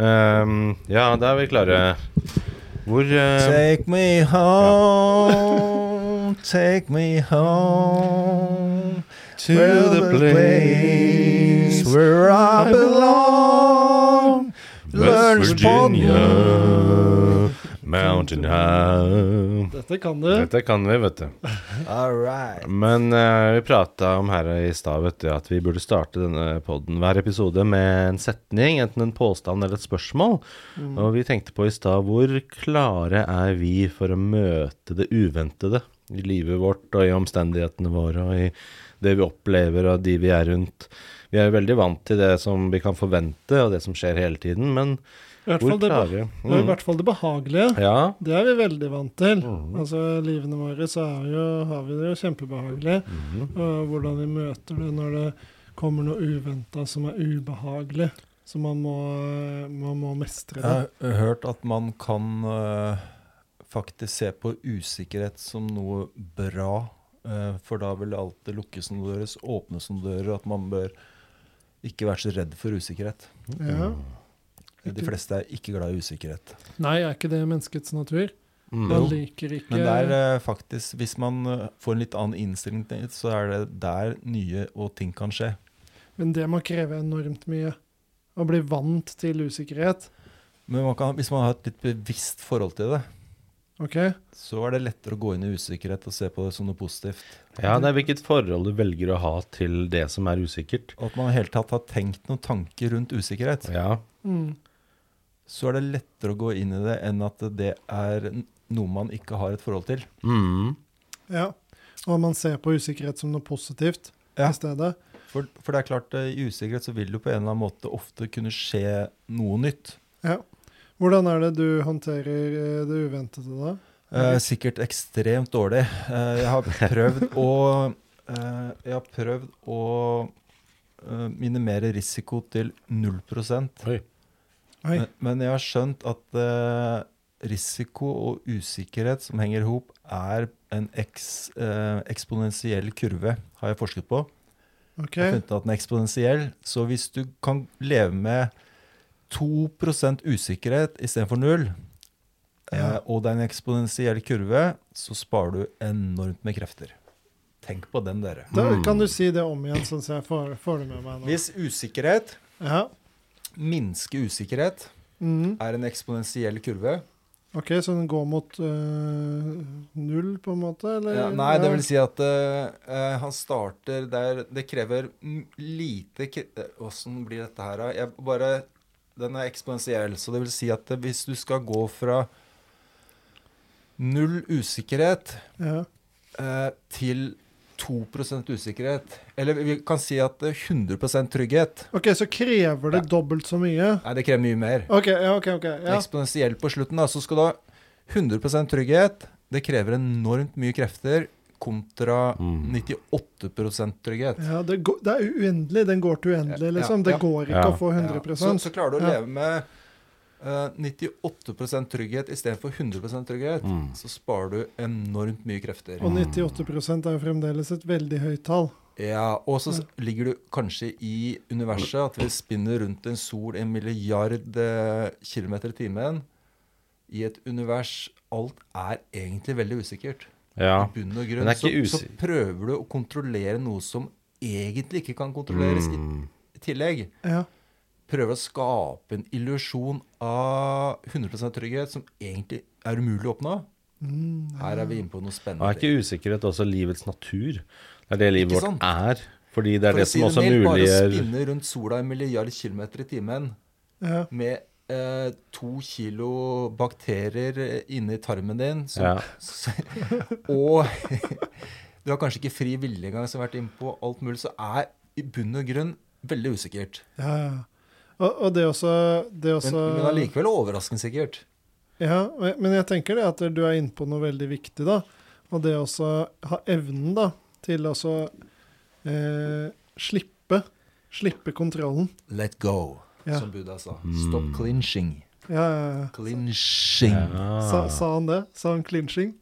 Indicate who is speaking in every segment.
Speaker 1: Ehm, ja, da er vi klare. Hvor eh,
Speaker 2: Take me home, take me home
Speaker 1: To the place
Speaker 2: where I belong.
Speaker 1: West Virginia,
Speaker 2: Lunchpodden.
Speaker 1: Mountain High
Speaker 3: Dette kan du.
Speaker 1: Dette kan vi, vet du.
Speaker 2: All right.
Speaker 1: Men eh, vi prata om her i stad vet du, at vi burde starte denne podden hver episode med en setning, enten en påstand eller et spørsmål.
Speaker 3: Mm.
Speaker 1: Og vi tenkte på i stad hvor klare er vi for å møte det uventede i livet vårt og i omstendighetene våre og i det vi opplever og de vi er rundt. Vi er jo veldig vant til det som vi kan forvente og det som skjer hele tiden, men
Speaker 3: I hvert
Speaker 1: hvor
Speaker 3: fall det,
Speaker 1: klarer vi?
Speaker 3: og
Speaker 2: Mm.
Speaker 3: I hvert fall det behagelige.
Speaker 1: Ja,
Speaker 3: Det er vi veldig vant til.
Speaker 2: Mm.
Speaker 3: Altså, Livene våre så er jo, har vi det jo kjempebehagelig.
Speaker 2: Mm.
Speaker 3: Og hvordan vi møter det når det kommer noe uventa som er ubehagelig. Så man må, man må mestre
Speaker 2: Jeg
Speaker 3: det.
Speaker 2: har hørt at man kan eh, faktisk se på usikkerhet som noe bra, eh, for da vil det alltid lukkes noen dører, åpnes noen dører, og at man bør ikke være så redd for usikkerhet.
Speaker 3: Ja.
Speaker 2: De fleste er ikke glad i usikkerhet.
Speaker 3: Nei, er ikke det menneskets natur?
Speaker 1: mm.
Speaker 3: Man
Speaker 2: Jo.
Speaker 3: liker ikke
Speaker 2: Men det er eh, faktisk, hvis man eh, får en litt annen innstilling til det, så er det der nye og ting kan skje.
Speaker 3: Men det må kreve enormt mye. Å bli vant til usikkerhet.
Speaker 2: Men man kan, hvis man har et litt bevisst forhold til det,
Speaker 3: OK?
Speaker 2: så er det lettere å gå inn i usikkerhet og se på det som noe positivt.
Speaker 1: ja, det er hvilket forhold du velger å ha til det som er usikkert.
Speaker 2: Og at man i hele tatt har tenkt noen tanker rundt usikkerhet,
Speaker 1: Ja,
Speaker 3: Mm.
Speaker 2: så er det lettere å gå inn i det enn at det er n- noe man ikke har et forhold til.
Speaker 1: mm.
Speaker 3: Ja. Og man ser på usikkerhet som noe positivt
Speaker 2: Ja.
Speaker 3: i stedet.
Speaker 2: For, for det er klart, eh, i usikkerhet så vil det jo på en eller annen måte ofte kunne skje noe nytt.
Speaker 3: Hvordan er det du håndterer eh, det uventede da?
Speaker 2: Eh, sikkert ekstremt dårlig. Eh, jeg har prøvd å eh, Jeg har prøvd å eh, minimere risiko til 0
Speaker 1: Oi.
Speaker 3: Oi.
Speaker 2: men, men jeg har skjønt at eh, risiko og usikkerhet som henger i hop, er en eks, eh, eksponentiell kurve, har jeg forsket på.
Speaker 3: OK.
Speaker 2: Jeg har funnet ut at den er eksponentiell. Så hvis du kan leve med 2 usikkerhet istedenfor null,
Speaker 3: Ja.
Speaker 2: eh, og det er en eksponentiell kurve, så sparer du enormt med krefter. Tenk på den, dere.
Speaker 3: Da
Speaker 1: Mm.
Speaker 3: kan du si det om igjen, sånn at jeg får, får det med meg nå.
Speaker 2: Hvis usikkerhet,
Speaker 3: Ja.
Speaker 2: minske usikkerhet,
Speaker 3: Mm.
Speaker 2: er en eksponentiell kurve
Speaker 3: OK, så den går mot øh, null, på en måte? Eller?
Speaker 2: ja, Nei, det vil si at eh, eh, han starter der Det krever m- lite eh, Åssen blir dette her, da? Jeg bare Den er eksponentiell. Så det vil si at eh, hvis du skal gå fra null usikkerhet
Speaker 3: Ja.
Speaker 2: eh, til 2 usikkerhet Eller vi kan si at eh, 100 trygghet
Speaker 3: OK, så krever det dobbelt så mye?
Speaker 2: Nei, det krever mye mer.
Speaker 3: OK, ja, OK. ok, ja.
Speaker 2: Eksponentiell på slutten, da. Så skal du ha 100 trygghet. Det krever enormt mye krefter kontra
Speaker 1: Mm.
Speaker 2: 98 trygghet.
Speaker 3: ja det, går, det er uendelig. Den går til uendelig,
Speaker 2: Ja,
Speaker 3: liksom.
Speaker 2: ja,
Speaker 3: Det
Speaker 2: ja.
Speaker 3: går ikke
Speaker 1: Ja.
Speaker 3: å få 100
Speaker 2: Ja, så, så klarer du å
Speaker 3: Ja.
Speaker 2: leve med eh, 98 trygghet istedenfor 100 trygghet.
Speaker 1: Mm.
Speaker 2: Så sparer du enormt mye krefter.
Speaker 3: Og 98 er jo fremdeles et veldig høyt tall.
Speaker 2: Ja, Og så s- ligger du kanskje i universet, at vi spinner rundt en sol en milliard eh, kilometer i timen. I et univers Alt er egentlig veldig usikkert.
Speaker 1: Ja.
Speaker 2: I bunn og
Speaker 1: Men
Speaker 2: grunn
Speaker 1: det er
Speaker 2: så,
Speaker 1: ikke
Speaker 2: så
Speaker 1: usik-
Speaker 2: prøver du å kontrollere noe som egentlig ikke kan kontrolleres
Speaker 1: Mm.
Speaker 2: i, i tillegg.
Speaker 3: Ja.
Speaker 2: Prøver å skape en illusjon av 100 trygghet som egentlig er umulig å oppnå.
Speaker 3: Mm,
Speaker 2: Her er vi inne på noe
Speaker 1: Og
Speaker 2: spennende.
Speaker 1: er ikke usikkerhet også livets natur? Det er det livet
Speaker 2: Ikke
Speaker 1: vårt
Speaker 2: sant?
Speaker 1: er. Fordi det er
Speaker 2: For å
Speaker 1: det som også
Speaker 2: mildt, Bare
Speaker 1: muliggjør
Speaker 2: spinne rundt sola en milliard kilometer i timen
Speaker 3: ja.
Speaker 2: med eh, to kilo bakterier inni tarmen din som
Speaker 1: ja.
Speaker 2: Så- og du har kanskje ikke fri vilje engang, som har vært innpå alt mulig, så er i bunn og grunn veldig usikkert.
Speaker 3: Ja, ja. Og, og det er også, det er
Speaker 2: Men,
Speaker 3: også
Speaker 2: men allikevel overraskende sikkert.
Speaker 3: Ja, og jeg- men jeg tenker det at du er inne på noe veldig viktig, da. Og det også ha evnen da, til også eh, slippe, slippe kontrollen.
Speaker 2: Let go,
Speaker 3: Ja.
Speaker 2: som Buddha sa.
Speaker 1: Mm.
Speaker 2: Stop clinching.
Speaker 3: Ja, ja, ja.
Speaker 2: Clinching.
Speaker 1: Ah.
Speaker 3: Sa, sa han det? Sa han clinching?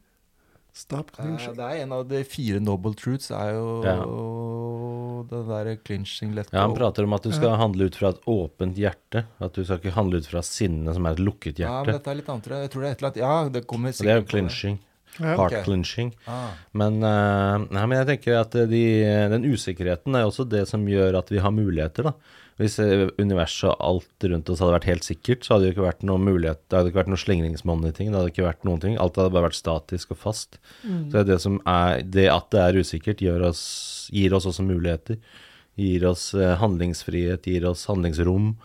Speaker 3: Stop
Speaker 2: Eh,
Speaker 3: clinching.
Speaker 2: Det er en av de fire noble truths, er jo jo det der clinching-lett
Speaker 1: Ja, Han prater om at du skal handle ut fra et åpent hjerte. At du skal ikke handle ut fra sinne, som er et lukket
Speaker 2: Ja, men
Speaker 1: hjerte.
Speaker 2: dette er litt annet. tror jeg. Jeg tror det er et eller annet Ja, det kommer
Speaker 1: Og det er jo
Speaker 2: sikkert på det.
Speaker 1: clinching.
Speaker 3: Ja.
Speaker 1: Heart
Speaker 2: Ok.
Speaker 1: clinching.
Speaker 2: Ah,
Speaker 1: Men, eh, nei, men jeg tenker at de, den usikkerheten er jo også det som gjør at vi har muligheter, da. Hvis eh, universet og alt rundt oss hadde vært helt sikkert, så hadde det ikke vært noen mulighet, det hadde ikke vært noen slingringsmonn i ting, det hadde ikke vært noen ting. Alt hadde bare vært statisk og fast. Så det, er det, som er, det at det er usikkert gjør oss, gir oss også muligheter. Gir oss eh, handlingsfrihet, gir oss handlingsrom.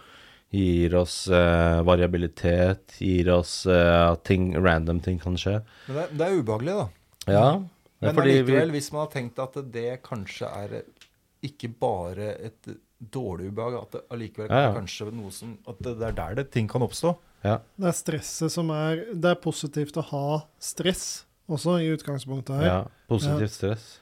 Speaker 1: Gir oss eh, variabilitet, gir oss eh, at ting, random ting kan skje.
Speaker 2: men det, er- det er ubehagelig, da.
Speaker 1: Ja,
Speaker 2: Men
Speaker 1: fordi vi-
Speaker 2: allikevel, hvis man har tenkt at det kanskje er ikke bare et dårlig ubehag, at det allikevel
Speaker 1: Ja, ja.
Speaker 2: kanskje noe som At det det er der det ting kan oppstå.
Speaker 1: ja.
Speaker 3: Det er stresset som er Det er positivt å ha stress også, i utgangspunktet her.
Speaker 1: Ja, positivt
Speaker 3: Ja.
Speaker 1: stress.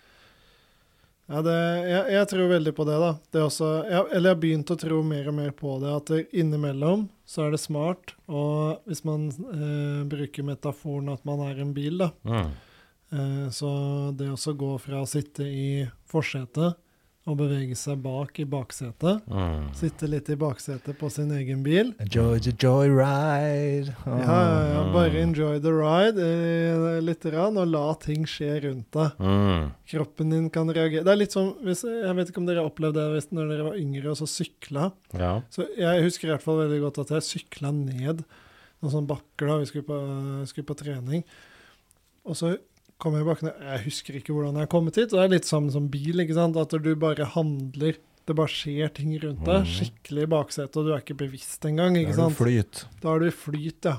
Speaker 3: Ja, det, jeg, jeg tror veldig på det, da. Det er også, jeg, eller jeg har begynt å tro mer og mer på det, at det, innimellom så er det smart. Og hvis man eh, bruker metaforen at man er en bil, da.
Speaker 1: Mm.
Speaker 3: Eh, så det å så gå fra å sitte i forsetet og bevege seg bak i baksetet,
Speaker 1: Mm.
Speaker 3: sitte litt i baksetet på sin egen bil
Speaker 2: Georgia Joyride. Ah.
Speaker 3: ja, ja, ja, bare enjoy the ride eh, litt rann, og la ting skje rundt deg.
Speaker 1: Mm.
Speaker 3: Kroppen din kan reagere. Det er litt som, hvis, Jeg vet ikke om dere opplevde det hvis, når dere var yngre og så sykla.
Speaker 1: Ja.
Speaker 3: Så jeg husker i hvert fall veldig godt at jeg sykla ned noen sånne bakker da vi skulle på, skulle på trening. Og så kom jeg bak ned Jeg husker ikke hvordan jeg har kommet hit. Og det er litt sammen som bil, ikke sant. At du bare handler. Det bare skjer ting rundt deg. Skikkelig i baksetet, og du er ikke bevisst engang.
Speaker 2: Ikke
Speaker 3: ikke
Speaker 2: sant?
Speaker 3: sant?
Speaker 2: Flyt.
Speaker 3: Da er du i flyt, ja.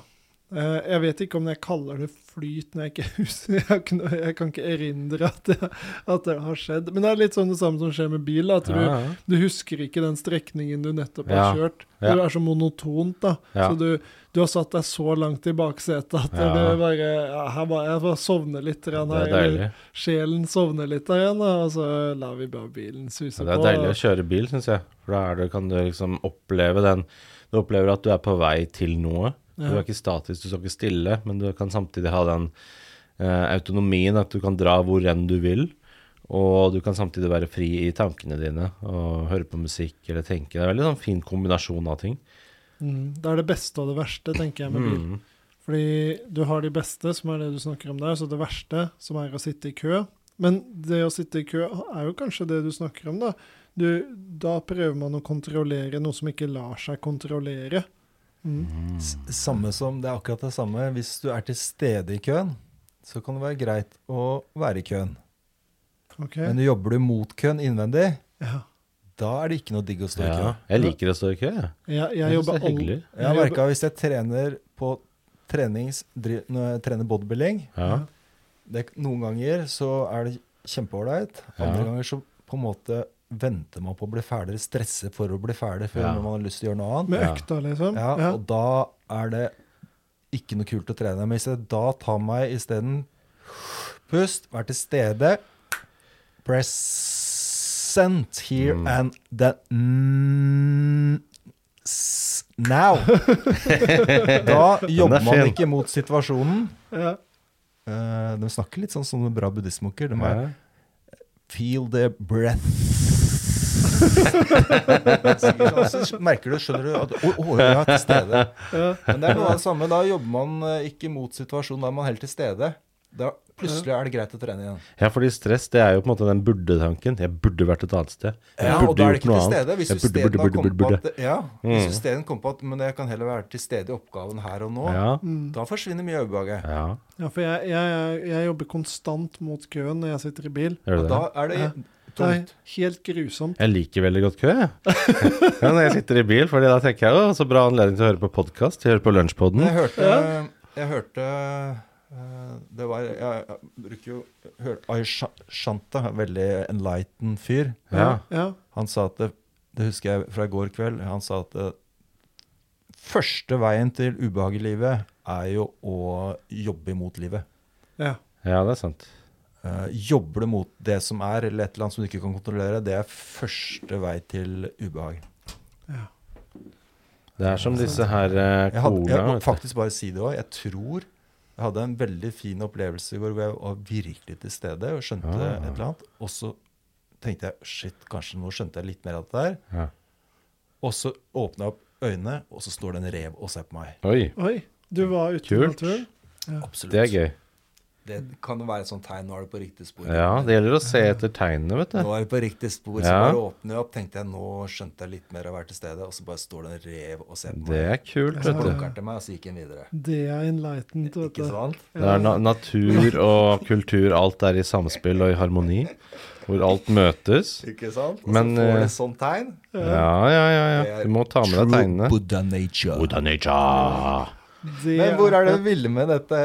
Speaker 3: Eh, Jeg vet ikke om jeg kaller det flyt når jeg ikke husker Jeg, har ikke noe- jeg kan ikke erindre at det, at det har skjedd. Men det er litt sånn det samme som skjer med bil. da, At du,
Speaker 1: Ja, ja.
Speaker 3: du husker ikke den strekningen du nettopp
Speaker 1: Ja,
Speaker 3: har kjørt.
Speaker 1: ja.
Speaker 3: Du er så monotont, da.
Speaker 1: Ja.
Speaker 3: Så du, du har satt deg så langt i baksetet at
Speaker 1: Ja.
Speaker 3: du bare ja, her var, Jeg bare sovner litt. grann
Speaker 1: Det
Speaker 3: Her,
Speaker 1: er
Speaker 3: eller
Speaker 1: deilig.
Speaker 3: sjelen sovner litt der igjen, da, og så lar vi bare bilen suse
Speaker 1: Ja, det er
Speaker 3: på.
Speaker 1: deilig å kjøre bil, syns jeg. For da er det, kan du liksom oppleve den Du opplever at du er på vei til noe. Du er
Speaker 3: Ja.
Speaker 1: ikke statisk, du står ikke stille, men du kan samtidig ha den eh, autonomien at du kan dra hvor enn du vil. Og du kan samtidig være fri i tankene dine og høre på musikk eller tenke. Det er en veldig sånn fin kombinasjon av ting.
Speaker 3: Mm, det er det beste og det verste, tenker jeg, med bil.
Speaker 1: Mm.
Speaker 3: Fordi du har de beste, som er det du snakker om der, så det verste, som er å sitte i kø. Men det å sitte i kø er jo kanskje det du snakker om, da. Du, da prøver man å kontrollere noe som ikke lar seg kontrollere. Mm.
Speaker 1: Mhm.
Speaker 2: S- Samme som, Det er akkurat det samme. Hvis du er til stede i køen, så kan det være greit å være i køen.
Speaker 3: Ok.
Speaker 2: Men du jobber du mot køen innvendig,
Speaker 3: Ja.
Speaker 2: da er det ikke noe digg å stå i kø.
Speaker 1: Ja. Jeg liker å stå i kø, jeg.
Speaker 3: Jeg,
Speaker 1: Jeg
Speaker 3: jeg
Speaker 1: synes det
Speaker 3: jobber
Speaker 1: er hyggelig.
Speaker 3: all-
Speaker 2: Jeg har
Speaker 3: jeg jobber-
Speaker 2: merka hvis jeg trener på trenings, dri- når jeg trener bodybuilding
Speaker 1: Ja.
Speaker 2: det, Noen ganger så er det kjempeålreit. Andre
Speaker 1: Ja.
Speaker 2: ganger så på en måte venter man på å bli ferdig, stresser for å bli ferdig før
Speaker 1: Ja.
Speaker 2: man har lyst til å gjøre noe annet.
Speaker 3: Med
Speaker 1: Ja.
Speaker 3: økta, liksom.
Speaker 2: Ja,
Speaker 3: Ja.
Speaker 2: Og da er det ikke noe kult å trene. Men hvis jeg da tar meg isteden Pust, vær til stede. Present here
Speaker 1: Mm.
Speaker 2: and then mm, s- now. da jobber man
Speaker 1: fin.
Speaker 2: ikke mot situasjonen.
Speaker 3: Ja.
Speaker 2: Eh, de snakker litt sånn som bra buddhistmunker. De er
Speaker 1: Ja.
Speaker 2: Feel the breath. Så merker du, skjønner du at Å, å, jeg er til stede.
Speaker 3: Ja.
Speaker 2: Men det er noe av det samme. Da jobber man eh, ikke mot situasjonen, da er man helt til stede. Da plutselig er det greit å trene igjen.
Speaker 1: Ja, fordi stress det er jo på en måte den burde-tanken. Jeg burde vært et annet sted. Jeg
Speaker 2: Ja,
Speaker 1: burde
Speaker 2: og da er
Speaker 1: gjort
Speaker 2: det ikke
Speaker 1: noe
Speaker 2: til
Speaker 1: annet.
Speaker 2: stede. Hvis
Speaker 1: Jeg burde,
Speaker 2: isteden
Speaker 1: burde,
Speaker 2: har
Speaker 1: burde,
Speaker 2: kommet på
Speaker 1: burde.
Speaker 2: at Ja, hvis
Speaker 1: Mm.
Speaker 2: isteden kom på at Men jeg kan heller være til stede i oppgaven her og nå.
Speaker 1: Ja.
Speaker 3: Mm.
Speaker 2: Da forsvinner mye av ubehaget.
Speaker 1: ja.
Speaker 3: ja, for jeg, jeg, jeg jobber konstant mot køen når jeg sitter i bil.
Speaker 1: Gjør
Speaker 2: Og
Speaker 1: du det?
Speaker 2: da er det
Speaker 3: Ja. Det er
Speaker 2: tungt.
Speaker 3: helt grusomt.
Speaker 1: Jeg liker veldig godt kø, jeg. Ja, når jeg sitter i bil, fordi da tenker jeg å, så bra anledning til å høre på podkast. Høre på Lunsjpodden.
Speaker 2: Jeg hørte, jeg hørte eh, det var, jeg, jeg bruker jo hør, Aishanta, veldig enlightened fyr.
Speaker 1: Ja.
Speaker 3: ja.
Speaker 2: Han sa at det, det husker jeg fra i går kveld. Han sa at det, første veien til ubehag i livet er jo å jobbe imot livet.
Speaker 3: ja.
Speaker 1: Ja, det er sant.
Speaker 2: Eh, jobber du mot det som er, eller et eller annet som du ikke kan kontrollere, det er første vei til ubehag.
Speaker 1: Det er som disse her eh,
Speaker 2: Jeg, hadde, jeg
Speaker 1: cola
Speaker 2: må
Speaker 1: vet du.
Speaker 2: faktisk bare si det òg. Jeg tror jeg hadde en
Speaker 1: Ah.
Speaker 2: veldig fin opplevelse i går hvor jeg var virkelig til stede og skjønte
Speaker 1: Ja.
Speaker 2: et eller annet. Og så
Speaker 4: tenkte jeg shit, kanskje nå skjønte jeg litt mer av det der.
Speaker 1: Ja.
Speaker 4: Og så åpna jeg opp øynene, og så står det en rev og ser på meg.
Speaker 1: Oi,
Speaker 3: Oi, du var ute i
Speaker 1: Kult.
Speaker 3: naturen?
Speaker 2: Absolutt.
Speaker 1: det er gøy.
Speaker 2: Det kan jo være et sånt tegn. Nå er du på riktig spor.
Speaker 1: Ja, det gjelder å se etter tegnene, vet du.
Speaker 2: Nå er du på riktig spor. Så
Speaker 1: Ja.
Speaker 2: bare åpner jeg opp, tenkte jeg. Nå skjønte jeg litt mer av å være til stede. Og så bare står det en rev og ser på
Speaker 1: Det
Speaker 2: meg.
Speaker 1: er kult,
Speaker 2: Så
Speaker 1: vet du.
Speaker 2: plukker den til meg, og så gikk den videre.
Speaker 3: Det er enlightened, vet
Speaker 2: Ikke
Speaker 3: du.
Speaker 2: sant?
Speaker 1: Det er na natur og kultur, alt er i samspill og i harmoni. Hvor alt møtes.
Speaker 2: Ikke sant? Og
Speaker 1: Men,
Speaker 2: så får du
Speaker 1: eh,
Speaker 2: et sånt tegn.
Speaker 1: Ja, ja, ja. ja. Du må ta med deg tegnene.
Speaker 2: Buddha nature.
Speaker 1: Buddha nature.
Speaker 3: Det
Speaker 2: Men hvor er det du ville med dette?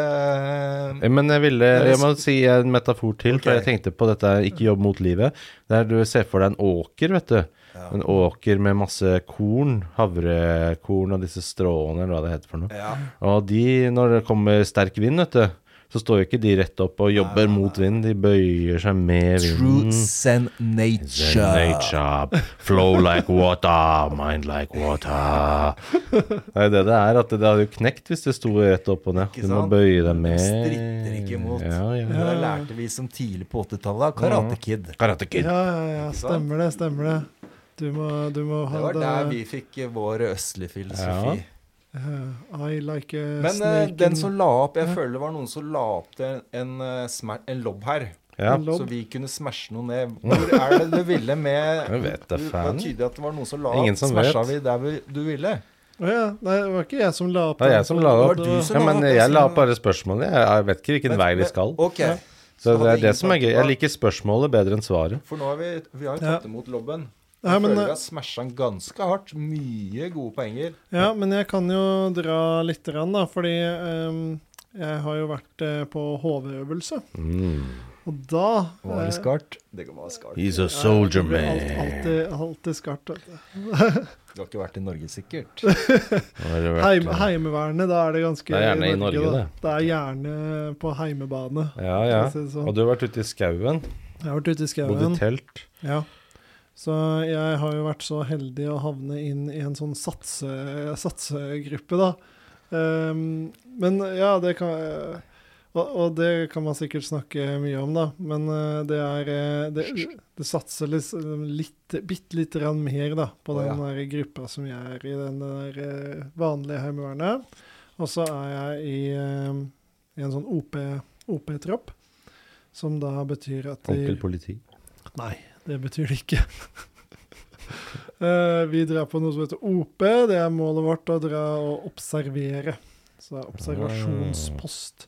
Speaker 1: Eh, Men jeg ville Jeg må si en metafor til, for jeg
Speaker 2: Ok.
Speaker 1: tenkte på dette ikke jobb mot livet. Der du ser for deg en åker, vet du. En åker med masse korn, havrekorn og disse stråene, eller hva det heter for noe.
Speaker 2: Ja.
Speaker 1: Og de, når det kommer sterk vind, vet du, så står jo ikke de rett opp og jobber mot vind. De bøyer seg med
Speaker 2: True
Speaker 1: vinden.
Speaker 2: sen
Speaker 1: Then
Speaker 2: nature.
Speaker 1: nature, flow like water, mind like water. Det er jo det det er, at det det hadde jo knekt hvis det sto rett opp og ned.
Speaker 2: Ikke
Speaker 1: Du må
Speaker 2: sant?
Speaker 1: bøye deg med.
Speaker 2: stritter ikke imot.
Speaker 1: Ja, ja.
Speaker 2: Det lærte vi som tidlig på 80-tallet. da. Karate Kid.
Speaker 1: Karate Kid.
Speaker 3: Ja, ja, ja. Stemmer det, stemmer det. Du må, du må
Speaker 2: Det
Speaker 3: ha
Speaker 2: var
Speaker 3: det,
Speaker 2: der vi fikk eh, vår østlige filosofi.
Speaker 3: Eh, I like a
Speaker 2: Men eh,
Speaker 3: snake in-
Speaker 2: den som la opp Jeg føler det var noen som la opp til en, eh, smer- en lobb her.
Speaker 1: Ja.
Speaker 3: Lobb?
Speaker 2: Så vi kunne smashe noe ned. Hvor er det du ville med
Speaker 1: Jeg vet da
Speaker 2: Det var
Speaker 1: faen.
Speaker 2: tydelig at det var noen som la
Speaker 1: Ingen
Speaker 2: opp.
Speaker 1: som
Speaker 2: Smasha
Speaker 1: vet.
Speaker 2: vi der vi- du ville?
Speaker 3: Å ja. Nei, det var ikke jeg som la opp
Speaker 1: Det er jeg som la det opp.
Speaker 2: Det var du som
Speaker 1: Ja,
Speaker 2: la
Speaker 1: men
Speaker 2: opp,
Speaker 1: jeg la
Speaker 2: så-
Speaker 1: opp bare spørsmålet. Jeg- Jeg vet ikke hvilken
Speaker 2: Men-
Speaker 1: vei vi
Speaker 2: men-
Speaker 1: skal.
Speaker 2: Ok.
Speaker 1: Så
Speaker 2: Så
Speaker 1: det
Speaker 2: hadde
Speaker 1: er det
Speaker 2: ingen
Speaker 1: som er
Speaker 2: tanke
Speaker 1: gøy.
Speaker 2: på-
Speaker 1: Jeg liker spørsmålet bedre enn svaret.
Speaker 2: For nå har vi, vi har jo tatt imot lobben. Jeg
Speaker 3: Nei, men,
Speaker 2: føler vi
Speaker 3: eh,
Speaker 2: har smasha den ganske hardt. Mye gode poenger.
Speaker 3: Ja, men jeg kan jo dra litt, rann, da, fordi ehm, jeg har jo vært eh, på HV-øvelse. Og da eh,
Speaker 2: skarpt? Det var skarpt.
Speaker 1: Mm. He's a soldier
Speaker 3: blir alt, alltid, alltid skarpt. vet du.
Speaker 2: Du har ikke vært i Norge, sikkert.
Speaker 3: Heim, heimevernet, da er det ganske
Speaker 1: Det er gjerne i Norge,
Speaker 3: da.
Speaker 1: det.
Speaker 3: Det er gjerne på heimebane.
Speaker 1: Ja, ja.
Speaker 3: for å si det sånn.
Speaker 1: Og du har vært ute i skauen.
Speaker 3: Jeg har vært ute i
Speaker 1: Bodd i
Speaker 3: skauen.
Speaker 1: telt.
Speaker 3: Ja. Så jeg har jo vært så heldig å havne inn i en sånn satse, satsegruppe, da. Ehm, men ja, det kan og, og det kan man sikkert snakke mye om, da. Men eh, det er eh, Det, det satser liksom litt, bitte lite grann mer, da, på
Speaker 2: Å,
Speaker 3: den der gruppa som jeg er i, den der eh, vanlige Heimevernet. Og så er jeg i, eh, i en sånn OP OP-tropp, som da betyr at de
Speaker 1: Onkel politi.
Speaker 3: Nei, det betyr det ikke. Eh, vi drar på noe som heter OP. Det er målet vårt å dra og observere. Så det er observasjonspost.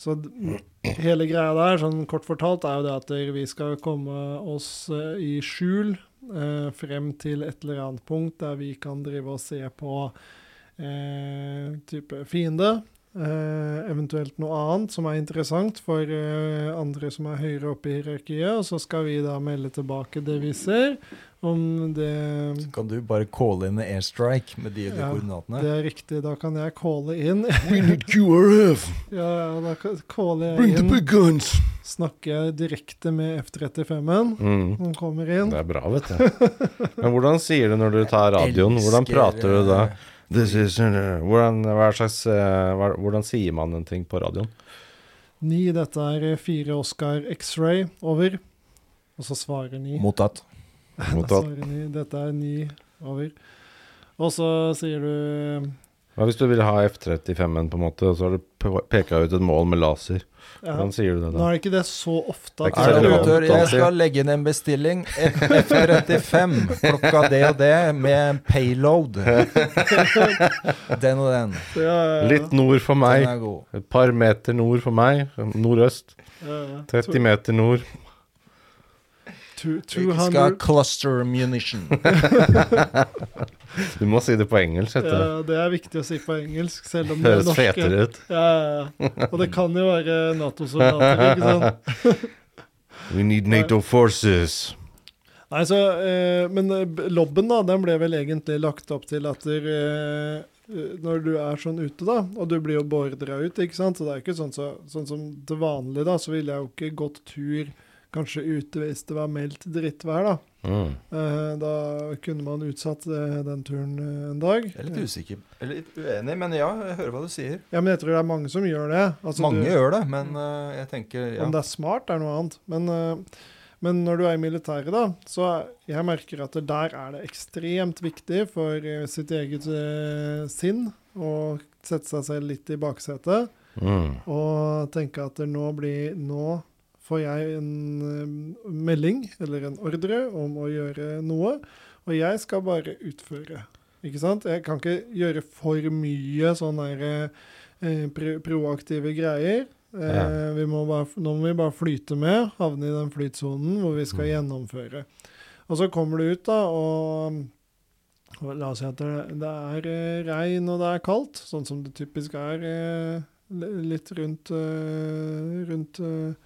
Speaker 3: Så d- hele greia der, sånn kort fortalt, er jo det at vi skal komme oss eh, i skjul eh, frem til et eller annet punkt der vi kan drive og se på eh, type fiende. Eh, eventuelt noe annet som er interessant for eh, andre som er høyere oppe i hierarkiet. Og så skal vi da melde tilbake det vi ser, om det
Speaker 2: Så kan du bare calle inn en airstrike med de og de
Speaker 3: Ja,
Speaker 2: koordinatene.
Speaker 3: det er riktig. Da kan jeg calle inn.
Speaker 5: We need QRF.
Speaker 3: ja, ja, da kan- caller
Speaker 5: Bring
Speaker 3: jeg
Speaker 5: the
Speaker 3: inn.
Speaker 5: big guns.
Speaker 3: Snakker jeg direkte med F-35-en.
Speaker 1: Mm.
Speaker 3: Han kommer
Speaker 1: Det
Speaker 3: inn.
Speaker 1: er bra, vet du. Men hvordan sier du når du tar radioen? Hvordan
Speaker 2: Elsker,
Speaker 1: prater du da?
Speaker 2: eh,
Speaker 1: This is, uh, hvordan, hva slags, eh, hva, hvordan sier man en ting på radioen?
Speaker 3: Ni, dette er eh, fire Oscar X-ray. Over. Og så svarer ni.
Speaker 2: eh, Mottatt.
Speaker 3: Da svarer ni. Dette er ni. Over. Og så sier du
Speaker 1: Hva hvis du vil ha F-35-en, på en måte, og så har du peka ut et mål med laser?
Speaker 3: ja.
Speaker 1: Hvordan sier du det
Speaker 3: Nå
Speaker 1: da?
Speaker 3: er det ikke det så ofte at
Speaker 1: Det er ikke
Speaker 2: Er det
Speaker 1: så
Speaker 3: du-
Speaker 1: relevant.
Speaker 2: amatør? Jeg
Speaker 1: alltid.
Speaker 2: skal legge inn en bestilling. F35, klokka det og det, med en payload. Den og den.
Speaker 3: Ja, ja, ja.
Speaker 1: Litt nord for meg.
Speaker 2: Den Sånn er god.
Speaker 1: Et par meter nord for meg, nordøst.
Speaker 3: Ja, ja.
Speaker 1: 30 meter nord.
Speaker 3: Two-
Speaker 2: Vi skal ha
Speaker 3: 200
Speaker 2: cluster munition.
Speaker 1: Du må si det på engelsk. Etter.
Speaker 3: ja, Det er viktig å si på engelsk, selv om
Speaker 1: det
Speaker 3: det er
Speaker 1: høres
Speaker 3: norske.
Speaker 1: fetere ut.
Speaker 3: Ja, ja, ja. Og det kan jo være Nato-soldater, ikke sant?
Speaker 1: We need NATO forces.
Speaker 3: Nei, så, eh, men eh, b- lobben, da, den ble vel egentlig lagt opp til at der, eh, eh, når du er sånn ute, da, og du blir jo beordra ut, ikke sant, så det er ikke sånn, så, sånn som til vanlig, da, så ville jeg jo ikke gått tur kanskje ute hvis det var meldt drittvær, da.
Speaker 1: Mm.
Speaker 3: Eh, da kunne man utsatt eh, den turen eh, en dag.
Speaker 2: Jeg er litt usikker, eller litt uenig, men ja, jeg hører hva du sier.
Speaker 3: Ja, men jeg tror det er mange som gjør det. Altså,
Speaker 2: Mange
Speaker 3: du,
Speaker 2: gjør det, men eh, jeg tenker ja.
Speaker 3: Om det er smart, er noe annet. Men, eh, Men når du er i militæret, da, så jeg merker at det der er det ekstremt viktig for eh, sitt eget eh, sinn å sette seg selv litt i baksetet
Speaker 1: Mm.
Speaker 3: og tenke at det nå blir Nå får jeg en eh, melding eller en ordre om å gjøre noe, og jeg skal bare utføre. Ikke sant? Jeg kan ikke gjøre for mye sånne her, eh, pro- proaktive greier. Eh,
Speaker 1: Ja.
Speaker 3: vi må bare, nå må vi bare flyte med, havne i den flytsonen hvor vi skal gjennomføre. Og så kommer du ut, da, og og La oss si at det, det er eh, regn og det er kaldt, sånn som det typisk er eh, l- litt rundt, eh, rundt eh,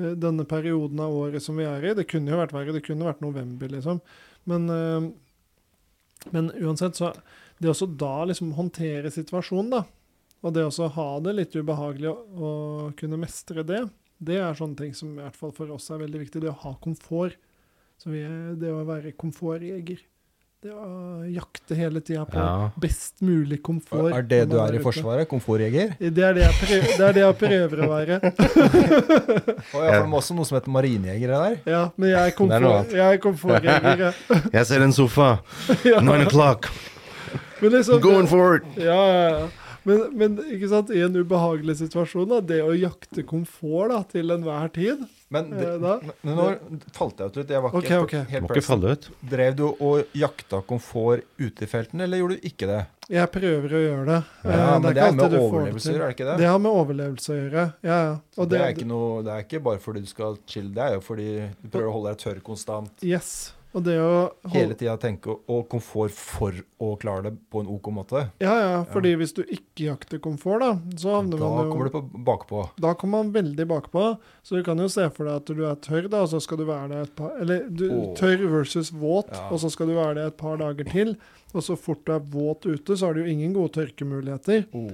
Speaker 3: eh, denne perioden av året som vi er i. Det kunne jo vært verre, det kunne vært november, liksom. Men, eh, men uansett, så det også da liksom håndtere situasjonen, da, og det også ha det litt ubehagelig å, å kunne mestre det, det er sånne ting som i hvert fall for oss er veldig viktig. Det å ha komfort. Så vi er, det å være komfortjeger. Det å jakte hele tida på
Speaker 1: Ja.
Speaker 3: best mulig komfort.
Speaker 2: er det
Speaker 3: når
Speaker 2: du
Speaker 3: man
Speaker 2: er i
Speaker 3: ute.
Speaker 2: Forsvaret? Komfortjeger?
Speaker 3: Det er det jeg prøver, det er det jeg prøver å være.
Speaker 2: Og jeg har også noe som heter marinejegere der.
Speaker 3: Ja, men jeg er
Speaker 1: Det er noe
Speaker 3: komfort-
Speaker 1: annet.
Speaker 3: jeg er komfortjeger. ja.
Speaker 1: Jeg ser en sofa. Nine o'clock.
Speaker 3: Men liksom,
Speaker 1: Going for it.
Speaker 3: Ja, ja, ja. Men, men ikke sant, i en ubehagelig situasjon, da, det å jakte komfort da, til enhver tid
Speaker 2: Men, det,
Speaker 3: eh, da,
Speaker 2: men nå falt jeg ut litt. Jeg var ikke
Speaker 3: Ok, ok.
Speaker 2: helt
Speaker 1: Må ikke
Speaker 2: present.
Speaker 1: falle ut.
Speaker 2: Drev du og jakta komfort ute i felten, eller gjorde du ikke det?
Speaker 3: Jeg prøver å gjøre det.
Speaker 2: Ja,
Speaker 3: Eh,
Speaker 2: men det
Speaker 3: ikke
Speaker 2: er med
Speaker 3: alltid du får
Speaker 2: overlevelser,
Speaker 3: til.
Speaker 2: er det ikke det?
Speaker 3: Det har med overlevelse å gjøre. Ja, ja.
Speaker 2: Så det, er ikke noe, det er ikke bare fordi du skal chille, det er jo fordi du prøver å holde deg tørr konstant.
Speaker 3: Yes. Og det å
Speaker 2: Hele tida tenke og komfort for å klare det på en OK måte.
Speaker 3: Ja, ja, fordi hvis du ikke jakter komfort, da,
Speaker 2: Da
Speaker 3: så havner man jo
Speaker 2: kommer du på bakpå.
Speaker 3: Da kommer man veldig bakpå. Så du kan jo se for deg at du er tørr, da, og så skal du være der et par Eller du,
Speaker 2: Åh.
Speaker 3: tørr versus våt,
Speaker 2: Ja.
Speaker 3: og så skal du være der et par dager til. Og så fort du er våt ute, så har du jo ingen gode tørkemuligheter.
Speaker 2: Oh,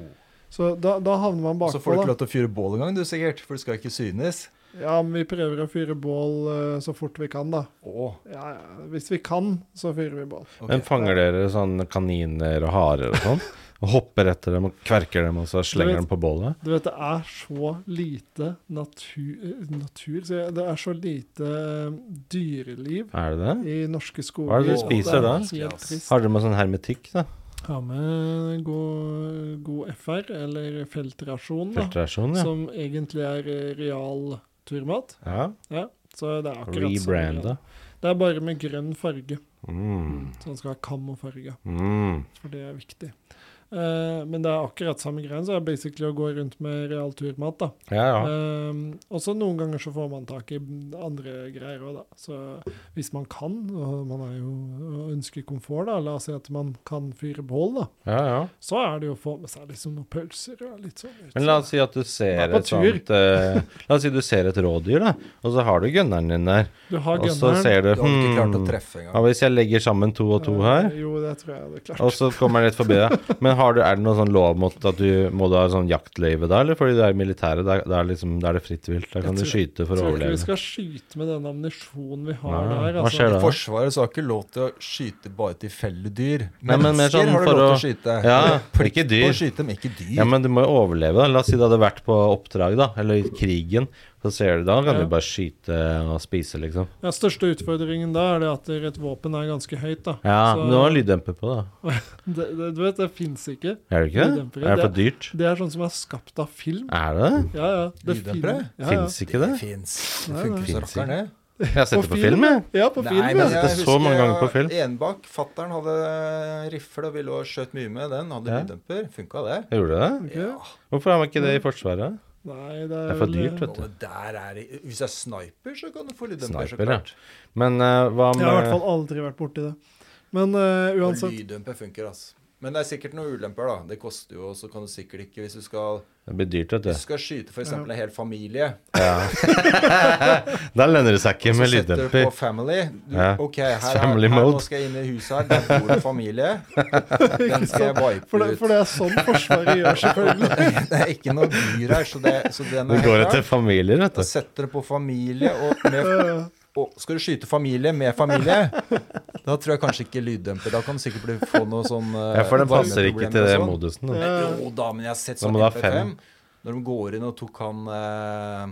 Speaker 3: Så da, da havner man
Speaker 2: Så får du
Speaker 3: bakpå,
Speaker 2: ikke
Speaker 3: da.
Speaker 2: lov til å fyre bål engang, du sikkert, for du skal ikke synes.
Speaker 3: Ja, men vi prøver å fyre bål eh, så fort vi kan, da.
Speaker 2: Å,
Speaker 3: Ja, ja. Hvis vi kan, så fyrer vi bål.
Speaker 2: ok.
Speaker 1: Men fanger dere sånn kaniner og harer og sånn? Og hopper etter dem og kverker dem, og så slenger
Speaker 3: vet-
Speaker 1: dem på bålet?
Speaker 3: Du vet, det er så lite natur, eh, natur sier jeg. Det er så lite eh, dyreliv
Speaker 1: Er det det?
Speaker 3: i norske skoger.
Speaker 1: Hva er det
Speaker 2: du
Speaker 3: at
Speaker 1: spiser
Speaker 3: er
Speaker 1: da?
Speaker 3: Helt trist.
Speaker 1: Har dere med sånn hermetikk, da?
Speaker 3: Ha med god, god FR, eller feltrasjon, da,
Speaker 1: Filtrasjon, ja.
Speaker 3: som egentlig er eh, real turmat.
Speaker 1: ja.
Speaker 3: Så det er akkurat som
Speaker 1: Rebranda.
Speaker 3: real. Det er bare med grønn farge,
Speaker 1: Mm.
Speaker 3: så den skal ha kammofarge,
Speaker 1: Mm.
Speaker 3: for det er viktig. Eh, men det er akkurat samme greien, så det er basically å gå rundt med real turmat, da.
Speaker 1: Ja, ja.
Speaker 3: Ehm, og så noen ganger så får man tak i andre greier òg, da. Så hvis man kan, og man er jo og ønsker komfort, da, la oss si at man kan fyre bål, da.
Speaker 1: ja, ja.
Speaker 3: Så er det jo å få med seg liksom noen pølser og litt sånn. ut.
Speaker 1: Men la oss si at du ser
Speaker 3: Vær på
Speaker 1: et sånt eh, La oss si du ser et rådyr, da, og så har du gunneren din der.
Speaker 3: Du har
Speaker 1: Og så
Speaker 3: gunneren.
Speaker 1: ser du
Speaker 2: Du hadde ikke klart å
Speaker 1: hmm,
Speaker 2: treffe
Speaker 1: Hva
Speaker 2: engang.
Speaker 1: hvis jeg legger sammen to og to her?
Speaker 3: Eh, Jo, det tror jeg jeg hadde klart.
Speaker 1: Og så kommer jeg litt forbi deg. Men har du, er det noe sånn lov mot at du må du ha sånn jaktløyve da, eller fordi du er i militæret? Da, da, er liksom, da er det fritt vilt. Da
Speaker 3: Jeg
Speaker 1: kan du
Speaker 3: tror-
Speaker 1: skyte for å
Speaker 3: Jeg tror ikke vi
Speaker 1: overleve.
Speaker 3: skal skyte med den ammunisjonen vi har
Speaker 1: Nei,
Speaker 3: der. altså.
Speaker 1: hva skjer da?
Speaker 2: I Forsvaret så har ikke lov til å skyte bare tilfeldige dyr.
Speaker 1: Nei, men mer sånn
Speaker 2: har du
Speaker 1: for
Speaker 2: lov til å
Speaker 1: å-
Speaker 2: skyte.
Speaker 1: Ja,
Speaker 2: Plikt
Speaker 1: ikke
Speaker 2: på
Speaker 1: dyr.
Speaker 2: å skyte, men ikke dyr.
Speaker 1: Ja, men du må jo overleve, da. La oss si det hadde vært på oppdrag, da, eller i krigen. Så ser du da, kan
Speaker 3: Ja.
Speaker 1: du bare skyte og spise, liksom.
Speaker 3: Ja, største utfordringen da er det at et våpen er ganske høyt, da.
Speaker 1: Ja,
Speaker 3: Så
Speaker 1: men du har lyddemper på, da.
Speaker 3: det, det, du vet, det fins ikke.
Speaker 1: Er det ikke
Speaker 3: Lyddemper,
Speaker 1: det? Er det for dyrt?
Speaker 3: Det er sånn som er skapt av film.
Speaker 1: Er det det?
Speaker 3: Ja, ja. Det fin-
Speaker 2: Lyddempere?
Speaker 3: Ja, ja.
Speaker 1: Fins ikke det?
Speaker 2: fins.
Speaker 3: Nei,
Speaker 2: Det funker
Speaker 1: nei.
Speaker 2: så rakkeren, det.
Speaker 1: Jeg har sett det
Speaker 3: På
Speaker 1: på
Speaker 3: film,
Speaker 1: film, jeg.
Speaker 3: Ja, på film,
Speaker 1: men
Speaker 3: ja.
Speaker 1: det- så mange ganger på film.
Speaker 2: Enbakk, fattern hadde rifle og ville og skjøt mye med den. Hadde
Speaker 1: Ja.
Speaker 2: lyddemper. Funka det?
Speaker 1: Gjorde det?
Speaker 3: Ok.
Speaker 1: Hvorfor har man ikke det i Forsvaret?
Speaker 3: Nei, det er,
Speaker 1: Det er for
Speaker 3: vel-
Speaker 1: dyrt, vet du.
Speaker 2: Og der er det, Hvis det er sniper, så kan du få lyddemper.
Speaker 1: Sniper,
Speaker 2: så klart.
Speaker 1: Men eh, hva
Speaker 3: Jeg
Speaker 1: med
Speaker 3: har i hvert fall aldri vært borti det. Men eh,
Speaker 2: Og
Speaker 3: uansett
Speaker 2: lyddemper funker, altså. Men det er sikkert noen ulemper, da. Det koster jo, og så kan du sikkert ikke Hvis du skal,
Speaker 1: Det blir dyrt, vet
Speaker 2: hvis du
Speaker 1: du.
Speaker 2: skal skyte f.eks. en hel familie,
Speaker 1: Da lønner det seg ikke
Speaker 2: og så
Speaker 1: med
Speaker 2: setter du på
Speaker 1: lyddemper.
Speaker 2: family du,
Speaker 1: Ja.
Speaker 2: OK, her, er,
Speaker 1: Family
Speaker 2: her nå
Speaker 1: mode.
Speaker 2: skal jeg inn i huset her. Der bor det familie. Den skal jeg
Speaker 3: for
Speaker 2: wipe
Speaker 3: det,
Speaker 2: ut.
Speaker 3: for det er sånn Forsvaret gjør, selvfølgelig.
Speaker 2: Det er ikke noe dyr her, så, det, så den
Speaker 1: Det
Speaker 2: er
Speaker 1: går
Speaker 2: helt klar.
Speaker 1: etter familier, vet
Speaker 2: Da
Speaker 1: du.
Speaker 2: setter du på familie og med,
Speaker 3: Eh,
Speaker 2: og Skal du skyte familie med familie? Da tror jeg kanskje ikke lyddemper. Da kan du sikkert bli, få noe sånn eh,
Speaker 1: Ja, for den passer ikke til det
Speaker 2: varmeproblemer og sånn.
Speaker 1: modusen. da.
Speaker 3: Ja.
Speaker 2: Jo da, men jeg har sett
Speaker 1: Da
Speaker 2: sånn
Speaker 1: må du ha
Speaker 2: MP5.
Speaker 1: fem.
Speaker 2: Når de går inn og tok han eh,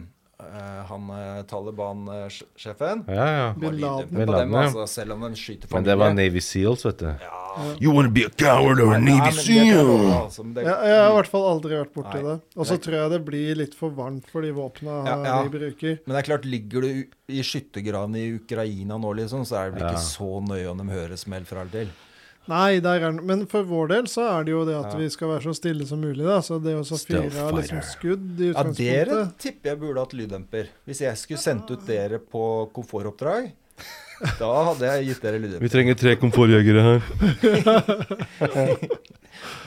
Speaker 2: eh, han eh, Taliban-sjefen.
Speaker 1: Ja, ja.
Speaker 2: Var
Speaker 3: Bin
Speaker 2: livredd
Speaker 3: Laden.
Speaker 1: Bin
Speaker 2: på
Speaker 1: Laden,
Speaker 2: dem,
Speaker 1: ja.
Speaker 2: altså, selv om den skyter
Speaker 1: Men det var
Speaker 2: familie.
Speaker 1: Navy Seals, vet du.
Speaker 2: Ja.
Speaker 5: You want to be a coward or a
Speaker 2: Nei,
Speaker 5: Navy
Speaker 2: men det kan
Speaker 5: SEAL?
Speaker 2: være, altså, men det-
Speaker 3: Jeg, jeg har i hvert fall aldri vært borti
Speaker 2: Nei.
Speaker 3: det. Og så tror jeg det blir litt for varmt for de våpna
Speaker 2: Ja, ja.
Speaker 3: vi bruker.
Speaker 2: Men det er klart, ligger du u- i skyttergraven i Ukraina nå, liksom, så er det vel
Speaker 1: Ja.
Speaker 2: ikke så nøye om de hører smell fra eller til.
Speaker 3: Nei, der er den. Men for vår del så er det jo det at
Speaker 2: Ja.
Speaker 3: vi skal være så stille som mulig, da. Så det å så
Speaker 1: Stealth
Speaker 3: fyre av liksom
Speaker 1: fighter.
Speaker 3: skudd i
Speaker 2: Ja, dere
Speaker 3: utgangspunktet
Speaker 2: tipper jeg burde hatt lyddemper. Hvis jeg skulle sendt ut dere på komfortoppdrag, da hadde jeg gitt dere
Speaker 1: Vi
Speaker 2: lyddemper.
Speaker 1: trenger tre komfortjegere her.
Speaker 2: Men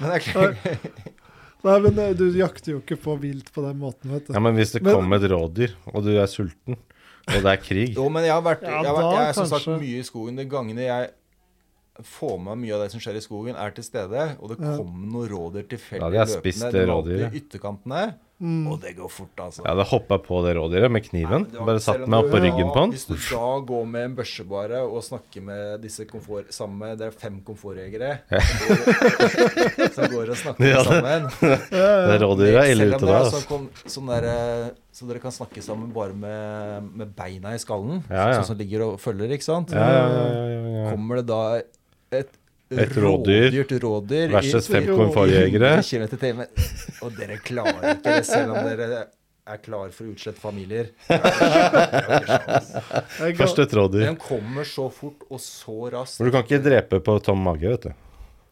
Speaker 2: det er klart,
Speaker 3: Nei, men eh, du jakter jo ikke på vilt på den måten, vet du.
Speaker 1: Ja, Men hvis det
Speaker 3: Men-
Speaker 1: kommer et rådyr, og du er sulten, og det er krig
Speaker 2: Jo, men jeg har vært,
Speaker 3: Ja,
Speaker 2: jeg har vært
Speaker 3: da
Speaker 2: jeg er som sagt
Speaker 3: kanskje.
Speaker 2: mye i skogen. De gangene jeg får med meg mye av det som skjer i skogen, er til stede, og det
Speaker 3: Ja.
Speaker 2: kommer noen rådyr
Speaker 1: Ja,
Speaker 2: tilfeldig
Speaker 1: de har spist
Speaker 2: løpende.
Speaker 1: det
Speaker 2: De var alltid
Speaker 1: rådyret.
Speaker 2: i ytterkantene,
Speaker 3: Mm.
Speaker 2: og det går fort, altså.
Speaker 1: Jeg hadde hoppa på det rådyret med kniven.
Speaker 2: Nei, men det var-
Speaker 1: Bare
Speaker 2: selv
Speaker 1: satt
Speaker 2: om
Speaker 1: meg
Speaker 2: du-
Speaker 1: opp på ryggen
Speaker 2: ja,
Speaker 1: på
Speaker 2: Hvis du
Speaker 1: den.
Speaker 2: da går med en børse bare og snakker med disse komfort... Samme, det er fem komfortjegere som går og snakker
Speaker 1: Ja, det-
Speaker 2: sammen.
Speaker 1: Det rådyret er ille
Speaker 2: Selv om
Speaker 1: ute
Speaker 2: dere
Speaker 1: da.
Speaker 2: har
Speaker 1: Altså.
Speaker 2: sånn, kom- sånn der, eh, så dere kan snakke sammen bare med, med beina i skallen,
Speaker 1: Ja, ja.
Speaker 2: sånn som ligger og følger, ikke sant?
Speaker 1: Ja, ja, ja, ja, ja.
Speaker 2: Kommer det da et,
Speaker 1: Et rådyr
Speaker 2: rådyrt rådyr
Speaker 1: Versus
Speaker 2: i-
Speaker 1: fem
Speaker 2: i
Speaker 1: komfortjegere.
Speaker 2: 100 kilometer i timen. Og dere klarer ikke det, selv om dere er klar for å utslette familier.
Speaker 3: Jeg ga-
Speaker 1: Først et rådyr.
Speaker 2: Den kommer så fort og så raskt.
Speaker 1: For du kan ikke drepe på tom mage, vet du.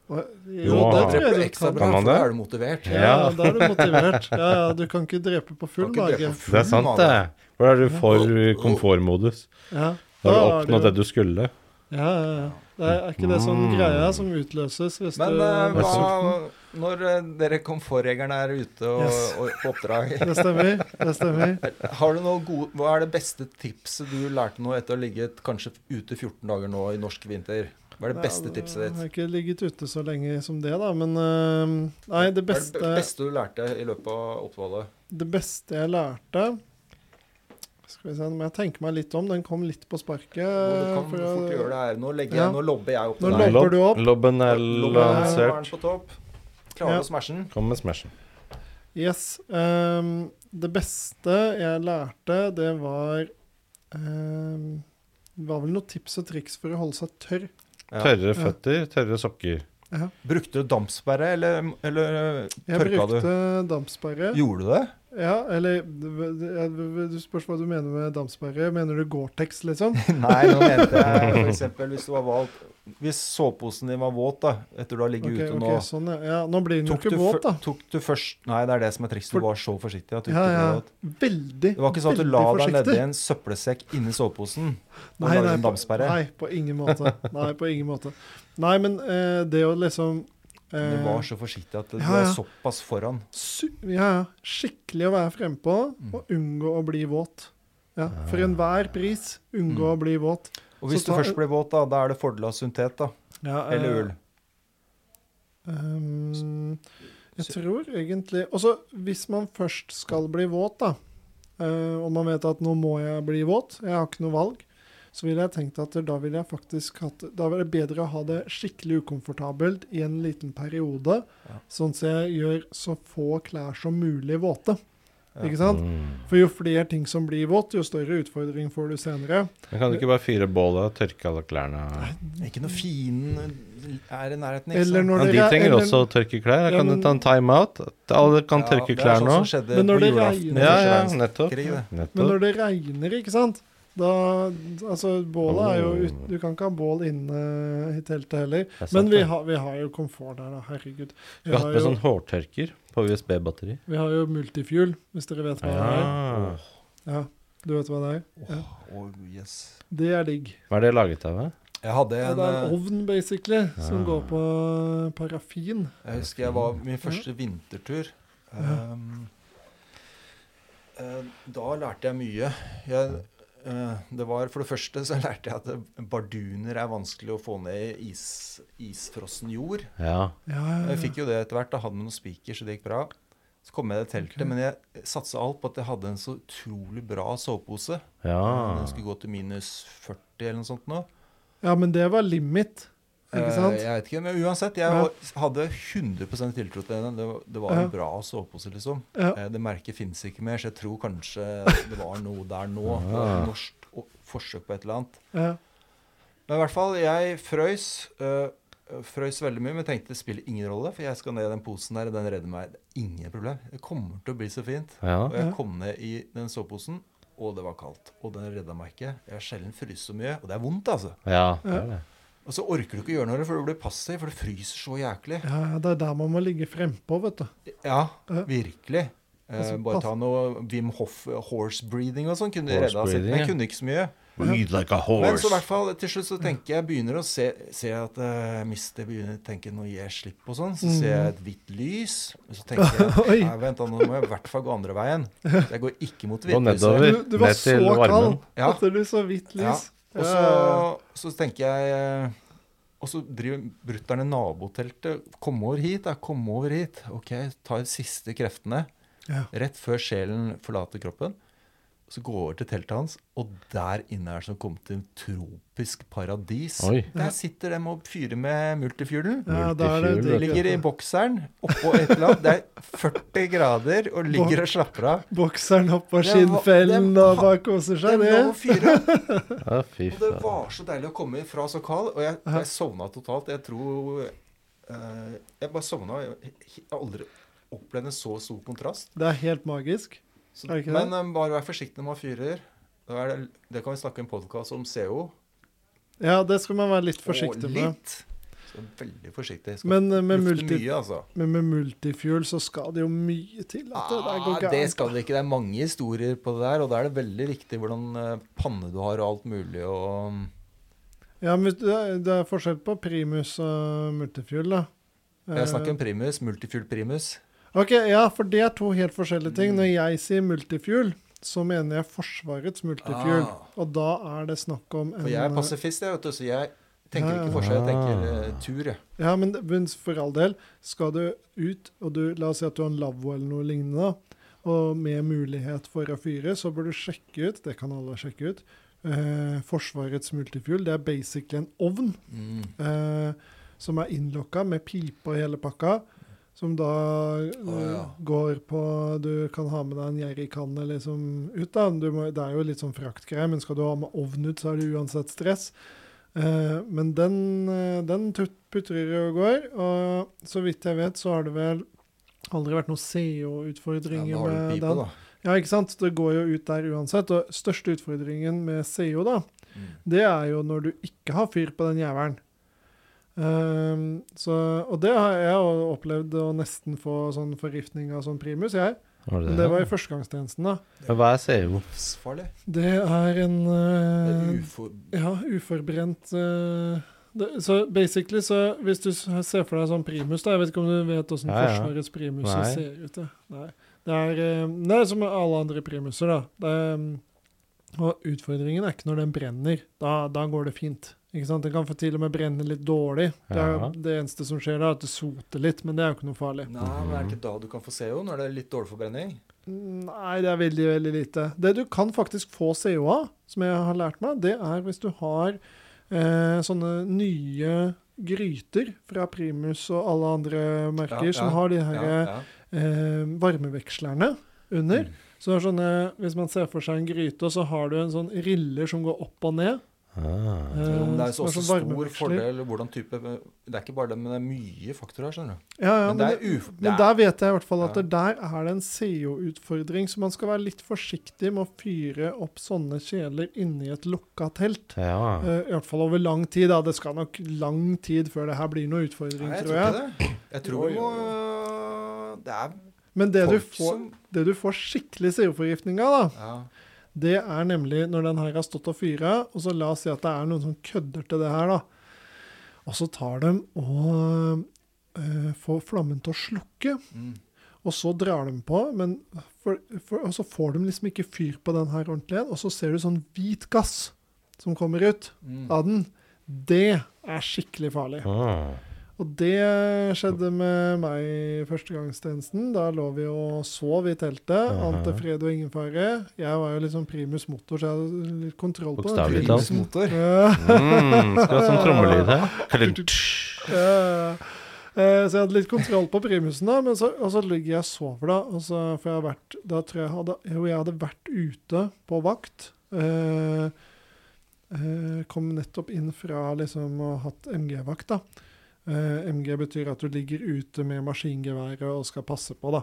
Speaker 3: Jo,
Speaker 1: Wow.
Speaker 3: det
Speaker 2: Da
Speaker 3: tror
Speaker 2: dreper
Speaker 3: jeg
Speaker 2: du
Speaker 3: du
Speaker 2: ekstra
Speaker 3: kan.
Speaker 2: bra,
Speaker 1: Kan man
Speaker 2: for da
Speaker 1: det?
Speaker 2: er du motivert.
Speaker 3: Ja, da er du motivert. Ja, ja, du kan ikke drepe på full
Speaker 2: Du kan ikke drepe
Speaker 3: mage.
Speaker 2: på full
Speaker 1: Det er sant,
Speaker 2: mage.
Speaker 1: det. For da er du for komfortmodus.
Speaker 3: Ja,
Speaker 1: Da har du
Speaker 3: er
Speaker 1: oppnådd
Speaker 3: jo-
Speaker 1: det du skulle.
Speaker 3: Ja, ja, ja. Det er, er ikke det sånn
Speaker 1: Mm.
Speaker 3: greia som utløses hvis
Speaker 2: Men
Speaker 3: du
Speaker 2: eh,
Speaker 3: er sulten?
Speaker 2: hva, når eh, dere komfortjegerne er ute og,
Speaker 3: Yes.
Speaker 2: og på oppdrag
Speaker 3: Det stemmer. Det stemmer.
Speaker 2: Har du noe gode, Hva er det beste tipset du lærte nå etter å ha ligget kanskje ute 14 dager nå i norsk vinter? Hva er det beste
Speaker 3: Ja,
Speaker 2: tipset
Speaker 3: Jeg
Speaker 2: ditt?
Speaker 3: har ikke ligget ute så lenge som det, da. Men eh, nei,
Speaker 2: Hva er
Speaker 3: det
Speaker 2: det
Speaker 3: beste,
Speaker 2: be- beste du lærte i løpet av oppholdet?
Speaker 3: det beste jeg lærte Skal vi se, nå må jeg tenke meg litt om. Den kom litt på sparket.
Speaker 2: Nå, du kan
Speaker 3: Eh, for
Speaker 2: fort
Speaker 3: jeg-
Speaker 2: gjøre det her. Nå, legger
Speaker 3: Ja.
Speaker 2: jeg, nå lobber jeg opp
Speaker 3: Nå
Speaker 2: til
Speaker 3: lobber
Speaker 2: deg.
Speaker 1: Lob-
Speaker 3: du opp.
Speaker 1: Lobben er
Speaker 2: Lobber jeg, nå er
Speaker 1: lansert.
Speaker 2: den på topp. Klarer
Speaker 3: Ja.
Speaker 2: du å smashe den?
Speaker 1: Kom med smashen.
Speaker 3: Yes. ehm, det beste jeg lærte, det var ehm, Det var vel noen tips og triks for å holde seg tørr.
Speaker 2: Ja.
Speaker 1: Tørre føtter, tørre sokker.
Speaker 2: Brukte du dampsperre, eller, eller
Speaker 3: Jeg
Speaker 2: tørka du?
Speaker 3: brukte dampsperre.
Speaker 2: Gjorde du det?
Speaker 3: Ja, eller det- Du spørs hva du mener med dampsperre. Mener du Gore-Tex, liksom?
Speaker 2: Nei, nå mente jeg f.eks. hvis du var valgt Hvis soveposen din var våt da, etter du har ligget
Speaker 3: Ok,
Speaker 2: ute nå
Speaker 3: ok, sånn, ja. ja. Nå blir den jo
Speaker 2: tok,
Speaker 3: ikke
Speaker 2: du
Speaker 3: våt,
Speaker 2: fø-
Speaker 3: da.
Speaker 2: tok du først Nei, det er det som er trikset. Du
Speaker 3: For-
Speaker 2: var så forsiktig at du
Speaker 3: Ja,
Speaker 2: ikke ble
Speaker 3: ja.
Speaker 2: våt.
Speaker 3: Veldig,
Speaker 2: Det var ikke sånn at du
Speaker 3: veldig
Speaker 2: la deg
Speaker 3: forsiktig.
Speaker 2: nedi en søppelsekk inni soveposen og
Speaker 3: Nei,
Speaker 2: lagde
Speaker 3: nei,
Speaker 2: en
Speaker 3: på,
Speaker 2: dampsperre.
Speaker 3: nei, på ingen måte. Nei, på ingen måte. Nei, men eh, det å liksom eh,
Speaker 2: Du var så forsiktig at du
Speaker 3: ja,
Speaker 2: var
Speaker 3: ja.
Speaker 2: såpass foran.
Speaker 3: Su ja, ja. skikkelig å være frempå
Speaker 2: Mm.
Speaker 3: og unngå å bli våt. Ja,
Speaker 2: Ah.
Speaker 3: For enhver pris unngå
Speaker 2: Mm.
Speaker 3: å bli våt.
Speaker 2: Og hvis du
Speaker 3: Så ta-
Speaker 2: først blir våt, da, da er det fordel av syntet, da.
Speaker 3: Ja, eh,
Speaker 2: Eller ull.
Speaker 3: ehm, jeg tror egentlig Også hvis man først skal bli våt, da, eh, og man vet at nå må jeg bli våt, jeg har ikke noe valg, så ville jeg tenkt at da ville jeg faktisk hatt Da var det bedre å ha det skikkelig ukomfortabelt i en liten periode,
Speaker 2: Ja.
Speaker 3: sånn at jeg gjør så få klær som mulig våte.
Speaker 2: Ja.
Speaker 3: Ikke sant?
Speaker 1: Mm.
Speaker 3: For jo flere ting som blir vått, jo større utfordring får du senere.
Speaker 1: Men kan du ikke bare fyre bålet og tørke alle klærne?
Speaker 2: Ikke noe fin er i nærheten. ikke
Speaker 3: Eller
Speaker 2: sant?
Speaker 1: Ja,
Speaker 3: når
Speaker 1: de
Speaker 3: det re-
Speaker 1: trenger
Speaker 3: eller-
Speaker 1: også å tørke klær. Da
Speaker 3: Ja,
Speaker 1: kan du
Speaker 3: men-
Speaker 1: ta en timeout. Alle kan tørke klær nå.
Speaker 2: Ja, det er sånn som skjedde
Speaker 3: Men når
Speaker 2: på
Speaker 3: det
Speaker 2: julaften.
Speaker 3: regner-
Speaker 1: Ja,
Speaker 2: i
Speaker 1: ja,
Speaker 2: Sørlands-
Speaker 1: nettopp.
Speaker 2: krig, det.
Speaker 3: Men
Speaker 1: nettopp.
Speaker 3: når det regner, ikke sant Da, altså bålet er jo ut, Du kan ikke ha bål inne i teltet heller.
Speaker 1: Det er sant,
Speaker 3: Men vi
Speaker 1: det.
Speaker 3: har, vi har jo komfort der, da. Herregud. Vi
Speaker 1: Skulle
Speaker 3: har
Speaker 1: hatt med
Speaker 3: jo,
Speaker 1: sånn hårtørker på USB-batteri.
Speaker 3: vi har jo multifuel, hvis dere vet hva det er.
Speaker 1: Ja.
Speaker 3: Ja, du vet hva det er?
Speaker 2: Åh, yes.
Speaker 3: Det er digg.
Speaker 1: Hva er det laget av? da?
Speaker 2: Jeg hadde
Speaker 3: Ja,
Speaker 2: en,
Speaker 3: det er en
Speaker 2: eh,
Speaker 3: ovn, basically, som
Speaker 1: Ja.
Speaker 3: går på parafin.
Speaker 2: jeg husker jeg var min første vintertur. Ehm, eh, da lærte jeg mye. Jeg, eh, det var For det første så lærte jeg at eh, barduner er vanskelig å få ned i is, isfrossen jord.
Speaker 1: Ja.
Speaker 3: Ja, ja,
Speaker 2: Jeg
Speaker 3: ja.
Speaker 2: fikk jo det etter hvert. Da hadde vi noen spiker, så det gikk bra. Så kom jeg i det teltet, men jeg satsa alt på at jeg hadde en så utrolig bra sovepose.
Speaker 1: ja.
Speaker 2: Den skulle gå til minus 40 eller noe sånt nå.
Speaker 3: ja, men det var limit. Ikke sant?
Speaker 2: Eh, Jeg vet ikke, men uansett, jeg
Speaker 3: Ja.
Speaker 2: var- hadde 100 tiltro til henne. Det var, det var
Speaker 3: Ja.
Speaker 2: en bra sovepose, liksom.
Speaker 3: Ja.
Speaker 2: Eh, Det merket fins ikke mer, så jeg tror kanskje det var noe der nå. Det var et Norsk o- forsøk på et eller annet.
Speaker 3: Ja.
Speaker 2: Men i hvert fall, jeg frøys. eh, frøys veldig mye, men tenkte det spiller ingen rolle, for jeg skal ned i den posen der, og den redder meg. Det er ingen problem. Det kommer til å bli så fint.
Speaker 1: Ja.
Speaker 2: Og jeg
Speaker 3: Ja.
Speaker 2: kom ned i den soveposen, og det var kaldt. Og den redda meg ikke. Jeg har sjelden fryst så mye, og det er vondt, altså.
Speaker 1: Ja, det er det.
Speaker 2: Og så orker du ikke gjøre noe, for du blir passiv, for det fryser så jæklig.
Speaker 3: ja, ja, det er der man må ligge frempå, vet du.
Speaker 2: Ja,
Speaker 3: Ja.
Speaker 2: virkelig. Eh,
Speaker 3: Altså,
Speaker 2: bare
Speaker 3: pass-
Speaker 2: ta noe Wim Hof eh, horse breathing og sånn. Kunne
Speaker 1: Horse
Speaker 2: redda seg.
Speaker 1: breathing,
Speaker 2: Men
Speaker 1: ja.
Speaker 2: jeg kunne ikke så mye.
Speaker 5: Breathe like a
Speaker 2: Men så i
Speaker 5: horse.
Speaker 2: hvert fall til slutt så tenker jeg begynner å se, se at eh, Mister begynner å tenke Nå gir jeg slipp på sånn. Så ser jeg et hvitt lys. Og så tenker jeg
Speaker 3: Mm. Oi.
Speaker 2: Nei, vent da, nå må jeg i hvert fall gå andre veien. Så jeg går ikke mot
Speaker 1: Gå
Speaker 2: hvitlyset.
Speaker 1: nedover.
Speaker 3: Du, du var
Speaker 1: Ned
Speaker 3: så
Speaker 1: til
Speaker 3: kald
Speaker 1: varmen.
Speaker 2: Ja.
Speaker 3: at du så hvitt lys.
Speaker 2: Og så, så tenker jeg eh, Og så driver brutter'n i naboteltet. Kom over hit, da. Kom over hit. OK, ta de siste kreftene.
Speaker 3: Ja.
Speaker 2: Rett før sjelen forlater kroppen. Så går jeg over til teltet hans, og der inne er det som kommet til en tropisk paradis.
Speaker 1: Oi.
Speaker 2: Der sitter dem og fyrer med multifuelen.
Speaker 3: Ja, da er det
Speaker 1: Multifuel,
Speaker 2: De
Speaker 3: digg,
Speaker 2: ligger i
Speaker 3: vet du.
Speaker 2: bokseren oppå et eller annet. Det er 40 grader og ligger og slapper av.
Speaker 3: Bokseren oppå
Speaker 2: Det var-
Speaker 3: skinnfellen
Speaker 2: det-
Speaker 3: og bare koser
Speaker 2: Det
Speaker 3: seg,
Speaker 2: er lov å
Speaker 3: det.
Speaker 2: fyre.
Speaker 1: Ja, fy
Speaker 2: Og det
Speaker 1: faen.
Speaker 2: var så deilig å komme fra så kald. Og jeg, jeg sovna totalt. Jeg tror eh, Jeg bare sovna. Jeg har aldri opplevd en så stor kontrast.
Speaker 3: Det er helt magisk.
Speaker 2: Så,
Speaker 3: Er det ikke det?
Speaker 2: men eh, bare vær forsiktig når man fyrer. Da er det, det kan vi snakke i en podkast om CO.
Speaker 3: Ja, det skal man være litt forsiktig
Speaker 2: og
Speaker 3: med.
Speaker 2: litt. Så veldig forsiktig. Skal
Speaker 3: Men eh, med,
Speaker 2: lufte
Speaker 3: multi,
Speaker 2: mye, altså.
Speaker 3: men med multifuel så skal det jo mye til. At det der
Speaker 2: Ah,
Speaker 3: går
Speaker 2: det
Speaker 3: gærent.
Speaker 2: skal det ikke. Det er mange historier på det der, og da er det veldig viktig hvordan eh, panne du har, og alt mulig, og um,
Speaker 3: Ja, men det er, det er forskjell på primus og multifuel, da.
Speaker 2: Jeg snakker om
Speaker 3: Eh,
Speaker 2: primus. Multifuel primus.
Speaker 3: Ok, ja, for det er to helt forskjellige ting. Når jeg sier multifuel, så mener jeg Forsvarets multifuel. Eh.
Speaker 2: Ah.
Speaker 3: Og da er det snakk om en
Speaker 2: For jeg er pasifist, jeg, vet du, så jeg tenker
Speaker 3: Ja, ja.
Speaker 2: ikke forskjell. Jeg tenker
Speaker 1: Ah.
Speaker 2: eh, tur, jeg.
Speaker 3: Ja, men men for all del, skal du ut, og du, la oss si at du har en lavvo eller noe lignende, da, og med mulighet for å fyre, så bør du sjekke ut, det kan alle sjekke ut, eh, Forsvarets multifuel, det er basically en ovn,
Speaker 2: Mm.
Speaker 3: eh, som er innlokka med pipe og hele pakka, som da eh,
Speaker 2: Å, ja.
Speaker 3: går på Du kan ha med deg en jerrykanne liksom ut, da. Du må, det er jo litt sånn fraktgreier, men skal du ha med ovn ut, så er det uansett stress. Eh, men den, eh, den tut- putrer og går, og så vidt jeg vet, så har det vel aldri vært noen
Speaker 2: Ja,
Speaker 3: CO-utfordringer
Speaker 2: da har du
Speaker 3: med
Speaker 2: pipe,
Speaker 3: den.
Speaker 2: da.
Speaker 3: Ja, ikke sant? Det går jo ut der uansett. Og største utfordringen med CO, da,
Speaker 2: Mm.
Speaker 3: det er jo når du ikke har fyr på den jævelen. Ehm, så, og det har jeg jo opplevd å nesten få sånn forgiftning av sånn primus, jeg.
Speaker 1: Var det det?
Speaker 3: Men det var i førstegangstjenesten, da.
Speaker 1: Men hva er CO?
Speaker 2: Livsfarlig.
Speaker 3: Det er en
Speaker 2: Det
Speaker 3: eh,
Speaker 2: er ufo...
Speaker 3: Ja, uforbrent eh, det, Så basically, så hvis du s- ser for deg sånn primus, da Jeg vet ikke om du vet åssen
Speaker 1: Ja, ja.
Speaker 3: Forsvarets primuser
Speaker 1: Nei.
Speaker 3: ser ut? Ja. Nei. Det er eh, det er som alle andre primuser, da. Det er, mm, og utfordringen er ikke når den brenner. Da, da går det fint. Ikke sant? Den kan få til og med brenne litt dårlig. Det, er,
Speaker 1: Ja.
Speaker 3: det eneste som skjer da, er at det soter litt, men det er jo ikke noe farlig.
Speaker 2: Nei, men er det ikke da du kan få CO, når det er litt dårlig forbrenning?
Speaker 3: Nei, det er veldig, veldig lite. Det du kan faktisk få CO av, som jeg har lært meg, det er hvis du har eh, sånne nye gryter fra Primus og alle andre merker
Speaker 2: Ja,
Speaker 3: som
Speaker 2: ja,
Speaker 3: har de her
Speaker 2: Ja, ja. Mm.
Speaker 3: eh, varmevekslerne under. Så det er sånne, Hvis man ser for seg en gryte, og så har du en sånn riller som går opp og ned.
Speaker 1: Ah.
Speaker 3: eh,
Speaker 2: Men det er
Speaker 3: som
Speaker 2: jo også
Speaker 3: sånn
Speaker 2: stor
Speaker 3: varmeveksler.
Speaker 2: fordel hvordan type Det er ikke bare det, men det er mye faktorer her, skjønner du.
Speaker 3: Ja, ja,
Speaker 2: Men
Speaker 3: men,
Speaker 2: det er uf...
Speaker 3: Men
Speaker 2: det er-
Speaker 3: der vet jeg i hvert fall at
Speaker 2: Ja.
Speaker 3: det der er det en CO-utfordring, så man skal være litt forsiktig med å fyre opp sånne kjeler inni et lukka telt.
Speaker 1: Ja.
Speaker 3: Eh, I hvert fall over lang tid. da. Det skal nok lang tid før det her blir noen utfordring,
Speaker 2: Nei, jeg
Speaker 3: tror
Speaker 2: tror
Speaker 3: jeg.
Speaker 2: ikke det. Jeg tror vi må Det er
Speaker 3: Men det du,
Speaker 2: folk
Speaker 3: får,
Speaker 2: som
Speaker 3: det du får skikkelig CO-forgiftning av, da,
Speaker 2: ja.
Speaker 3: det er nemlig når den her har stått og fyra, og så la oss si at det er noen som kødder til det her, da. Og så tar de og eh, får flammen til å slukke.
Speaker 2: Mm.
Speaker 3: Og så drar de på, men for, for, og så får de liksom ikke fyr på den her ordentlig igjen. Og så ser du sånn hvit gass som kommer ut
Speaker 2: Mm.
Speaker 3: av den. Det er skikkelig farlig.
Speaker 1: Ah.
Speaker 3: Og det skjedde med meg i førstegangstjenesten. Da lå vi og sov i teltet. Ante fred og ingen fare. Jeg var jo liksom primus motor, så jeg hadde litt kontroll på det.
Speaker 1: Bokstavelig talt.
Speaker 2: Motor.
Speaker 3: Ja.
Speaker 1: Mm, skal ha sånn trommelyd her. Klink.
Speaker 3: Eh, eh, så jeg hadde litt kontroll på primusen, da, men så, og så ligger jeg og sover, da. Og så, for jeg har vært, da tror jeg hadde, jo, jeg hadde vært ute på vakt. eh, eh, kom nettopp inn fra liksom å ha hatt MG-vakt, da. Eh, MG betyr at du ligger ute med maskingeværet og skal passe på, da.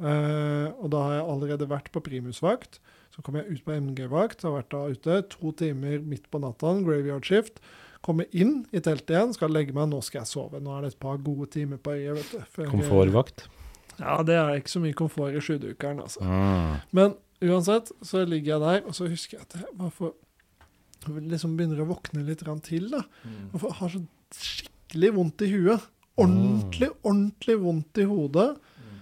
Speaker 3: Eh, og da har jeg allerede vært på primusvakt. Så kom jeg ut på MG-vakt, har vært da ute to timer midt på natta, graveyard shift. Kommer inn i teltet igjen, skal legge meg, nå skal jeg sove. Nå er det et par gode timer på øyet, vet du. før jeg-
Speaker 1: Komfortvakt.
Speaker 3: Ja, det er ikke så mye komfort i sjudukeren, altså.
Speaker 1: Mm.
Speaker 3: Men uansett, så ligger jeg der, og så husker jeg at jeg bare får liksom begynner å våkne litt grann til, da.
Speaker 2: Mm,
Speaker 3: Og får- har så skikkelig vondt i huet. Ordentlig, ordentlig vondt i hodet.
Speaker 2: mm.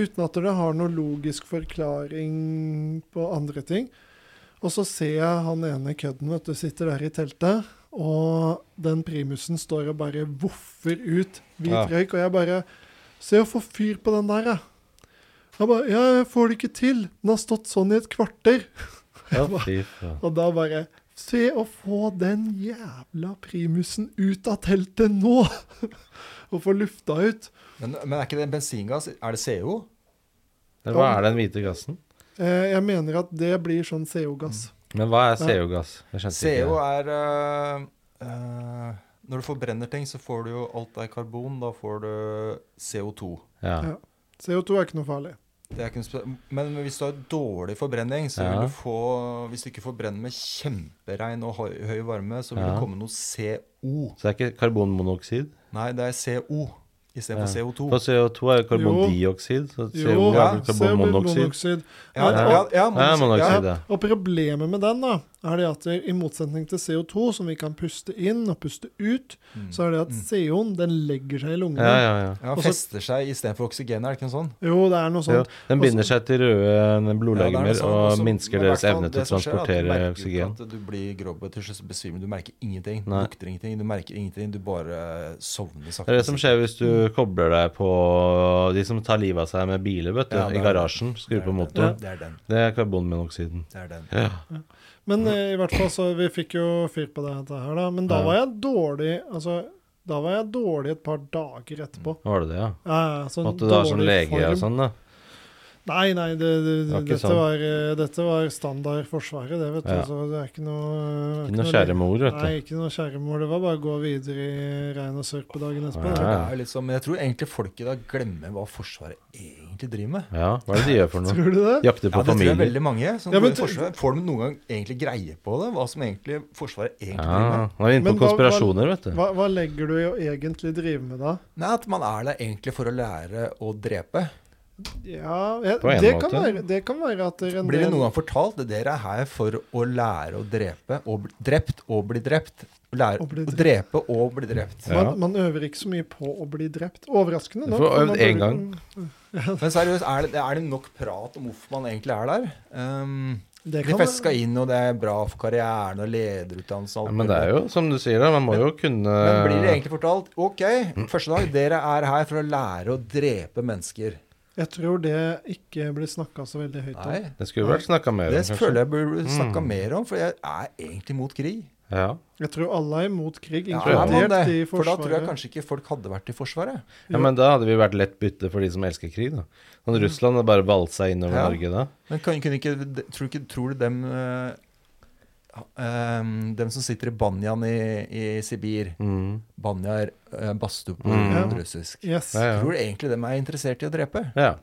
Speaker 3: Uten at det har noen logisk forklaring på andre ting. Og så ser jeg han ene kødden, vet du, sitter der i teltet. Og den primusen står og bare voffer ut hvit
Speaker 4: Ja.
Speaker 3: røyk. Og jeg bare Se å få fyr på den der, jeg. Jeg bare Ja, jeg får det ikke til. Den har stått sånn i et kvarter.
Speaker 1: Ja, fy faen.
Speaker 3: Og da bare Se å få den jævla primusen ut av teltet nå! og få lufta ut.
Speaker 2: Men, men er ikke det en bensingass? Er det CO?
Speaker 1: Men Hva er den hvite gassen?
Speaker 3: Eh, jeg mener at det blir sånn CO-gass.
Speaker 1: Men hva er CO-gass? Jeg skjønte
Speaker 2: CO
Speaker 1: ikke.
Speaker 2: er øh, øh, Når du forbrenner ting, så får du jo alt er karbon. Da får du CO2.
Speaker 1: Ja.
Speaker 3: Ja. CO2 er ikke noe farlig.
Speaker 2: Det er ikke noe spe- men hvis du har dårlig forbrenning, så
Speaker 1: Ja.
Speaker 2: vil du få Hvis du ikke forbrenner med kjemperegn og høy, høy varme, så vil
Speaker 1: Ja.
Speaker 2: det komme noe CO.
Speaker 1: Så det er ikke karbonmonoksid?
Speaker 2: Nei, det er CO istedenfor
Speaker 1: Ja.
Speaker 2: CO2.
Speaker 1: For CO2 er jo karbondioksid, så CO
Speaker 3: Jo,
Speaker 1: er vel karbonmonoksid.
Speaker 3: CO2-monoksid.
Speaker 2: Ja,
Speaker 3: Men-
Speaker 2: ja, ja,
Speaker 1: Ja, monoksid,
Speaker 2: ja.
Speaker 1: ja.
Speaker 3: Og problemet med den da, er det at i motsetning til CO2, som vi kan puste inn og puste ut, så er det at CO-en den legger seg i lungene.
Speaker 1: Mm. Ja, ja, ja.
Speaker 2: Mm. Ja,
Speaker 3: Og så-
Speaker 2: fester seg istedenfor oksygen, er det ikke noe sånt?
Speaker 3: Jo, det er noe
Speaker 1: Jo,
Speaker 3: sånt.
Speaker 1: den binder seg til røde
Speaker 2: Sånn. Ja, det
Speaker 1: blodlegemer
Speaker 2: er noe sånt,
Speaker 1: og
Speaker 2: også-
Speaker 1: minsker
Speaker 2: men i
Speaker 1: deres
Speaker 2: hvert fall
Speaker 1: evne til å
Speaker 2: det som skjer er at
Speaker 1: transportere
Speaker 2: du merker
Speaker 1: oksygen.
Speaker 2: ikke At du blir grobbe til slutt så besvimer du. Du merker ingenting. Du
Speaker 1: Nei.
Speaker 2: lukter ingenting, du merker ingenting. Du bare eh, sovner sakte.
Speaker 1: Det er det som
Speaker 2: sikkert.
Speaker 1: skjer hvis du
Speaker 2: Mm.
Speaker 1: kobler deg på de som tar livet av seg med biler, vet du.
Speaker 2: Ja, det
Speaker 1: I
Speaker 2: er-
Speaker 1: garasjen.
Speaker 2: Det
Speaker 1: Skrur
Speaker 2: er
Speaker 1: på
Speaker 2: den,
Speaker 1: motoren.
Speaker 2: Det er den.
Speaker 1: Det er karbonmonoksiden.
Speaker 2: Det er den.
Speaker 1: Ja.
Speaker 3: Men eh, i hvert fall, så vi fikk jo fyr på det dette her da. Men da
Speaker 1: Ja.
Speaker 3: var jeg dårlig, altså, da var jeg dårlig et par dager etterpå.
Speaker 1: Var det det, ja?
Speaker 3: Ja, ja, sånn
Speaker 1: Måtte Mm. du ha sånn
Speaker 3: dårlig
Speaker 1: lege og
Speaker 3: form.
Speaker 1: sånn, da?
Speaker 3: Nei, nei, det, det,
Speaker 1: Det var ikke
Speaker 3: dette,
Speaker 1: sånn.
Speaker 3: var, eh, dette var standard forsvaret, det vet du.
Speaker 1: Ja.
Speaker 3: Så det er ikke noe...
Speaker 1: Ikke noe kjære mor, vet
Speaker 3: Nei,
Speaker 1: du.
Speaker 3: ikke noe skjæremor. Det var bare å gå videre i regn og sørp på dagen
Speaker 1: Ja,
Speaker 3: etterpå. det.
Speaker 2: Det er jo litt sånn, men jeg tror egentlig folk i dag glemmer hva Forsvaret egentlig driver med.
Speaker 1: Ja, hva er det de gjør for noe?
Speaker 3: Tror du det?
Speaker 1: Jakter på
Speaker 2: Ja, det tror jeg
Speaker 1: familier?
Speaker 2: veldig mange. Som
Speaker 3: Ja, men
Speaker 2: går i
Speaker 3: du-
Speaker 2: forsvaret, får de noen gang egentlig greie på det? Hva som egentlig Forsvaret egentlig
Speaker 1: Ja,
Speaker 2: driver med?
Speaker 1: nå er vi inne
Speaker 3: Men
Speaker 1: på
Speaker 3: hva- hva-
Speaker 1: konspirasjoner, vet du.
Speaker 3: Hva, hva legger du i å egentlig drive med da?
Speaker 2: Nei, At man er der egentlig for å lære å drepe.
Speaker 3: Ja, jeg,
Speaker 1: På en
Speaker 3: det,
Speaker 1: måte.
Speaker 3: kan være, det kan være at det er en
Speaker 2: Blir det
Speaker 3: del-
Speaker 2: noen gang fortalt at dere er her for å lære å drepe og bli drept og bli drept? Lære
Speaker 3: Og bli
Speaker 2: å drepe og bli drept.
Speaker 1: Ja.
Speaker 3: man, man øver ikke så mye på å bli drept. Overraskende
Speaker 1: Du får
Speaker 3: nok. for
Speaker 1: øvd
Speaker 3: man
Speaker 1: én
Speaker 3: øver-
Speaker 1: gang.
Speaker 2: Men seriøst, er det, er det nok prat om hvorfor man egentlig er der? Um,
Speaker 3: Det
Speaker 2: blir
Speaker 3: kan
Speaker 2: feska inn, og det er bra for karrieren og lederutdannelse og
Speaker 1: Ja,
Speaker 2: alt
Speaker 1: men det
Speaker 2: mulig.
Speaker 1: er jo som du sier, da. Man må jo kunne
Speaker 2: Men blir det
Speaker 1: Eh,
Speaker 2: egentlig fortalt OK, første dag, dere er her for å lære å drepe mennesker.
Speaker 3: Jeg tror det ikke blir snakka så veldig høyt
Speaker 2: Nei.
Speaker 3: om.
Speaker 1: Det skulle vært snakka mer
Speaker 2: Det
Speaker 1: om, kanskje.
Speaker 2: føler jeg burde
Speaker 1: Mm.
Speaker 2: snakka mer om, for jeg er egentlig mot krig.
Speaker 1: Ja.
Speaker 3: Jeg tror alle er imot krig,
Speaker 2: Ja, er man
Speaker 3: inkludert de i
Speaker 2: det? For da tror jeg
Speaker 3: Forsvaret.
Speaker 2: kanskje ikke folk hadde vært i Forsvaret.
Speaker 1: ja, men da hadde vi vært lett bytte for de som elsker krig, da. Sånn Russland hadde bare valgt seg innover
Speaker 2: Mm. Ja.
Speaker 1: Norge da.
Speaker 2: Men kan, kunne ikke, de- tror, ikke, tror du dem eh, ehm, Dem som sitter i banjaen i, i Sibir
Speaker 1: Mm.
Speaker 2: Banjaer, uh, badstue på
Speaker 1: Mm.
Speaker 2: russisk.
Speaker 3: Yes.
Speaker 1: Ja, ja.
Speaker 2: Tror du egentlig dem er interessert i å drepe?
Speaker 1: ja.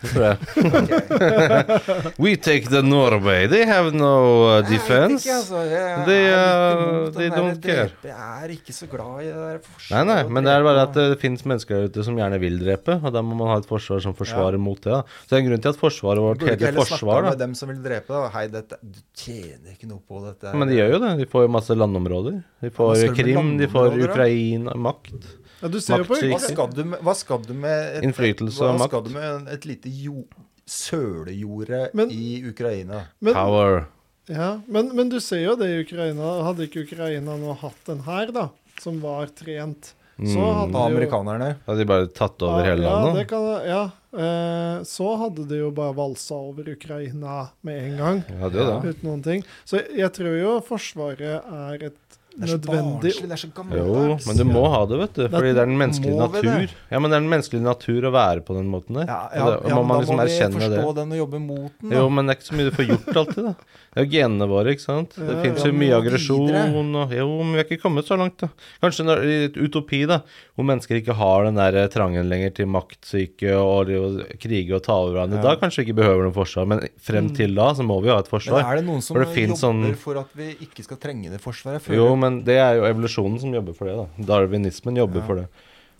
Speaker 1: Det tror jeg. We take the Norway. They have no uh, defense.
Speaker 2: Jeg vet ikke, altså. Jeg
Speaker 1: They,
Speaker 2: er
Speaker 1: uh,
Speaker 2: litt imot
Speaker 1: they
Speaker 2: den der
Speaker 1: don't care.
Speaker 2: drepe. Jeg er ikke så glad i det
Speaker 1: Nei,
Speaker 2: der forsvaret
Speaker 1: nei,
Speaker 2: og
Speaker 1: men det er bare
Speaker 2: drepe.
Speaker 1: at eh, det finnes mennesker der ute som gjerne vil drepe, og da må man ha et forsvar som forsvarer mot det. da. Så det er en grunn til at forsvaret vårt
Speaker 2: Burde ikke
Speaker 1: heter
Speaker 2: heller
Speaker 1: forsvar,
Speaker 2: snakke med
Speaker 1: da.
Speaker 2: dem som vil drepe. Da. Hei, dette, du tjener ikke noe på dette. her.
Speaker 1: Men de gjør jo det. De får jo masse landområder. De
Speaker 2: Hva
Speaker 1: får
Speaker 2: skal du med
Speaker 1: Krim, de får
Speaker 2: landområder, da?
Speaker 1: Ukraina, makt.
Speaker 3: Ja, du ser jo på
Speaker 2: hva
Speaker 1: Maktsyke.
Speaker 2: skal du med, hva skal du med et,
Speaker 1: Innflytelse
Speaker 2: hva
Speaker 1: og makt.
Speaker 2: skal du med en- et lite jo, sølejorde
Speaker 3: Men-
Speaker 2: i Ukraina?
Speaker 3: men,
Speaker 1: Power.
Speaker 3: ja, men, men du ser jo det i Ukraina. Hadde ikke Ukraina nå hatt en hær da, som var trent Så hadde
Speaker 4: Av
Speaker 3: de jo
Speaker 4: amerikanerne.
Speaker 1: Mm. Hadde de bare tatt over hele
Speaker 3: Ja, det
Speaker 1: landet?
Speaker 3: kan, ja. Eh, så hadde de jo bare valsa over Ukraina med en gang.
Speaker 1: Ja, det er jo det.
Speaker 3: Uten noen ting. Så jeg tror jo Forsvaret er et
Speaker 2: Det er så
Speaker 3: nødvendig
Speaker 2: barnslig, det er så
Speaker 1: Jo,
Speaker 2: gammeldags.
Speaker 1: men du må ha det, vet du. Fordi det er den menneskelige
Speaker 2: må vi det?
Speaker 1: natur. Ja, men det er den menneskelige natur å være på den måten der.
Speaker 2: Ja,
Speaker 1: Og
Speaker 2: ja,
Speaker 1: det- og
Speaker 2: ja,
Speaker 1: må
Speaker 2: men
Speaker 1: man
Speaker 2: da
Speaker 1: liksom
Speaker 2: må vi
Speaker 1: erkjenne
Speaker 2: forstå
Speaker 1: det.
Speaker 2: den og jobbe mot den. Da.
Speaker 1: Jo, men det er ikke så mye du får gjort alltid, da. Det er jo genene våre, ikke sant. Det
Speaker 3: Ja,
Speaker 1: finnes
Speaker 3: ja,
Speaker 1: jo
Speaker 2: men
Speaker 1: mye
Speaker 2: videre.
Speaker 1: aggresjon og Jo, men vi har ikke kommet så langt, da. Kanskje når, i et utopi, da, hvor mennesker ikke har den der eh, trangen lenger til maktsyke og det å krige og ta over hverandre, da kanskje vi ikke behøver noe forsvar. Men frem
Speaker 2: Mm.
Speaker 1: til da så må vi jo ha et
Speaker 2: Men
Speaker 1: forsvar.
Speaker 2: er det noen som
Speaker 1: For det
Speaker 2: jobber
Speaker 1: finnes sånn-
Speaker 2: for at vi ikke skal trenge det forsvaret? Jeg føler-
Speaker 1: Jo, men det er jo evolusjonen som jobber for det, da. Darwinismen jobber for det.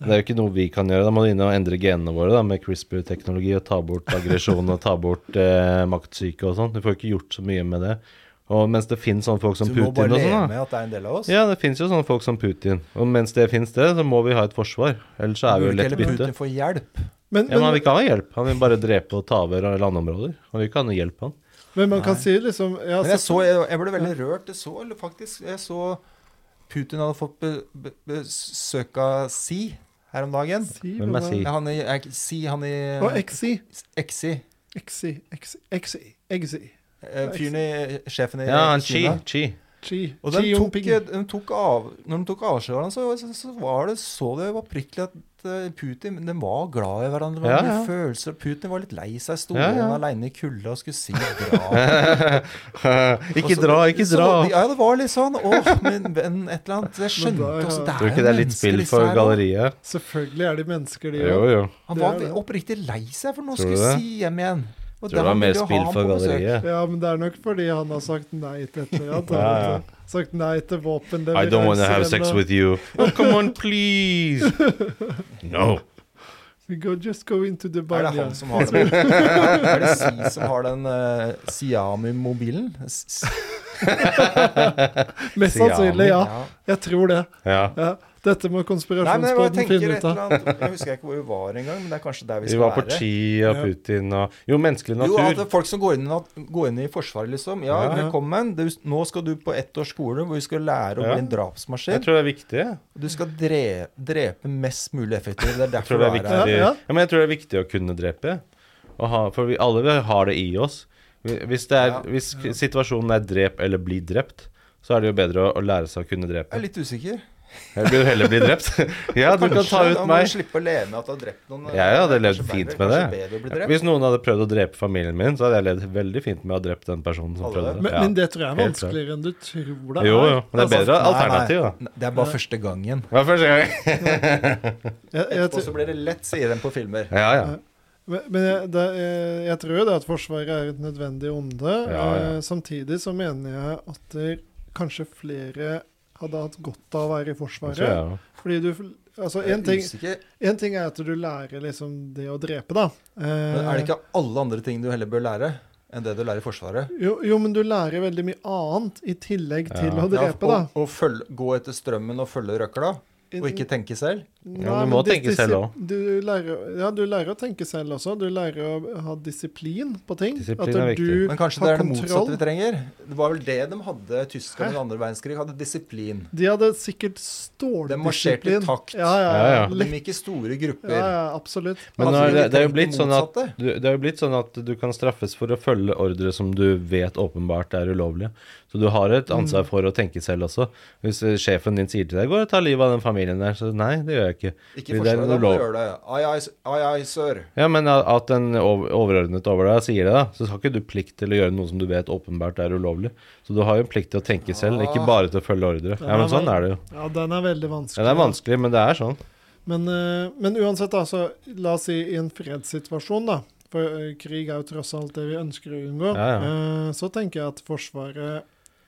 Speaker 1: Det er jo ikke noe vi kan gjøre. Da må du inn og endre genene våre da, med CRISPR-teknologi og ta bort aggresjon og ta bort eh, maktsyke og sånn. Du får ikke gjort så mye med det. Og mens det finnes sånne folk som
Speaker 2: så vi må bare
Speaker 1: Putin og
Speaker 2: leve
Speaker 1: sånn,
Speaker 2: med
Speaker 1: da.
Speaker 2: at det er en del av oss.
Speaker 1: Ja, det finnes jo sånne folk som Putin. Og mens det finnes det, så må vi ha et forsvar. Ellers så er vi jo
Speaker 2: Burde
Speaker 1: lett
Speaker 2: ikke heller
Speaker 1: bytte.
Speaker 2: Putin få hjelp?
Speaker 3: Men,
Speaker 1: Ja, men han
Speaker 3: men,
Speaker 1: vil ikke ha hjelp. Han vil bare drepe og ta over landområder. Han vil ikke ha noe hjelp, han.
Speaker 3: men man kan si liksom ja,
Speaker 2: Men jeg,
Speaker 3: så-
Speaker 2: så, jeg, jeg ble veldig rørt. Jeg så eller faktisk jeg så Putin hadde fått be, be, besøk av Si her om dagen.
Speaker 3: si
Speaker 1: Hvem
Speaker 3: hva
Speaker 1: er
Speaker 3: da?
Speaker 1: Si?
Speaker 2: Ja, han i er- Si, han i
Speaker 3: Og XI.
Speaker 2: Exi.
Speaker 3: XI, XI, XI, XI.
Speaker 2: eh, Fyren i Sjefen i
Speaker 1: Ja, han Chi.
Speaker 2: Eh, Kina.
Speaker 1: Chi.
Speaker 3: Chi.
Speaker 2: Og
Speaker 3: Chi
Speaker 2: den tok,
Speaker 3: Yong Ping.
Speaker 2: den tok av, når de tok avskjed av hverandre, så, så, så var det så det oppriktig at eh, Putin de var glad i hverandre. Det var
Speaker 1: Ja,
Speaker 2: mye
Speaker 1: ja.
Speaker 2: følelser. Putin var litt lei seg, sto
Speaker 1: Ja,
Speaker 2: ja,
Speaker 1: ja.
Speaker 2: aleine i kulda og skulle si dra.
Speaker 1: ikke dra, ikke
Speaker 2: Altså, Så-
Speaker 1: dra!
Speaker 2: ja, det var litt sånn. Åh, min venn, et eller annet. Jeg
Speaker 3: Men
Speaker 2: skjønte
Speaker 3: da, ja.
Speaker 2: også
Speaker 1: Tror du ikke det er litt
Speaker 2: mennesker,
Speaker 1: spill
Speaker 2: disse
Speaker 1: for
Speaker 2: her, da.
Speaker 1: galleriet?
Speaker 3: Selvfølgelig er de mennesker, de
Speaker 1: Jo,
Speaker 3: òg.
Speaker 1: jo.
Speaker 2: Han
Speaker 3: Det er
Speaker 2: var
Speaker 3: det.
Speaker 2: oppriktig lei seg, for nå
Speaker 1: Tror du
Speaker 2: skulle
Speaker 1: det?
Speaker 2: Si hjem igjen. Og
Speaker 1: Tror det var
Speaker 2: han
Speaker 1: mer
Speaker 2: ville jo ha
Speaker 1: spill
Speaker 2: ham
Speaker 1: for
Speaker 2: på besøk.
Speaker 1: galleriet.
Speaker 3: Ja, men det er nok fordi han har sagt nei til et eller annet.
Speaker 1: Ja, ja.
Speaker 3: Han har Sagt nei til våpenleveranser.
Speaker 1: I don't want to have sex
Speaker 3: eller-
Speaker 1: with you. Oh, come on, please! No.
Speaker 3: We uh, go, just go into the
Speaker 2: Er
Speaker 3: bar.
Speaker 2: det
Speaker 3: ja.
Speaker 2: han som har den? Er det Si som har den eh, Xiaomi-mobilen? S- s-
Speaker 3: Mest sannsynlig, ja. Jeg tror det.
Speaker 1: Ja.
Speaker 3: Ja. Dette
Speaker 2: Nei, men
Speaker 3: må
Speaker 2: jeg bare
Speaker 3: konspirasjonspodden
Speaker 2: tenker
Speaker 3: finne
Speaker 2: et
Speaker 3: ut av.
Speaker 2: eller annet Jeg husker ikke hvor vi var engang, men det er kanskje der vi
Speaker 1: Vi
Speaker 2: skal
Speaker 1: var på
Speaker 2: være.
Speaker 1: Chi og Putin og Jo, menneskelig
Speaker 2: Jo, at det
Speaker 1: natur.
Speaker 2: er folk som går inn, i nat- går inn i Forsvaret, liksom. Ja,
Speaker 3: Ja, ja.
Speaker 2: velkommen. Du, nå skal du på ett års skole hvor du skal lære å
Speaker 1: Ja.
Speaker 2: bli en
Speaker 1: Jeg
Speaker 2: drapsmaskin.
Speaker 1: tror det er viktig. jeg.
Speaker 2: Du skal drepe, drepe mest mulig effektivt. Det er
Speaker 1: Jeg tror det
Speaker 2: derfor
Speaker 1: er
Speaker 2: du er
Speaker 1: viktig.
Speaker 2: her.
Speaker 3: Ja, ja.
Speaker 1: Ja, men jeg tror det er viktig å kunne drepe. Å ha, for vi alle vi har det i oss. Vi- Hvis, det er,
Speaker 2: Ja.
Speaker 1: hvis k- situasjonen er drep eller bli drept, så er det jo bedre å, å lære seg å kunne
Speaker 2: Jeg er
Speaker 1: drepe.
Speaker 2: litt usikker.
Speaker 1: Jeg vil heller bli drept. Ja, du kan
Speaker 2: Kanskje,
Speaker 1: ta
Speaker 2: da
Speaker 1: ut
Speaker 2: må
Speaker 1: meg.
Speaker 2: du slippe å leve med at du har drept noen.
Speaker 1: Jeg hadde
Speaker 2: Det er
Speaker 1: levd
Speaker 2: kanskje
Speaker 1: fint
Speaker 2: verre,
Speaker 1: med
Speaker 2: kanskje
Speaker 1: det.
Speaker 2: bedre å bli drept.
Speaker 1: Hvis noen hadde prøvd å drepe familien min, så hadde jeg levd veldig fint med å ha drept den personen som
Speaker 2: Hadde
Speaker 1: prøvde.
Speaker 2: det?
Speaker 3: Men,
Speaker 1: Ja.
Speaker 3: men det tror jeg er
Speaker 1: Helt klart.
Speaker 3: vanskeligere enn du tror det er.
Speaker 1: Jo, jo. Men det er bedre
Speaker 2: Altså, Nei, nei.
Speaker 1: alternativ, da.
Speaker 2: Nei, Det er bare første gangen.
Speaker 1: Det var første gang.
Speaker 3: Jeg, jeg,
Speaker 2: Og så blir det lett, sier de på filmer.
Speaker 1: Ja, ja.
Speaker 3: Men men jeg, det, eh, jeg tror jo det at Forsvaret er et nødvendig onde.
Speaker 1: Ja, ja.
Speaker 3: Eh, Samtidig så mener jeg at det kanskje flere hadde hatt godt av å være i
Speaker 1: Det tror
Speaker 3: Forsvaret.
Speaker 1: jeg også.
Speaker 3: Fordi du Altså,
Speaker 2: Jeg
Speaker 3: én ting,
Speaker 2: er usikker.
Speaker 3: en ting er at du lærer liksom det å drepe, da.
Speaker 2: Men
Speaker 3: Eh,
Speaker 2: er det ikke alle andre ting du heller bør lære enn det du lærer i Forsvaret?
Speaker 3: Eh, jo, jo, men du lærer veldig mye annet i tillegg til
Speaker 1: Ja.
Speaker 3: å drepe, da.
Speaker 2: og og følge, gå etter strømmen og følge røkla, og ikke tenke selv?
Speaker 1: Ja, du
Speaker 3: Nei,
Speaker 1: må
Speaker 3: men dis-
Speaker 1: tenke selv
Speaker 3: disi- Du lærer, ja, du lærer å tenke selv også. Du lærer å ha disiplin på ting.
Speaker 1: Disiplin
Speaker 3: at
Speaker 1: er
Speaker 3: du
Speaker 1: viktig.
Speaker 2: Men kanskje
Speaker 3: har
Speaker 2: det er det
Speaker 3: kontroll.
Speaker 2: motsatte vi trenger? Det var vel det de hadde, tyskerne under andre verdenskrig, hadde disiplin.
Speaker 3: De hadde sikkert
Speaker 2: De marsjerte i
Speaker 3: ståldisiplin.
Speaker 2: takt.
Speaker 3: Ja, ja,
Speaker 1: Ja, ja.
Speaker 3: ja.
Speaker 2: De
Speaker 3: Litt,
Speaker 2: gikk i store
Speaker 3: ja,
Speaker 2: grupper.
Speaker 3: ja absolutt.
Speaker 1: Men
Speaker 2: Hadde
Speaker 1: nå er
Speaker 2: de
Speaker 1: det, det er jo
Speaker 2: tenkt
Speaker 1: blitt sånn at
Speaker 2: motsatte?
Speaker 1: du, det er jo blitt sånn at du kan straffes for å følge ordre som du vet åpenbart er ulovlige. Så du har et
Speaker 2: Mm.
Speaker 1: ansvar for å tenke selv også. Hvis eh, sjefen din sier til deg 'gå og ta livet av den familien der', så nei, det gjør jeg ikke.
Speaker 2: Ikke
Speaker 1: Fordi det er
Speaker 2: Forsvaret, da. må
Speaker 1: ulov-
Speaker 2: du gjøre det. Ai, ai, s- ai, ai, sør.
Speaker 1: Ja, men at at en ov- overordnet over deg sier det, da, så har ikke du plikt til å gjøre noe som du vet åpenbart er ulovlig. Så du har jo en plikt til å tenke selv,
Speaker 2: Ah.
Speaker 1: ikke bare til å følge ordre. Ja, men sånn er det jo.
Speaker 3: Ja, den er
Speaker 1: Ja,
Speaker 3: veldig vanskelig.
Speaker 1: det er vanskelig, men det er sånn.
Speaker 3: Men, eh, men uansett, altså, la oss si i en fredssituasjon, da. For eh, krig er jo tross alt det vi ønsker å unngå.
Speaker 1: Ja, ja.
Speaker 3: eh, Så tenker jeg at Forsvaret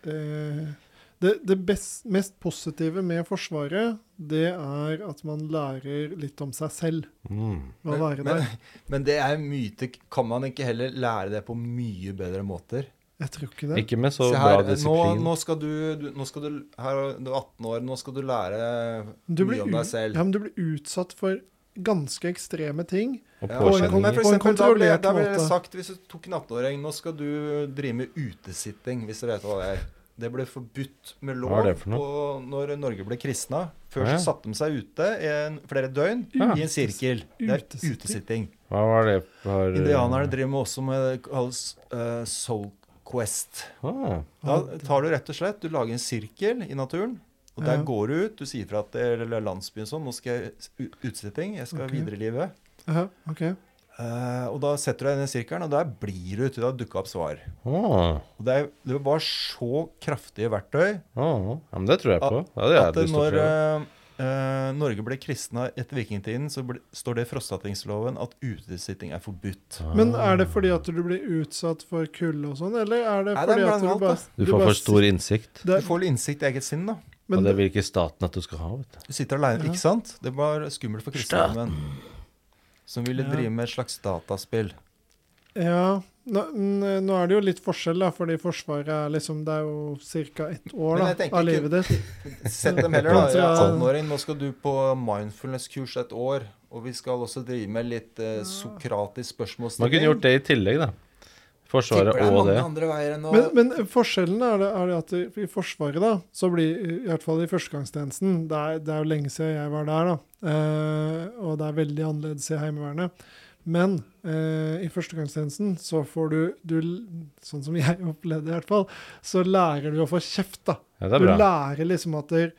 Speaker 3: eh, Det, det best, mest positive med Forsvaret, det er at man lærer litt om seg selv.
Speaker 1: Mm.
Speaker 3: Ved å være
Speaker 2: men,
Speaker 3: der.
Speaker 2: men det er myte. Kan man ikke heller lære det på mye bedre måter?
Speaker 3: Jeg tror ikke det.
Speaker 1: Ikke med så
Speaker 2: Se
Speaker 1: bra
Speaker 2: her, eh, nå,
Speaker 1: disiplin.
Speaker 2: nå skal du, du, nå skal du her, er du 18 år, nå skal du lære
Speaker 3: Du blir,
Speaker 2: mye om
Speaker 3: u-
Speaker 2: deg selv.
Speaker 3: ja, men du blir utsatt for ganske ekstreme ting.
Speaker 1: og
Speaker 2: Ja,
Speaker 3: på en
Speaker 2: men-
Speaker 1: påkjenning.
Speaker 2: men for
Speaker 3: på en
Speaker 2: eksempel, da ble,
Speaker 3: kontrollert
Speaker 2: da ble det
Speaker 3: måte.
Speaker 2: sagt, hvis du tok en 18-åring, nå skal du drive med utesitting, hvis du vet hva det er. Det ble forbudt med
Speaker 1: Hva er
Speaker 2: lov
Speaker 1: det for noe?
Speaker 2: på- når Norge ble kristna. Før
Speaker 1: Ja.
Speaker 2: så satte de seg ute i en, flere døgn
Speaker 1: Ja.
Speaker 2: i en sirkel. Det er
Speaker 3: Utesitting.
Speaker 2: utesitting.
Speaker 1: Hva var det for
Speaker 2: Indianerne driver med også med det kalles eh, soul quest.
Speaker 1: Ah,
Speaker 2: Da tar du rett og slett, du lager en sirkel i naturen, og der
Speaker 3: Ja.
Speaker 2: går du ut. Du sier fra til eller landsbyen sånn, nå skal jeg s- u- utsitting, jeg skal
Speaker 3: Ok.
Speaker 2: videre i livet.
Speaker 3: Ja, ok.
Speaker 2: Eh, og da setter du deg i den sirkelen, og der blir du til det har dukka opp svar.
Speaker 1: ah,
Speaker 2: Og det, er, det var så kraftige verktøy
Speaker 1: ah. Ja, men det tror jeg på. Det hadde jeg
Speaker 2: at
Speaker 1: hatt lyst til å
Speaker 2: når
Speaker 1: prøve.
Speaker 2: eh, eh, Norge ble kristna etter vikingtiden, så ble, står det i frostatingsloven at utesitting eh, er forbudt.
Speaker 1: Ah.
Speaker 3: Men er det fordi at du blir utsatt for kulde og sånn, eller er det
Speaker 2: Nei, det er
Speaker 3: fordi at du
Speaker 2: blankt,
Speaker 3: bare
Speaker 2: altså.
Speaker 1: Du får
Speaker 3: bare
Speaker 1: for stor innsikt,
Speaker 3: sitter-
Speaker 2: Du får litt innsikt i eget sinn, da.
Speaker 3: Men
Speaker 1: og det vil ikke staten at du skal ha. vet du.
Speaker 2: Du sitter aleine,
Speaker 3: Ja.
Speaker 2: ikke sant? Det var skummelt for kristendommen. Som ville
Speaker 3: Ja.
Speaker 2: drive med et slags dataspill.
Speaker 3: Ja, nå, n- nå er det jo litt forskjell, da, fordi Forsvaret er liksom Det er jo ca. ett år
Speaker 2: Men jeg
Speaker 3: da,
Speaker 2: tenker
Speaker 3: av
Speaker 2: ikke-
Speaker 3: livet ditt.
Speaker 2: Sett dem heller, da. Jeg er
Speaker 3: Kontra-
Speaker 2: 18-åring. Nå skal du på mindfulness-kurs et år. Og vi skal også drive med litt eh, sokratisk
Speaker 1: Man
Speaker 2: spørsmålsstilling.
Speaker 1: kunne gjort det i tillegg, da. Forsvaret
Speaker 2: Tipper det er
Speaker 1: og
Speaker 2: mange
Speaker 1: det.
Speaker 2: andre veier enn å
Speaker 3: Men, men forskjellen er det, er det at i- i Forsvaret, da, så blir i hvert fall i førstegangstjenesten det er, det er jo lenge siden jeg var der, da. Eh, og det er veldig annerledes i Heimevernet. Men eh, i førstegangstjenesten så får du, du l- Sånn som jeg opplevde det, i hvert fall, så lærer du å få kjeft, da.
Speaker 1: Ja, det er
Speaker 3: Du
Speaker 1: bra.
Speaker 3: lærer liksom at der,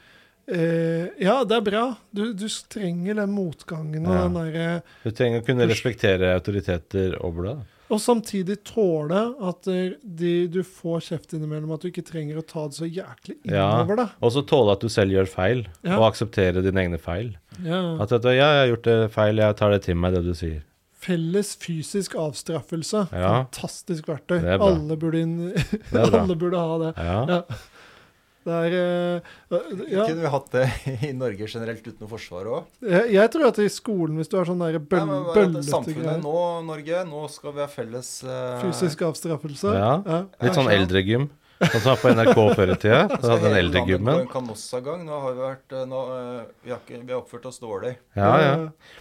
Speaker 3: eh, Ja, det er bra. Du, du trenger den motgangen og
Speaker 1: Ja.
Speaker 3: den derre
Speaker 1: Du trenger å kunne respektere autoriteter og blad.
Speaker 3: Og samtidig tåle at der, de, du får kjeft innimellom, at du ikke trenger å ta det så jæklig
Speaker 1: Ja.
Speaker 3: innover deg.
Speaker 1: Og så tåle at du selv gjør feil,
Speaker 3: Ja.
Speaker 1: og akseptere dine egne feil.
Speaker 3: Ja.
Speaker 1: At vet du, 'ja, jeg har gjort det feil, jeg tar det til meg', det du sier.
Speaker 3: Felles fysisk avstraffelse.
Speaker 1: Ja.
Speaker 3: Fantastisk verktøy.
Speaker 1: Det er bra.
Speaker 3: Alle burde, inn,
Speaker 1: Det er bra.
Speaker 3: alle burde ha det.
Speaker 1: Ja.
Speaker 3: Ja. Det er eh, ja.
Speaker 2: Kunne vi hatt det i Norge generelt uten noe forsvar òg?
Speaker 3: Jeg jeg tror at i skolen, hvis du er sånn der bøll, bøllete
Speaker 2: Samfunnet
Speaker 3: greier
Speaker 2: nå, Norge, nå skal vi ha felles eh,
Speaker 3: Fysisk avstraffelse.
Speaker 1: Ja. Litt sånn
Speaker 2: Kanskje.
Speaker 1: eldregym. Sånn som var på NRK før i tida. Da
Speaker 2: Skal
Speaker 1: hadde den
Speaker 2: hele landet gå
Speaker 1: eldregymmen.
Speaker 2: en kanossagang. Nå har vi vært eh, nå, eh, vi, har ikke, vi har oppført oss dårlig.
Speaker 1: Ja, ja.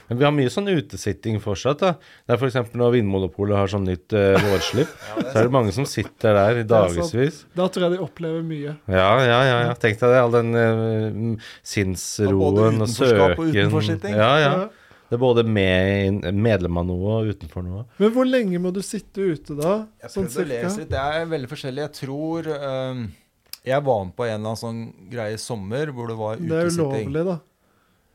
Speaker 1: Men vi har mye sånn utesitting fortsatt. da. Det er f.eks. når Vinmonopolet har sånn nytt eh, vårslipp, så er det mange som sitter der i
Speaker 2: sånn-
Speaker 3: er sant.
Speaker 1: dagevis.
Speaker 3: Da tror jeg de opplever mye.
Speaker 1: Ja, ja, ja. ja. Tenk deg det. All den eh,
Speaker 2: Både
Speaker 1: sinnsroen og
Speaker 2: utenforskap og
Speaker 1: søken.
Speaker 2: utenforsitting.
Speaker 1: Ja, ja.
Speaker 3: Ja.
Speaker 1: Det er både med, medlem av noe og utenfor noe.
Speaker 3: Men hvor lenge må du sitte ute da?
Speaker 2: Jeg
Speaker 3: Sånn
Speaker 2: prøvde å
Speaker 3: cirka?
Speaker 2: lese litt. Det er veldig forskjellig. Jeg tror eh, Jeg var med på en eller annen sånn greie i sommer hvor det var
Speaker 3: Det er
Speaker 2: utesitting.
Speaker 3: ulovlig, da.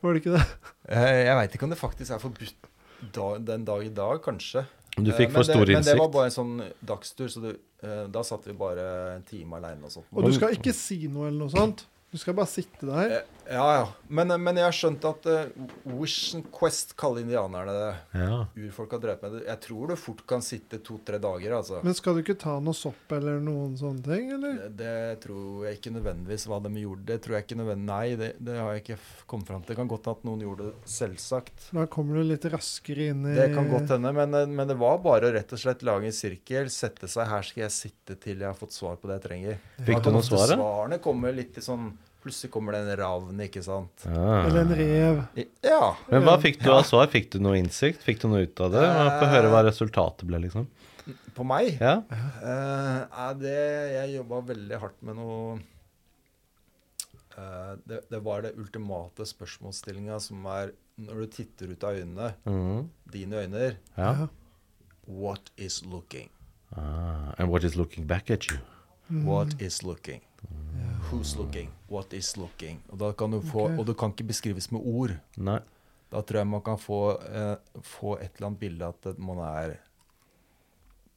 Speaker 3: Var det ikke det?
Speaker 2: Eh, jeg veit ikke om det faktisk er forbudt da, den dag i dag, kanskje.
Speaker 1: Du
Speaker 2: Eh,
Speaker 1: fikk
Speaker 2: men
Speaker 1: for
Speaker 2: det-
Speaker 1: stor
Speaker 2: Men det var
Speaker 1: innsikt.
Speaker 2: bare en sånn dagstur, så det, eh, da satt vi bare en time aleine og sånt.
Speaker 3: Og du skal ikke si noe eller noe sånt. Du skal bare sitte der.
Speaker 2: Eh, Ja, ja. Men, men jeg har skjønt at eh, Wish and Quest kaller indianerne det.
Speaker 1: Ja.
Speaker 2: Urfolk har drevet med det. Jeg tror du fort kan sitte to-tre dager, altså.
Speaker 3: Men skal du ikke ta noe sopp eller noen sånne ting, eller?
Speaker 2: Det, det tror jeg ikke nødvendigvis hva de gjorde. Det tror jeg ikke nødvendig, Nei, det, det har jeg ikke f- kommet fram til. Det kan godt at noen gjorde det, selvsagt.
Speaker 3: Da kommer du litt raskere inn i
Speaker 2: Det kan godt hende, men, eh, men det var bare å rett og slett lage en sirkel, sette seg her skal jeg sitte til jeg har fått svar på det jeg trenger.
Speaker 1: Fikk
Speaker 2: Da
Speaker 1: du
Speaker 2: kan
Speaker 1: noe
Speaker 2: ofte
Speaker 1: svar, da?
Speaker 2: Svarene kommer litt i sånn Plutselig kommer det en ravn, ikke sant.
Speaker 1: Ja.
Speaker 3: Eller en rev.
Speaker 2: I- Ja.
Speaker 1: Men hva fikk du av svar? Fikk du noe innsikt? Fikk du noe ut av det? Jeg Få høre hva resultatet ble, liksom.
Speaker 2: På meg?
Speaker 1: Ja.
Speaker 2: Eh, nei, det, jeg jobba veldig hardt med noe eh, det, det var det ultimate spørsmålsstillinga som er når du titter ut av øynene,
Speaker 1: Mhm.
Speaker 2: dine øyne
Speaker 1: ja.
Speaker 2: What is looking?
Speaker 1: Ah, and what is looking back at you?
Speaker 2: What is looking? Who's looking? What is looking? Og, da kan du få,
Speaker 3: Ok.
Speaker 2: og det kan ikke beskrives med ord.
Speaker 1: Nei.
Speaker 2: Da tror jeg man kan få, eh, få et eller annet bilde at det- man er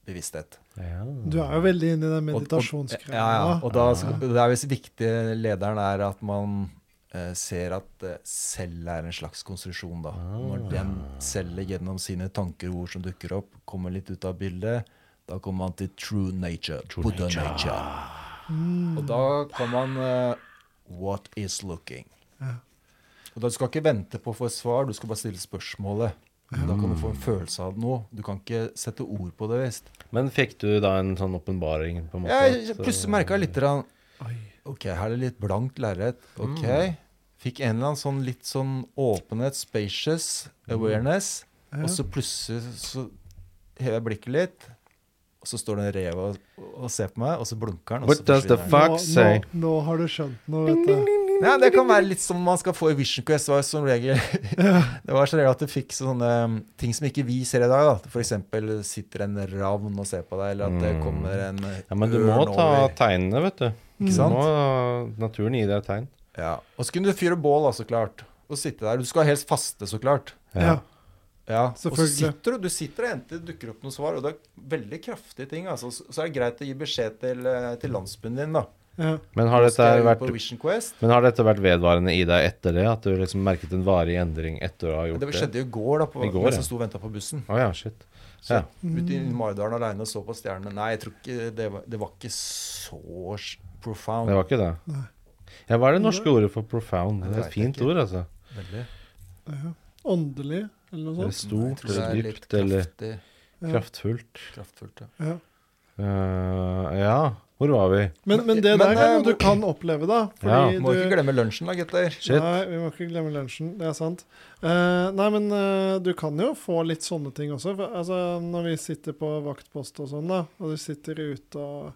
Speaker 2: bevissthet.
Speaker 1: Ja.
Speaker 3: Du er jo veldig inne i den
Speaker 2: Og- og-
Speaker 3: meditasjonsgreia.
Speaker 2: Ja, ja. Og da, skal- det er hvis viktig lederen er at man eh, ser at eh, selv er en slags konstruksjon, da. Når den selv gjennom sine tanker og ord som dukker opp, kommer litt ut av bildet, da kommer man til true nature. Buddha nature. Og da kan man eh, What is looking? Og da Du skal ikke vente på å få et svar, du skal bare stille spørsmålet. Da kan du få en følelse av noe. Du kan ikke sette ord på det. visst.
Speaker 1: Men fikk du da en sånn åpenbaring, på en måte?
Speaker 2: Jeg
Speaker 1: at,
Speaker 2: plutselig merka litt grann, Ok, her er det litt blankt lerret. Ok.
Speaker 1: Mm.
Speaker 2: Fikk en eller annen sånn litt sånn åpenhet,
Speaker 1: Mm.
Speaker 2: spacious, awareness. Og så plutselig så hever jeg blikket litt, Og så står det en rev og, og ser på meg, og så blunker den. Og så
Speaker 1: What does the
Speaker 2: forsvinner den.
Speaker 1: fuck
Speaker 3: Nå, nå,
Speaker 1: say?
Speaker 3: nå har du skjønt noe, vet du.
Speaker 2: Ja, det kan være litt som man skal få i Vision Quest. Var som regel. Det var så regel at du fikk sånne um, ting som ikke vi ser i dag. da. For eksempel sitter en ravn og ser på deg, eller at det
Speaker 1: Mm.
Speaker 2: kommer en uh,
Speaker 1: Ja, men du
Speaker 2: ørn
Speaker 1: må ta
Speaker 2: over.
Speaker 1: tegnene, vet du.
Speaker 2: Ikke
Speaker 1: Du
Speaker 2: sant?
Speaker 1: må naturen gi deg et tegn.
Speaker 2: Ja. Og så kunne du fyre bål, da, så klart. Og sitte der. Du skal helst faste, så klart.
Speaker 3: Ja.
Speaker 2: Ja, og så
Speaker 3: Selvfølgelig.
Speaker 2: sitter du, du sitter og henter, dukker opp noen svar, og det er veldig kraftige ting. Altså. Så så er det greit å gi beskjed til, eh, til landsbyen din, da.
Speaker 3: ja.
Speaker 1: Men har,
Speaker 2: Nå
Speaker 1: dette
Speaker 2: skal jeg
Speaker 1: vært,
Speaker 2: på Vision Quest.
Speaker 1: men har dette vært vedvarende i deg etter det? At du liksom merket en varig endring etter å ha gjort
Speaker 2: Det
Speaker 1: det?
Speaker 2: skjedde jo i går, da, på,
Speaker 1: I går,
Speaker 2: mens
Speaker 1: ja.
Speaker 2: jeg sto og venta på bussen.
Speaker 1: Å ja, shit.
Speaker 2: Så
Speaker 1: Ja.
Speaker 2: Ute i
Speaker 3: Mm.
Speaker 2: Maridalen aleine og så på stjernene. Nei, jeg tror ikke det var, det var ikke så s- profound.
Speaker 1: Det var ikke det.
Speaker 3: Nei.
Speaker 1: Ja, hva er det norske ordet for profound?
Speaker 2: Nei,
Speaker 1: Det er et
Speaker 2: det vet jeg
Speaker 1: fint
Speaker 2: ikke.
Speaker 1: ord, altså.
Speaker 2: Veldig.
Speaker 3: Åndelig, eller noe
Speaker 1: Eller
Speaker 2: Nei, Sånn.
Speaker 3: sånt.
Speaker 2: jeg
Speaker 1: stort,
Speaker 2: tror det er
Speaker 1: eller
Speaker 2: litt
Speaker 1: dypt, eller
Speaker 2: kraftig-
Speaker 3: Ja.
Speaker 1: kraftfullt.
Speaker 2: kraftfullt. Ja.
Speaker 3: Ja.
Speaker 1: Eh, ja, hvor var vi?
Speaker 3: Men, men
Speaker 2: Men,
Speaker 3: det der er
Speaker 2: eh,
Speaker 3: noe du kan oppleve, da. Fordi
Speaker 1: Ja.
Speaker 2: Må ikke
Speaker 3: du
Speaker 2: glemme lunsjen da, gutter.
Speaker 1: Shit.
Speaker 3: Nei, vi må ikke glemme lunsjen. Det er sant. Eh, nei, men eh, du kan jo få litt sånne ting også. For, altså, når vi sitter på vaktpost og sånn, da, og du sitter ute og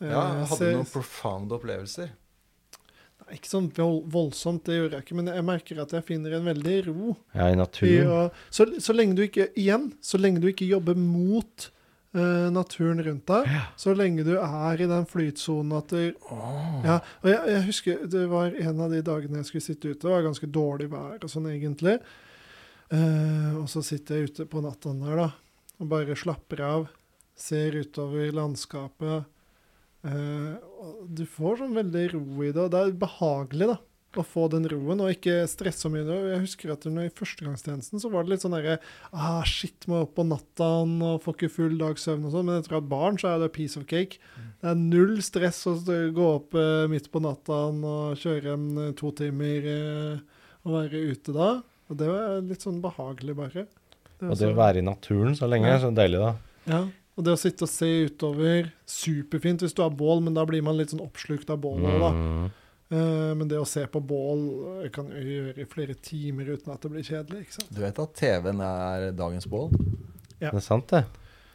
Speaker 3: eh,
Speaker 2: Ja, jeg hadde
Speaker 3: ser-
Speaker 2: noen profound opplevelser.
Speaker 3: Nei, Ikke sånn vold, voldsomt, det gjør jeg ikke, men jeg merker at jeg finner en veldig ro.
Speaker 1: Jeg er i
Speaker 3: I
Speaker 1: naturen.
Speaker 3: å, så, så lenge du ikke Igjen, så lenge du ikke jobber mot eh, naturen rundt deg, så lenge du er i den flytsonen at du ja, og jeg, jeg husker det var en av de dagene jeg skulle sitte ute, det var ganske dårlig vær og sånn egentlig. Eh, og så sitter jeg ute på natta der, da, og bare slapper av, ser utover landskapet. Eh, og du får sånn veldig ro i det, og det er behagelig, da. Å få den roen, og ikke stresse så mye. Jeg husker at under førstegangstjenesten så var det litt sånn derre ah, Shit, må jeg opp på natta og får ikke full dags søvn og sånn. Men etter å ha et barn, så er det piece of cake.
Speaker 1: Mm.
Speaker 3: Det er null stress å stå- gå opp eh, midt på natta og kjøre en eh, to timer eh, og være ute da. Og det var litt sånn behagelig, bare. Det
Speaker 1: Og det
Speaker 3: så-
Speaker 1: å være i naturen så lenge
Speaker 3: Altså,
Speaker 1: er
Speaker 3: Ja.
Speaker 1: så deilig, da.
Speaker 3: ja, og det å sitte og se utover, superfint hvis du har bål, men da blir man litt sånn oppslukt av bålet, da.
Speaker 1: Mm.
Speaker 3: Eh, men det å se på bål eh, kan du gjøre i flere timer uten at det blir kjedelig, ikke sant.
Speaker 2: Du vet at TV-en er dagens bål?
Speaker 1: Det er sant, det.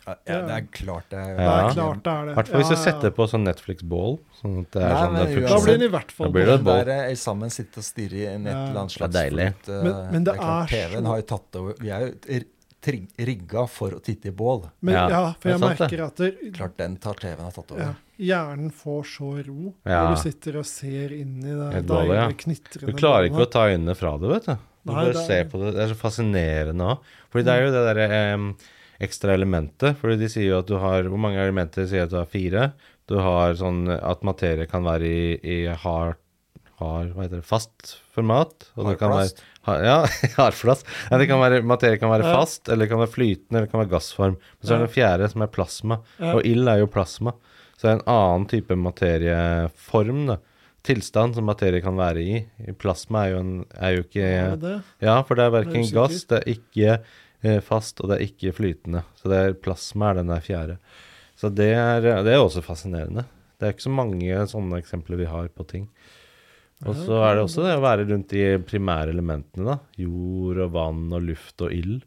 Speaker 2: Ja,
Speaker 3: Ja.
Speaker 2: det er klart det.
Speaker 1: Ja.
Speaker 3: Det er klart det er det.
Speaker 1: I hvert fall hvis
Speaker 3: Ja,
Speaker 1: du
Speaker 3: ja, ja.
Speaker 1: setter på sånn Netflix-bål. Sånn at det er
Speaker 2: Nei,
Speaker 1: sånn det
Speaker 2: men
Speaker 1: er fullt
Speaker 3: Da
Speaker 2: uansett-
Speaker 3: blir den i hvert fall
Speaker 1: Da blir det
Speaker 3: bål.
Speaker 1: et bål.
Speaker 2: Der eh, sammen sitte og stirre i en et
Speaker 3: Ja.
Speaker 2: eller annet slags
Speaker 1: Det er deilig.
Speaker 2: fot, eh,
Speaker 3: Men- men det
Speaker 2: klart,
Speaker 3: er så-
Speaker 2: TV-en har jo tatt over Vi er jo r- trig- rigga for å titte i bål.
Speaker 3: Men ja,
Speaker 1: Ja,
Speaker 3: for
Speaker 1: det
Speaker 3: jeg
Speaker 1: er sant, det.
Speaker 3: merker at det,
Speaker 2: Klart den tar TV-en har tatt over.
Speaker 3: ja, hjernen får så ro
Speaker 1: Ja.
Speaker 3: når du sitter og ser inn i det
Speaker 1: Et bål,
Speaker 3: deilige,
Speaker 1: ja.
Speaker 3: knitrende
Speaker 1: Du klarer ikke å
Speaker 3: bålet.
Speaker 1: ta øynene fra det, vet du. Du
Speaker 3: Nei,
Speaker 1: bare
Speaker 3: det er-
Speaker 1: ser på det. Det er så fascinerende òg. Fordi det er jo det derre em, ekstra elementet. Fordi de sier jo at du har Hvor mange elementer sier at du har fire? Du har sånn at materie kan være i, i hard, hard Hva heter det? Fast format. Og det kan være,
Speaker 2: Hardplast.
Speaker 1: ha, ja, hardplast. Nei, det kan være, materie kan være
Speaker 3: Ja.
Speaker 1: fast, eller det kan være flytende, eller det kan være gassform. Men så er det den fjerde, som er plasma.
Speaker 3: Ja.
Speaker 1: Og ild er jo plasma. Så det er en annen type materieform, da. Tilstand som materie kan være i. Plasma er jo, en, er jo ikke
Speaker 3: Er det det?
Speaker 1: Ja, for det er
Speaker 3: Jeg er
Speaker 1: verken
Speaker 3: usikker.
Speaker 1: gass, det er ikke eh, fast, og det er ikke flytende. Så det er plasma er den der fjerde. Så det er, det er også fascinerende. Det er ikke så mange sånne eksempler vi har på ting. Og så er det også det å være rundt de primære elementene, da. Jord og vann og luft og ild.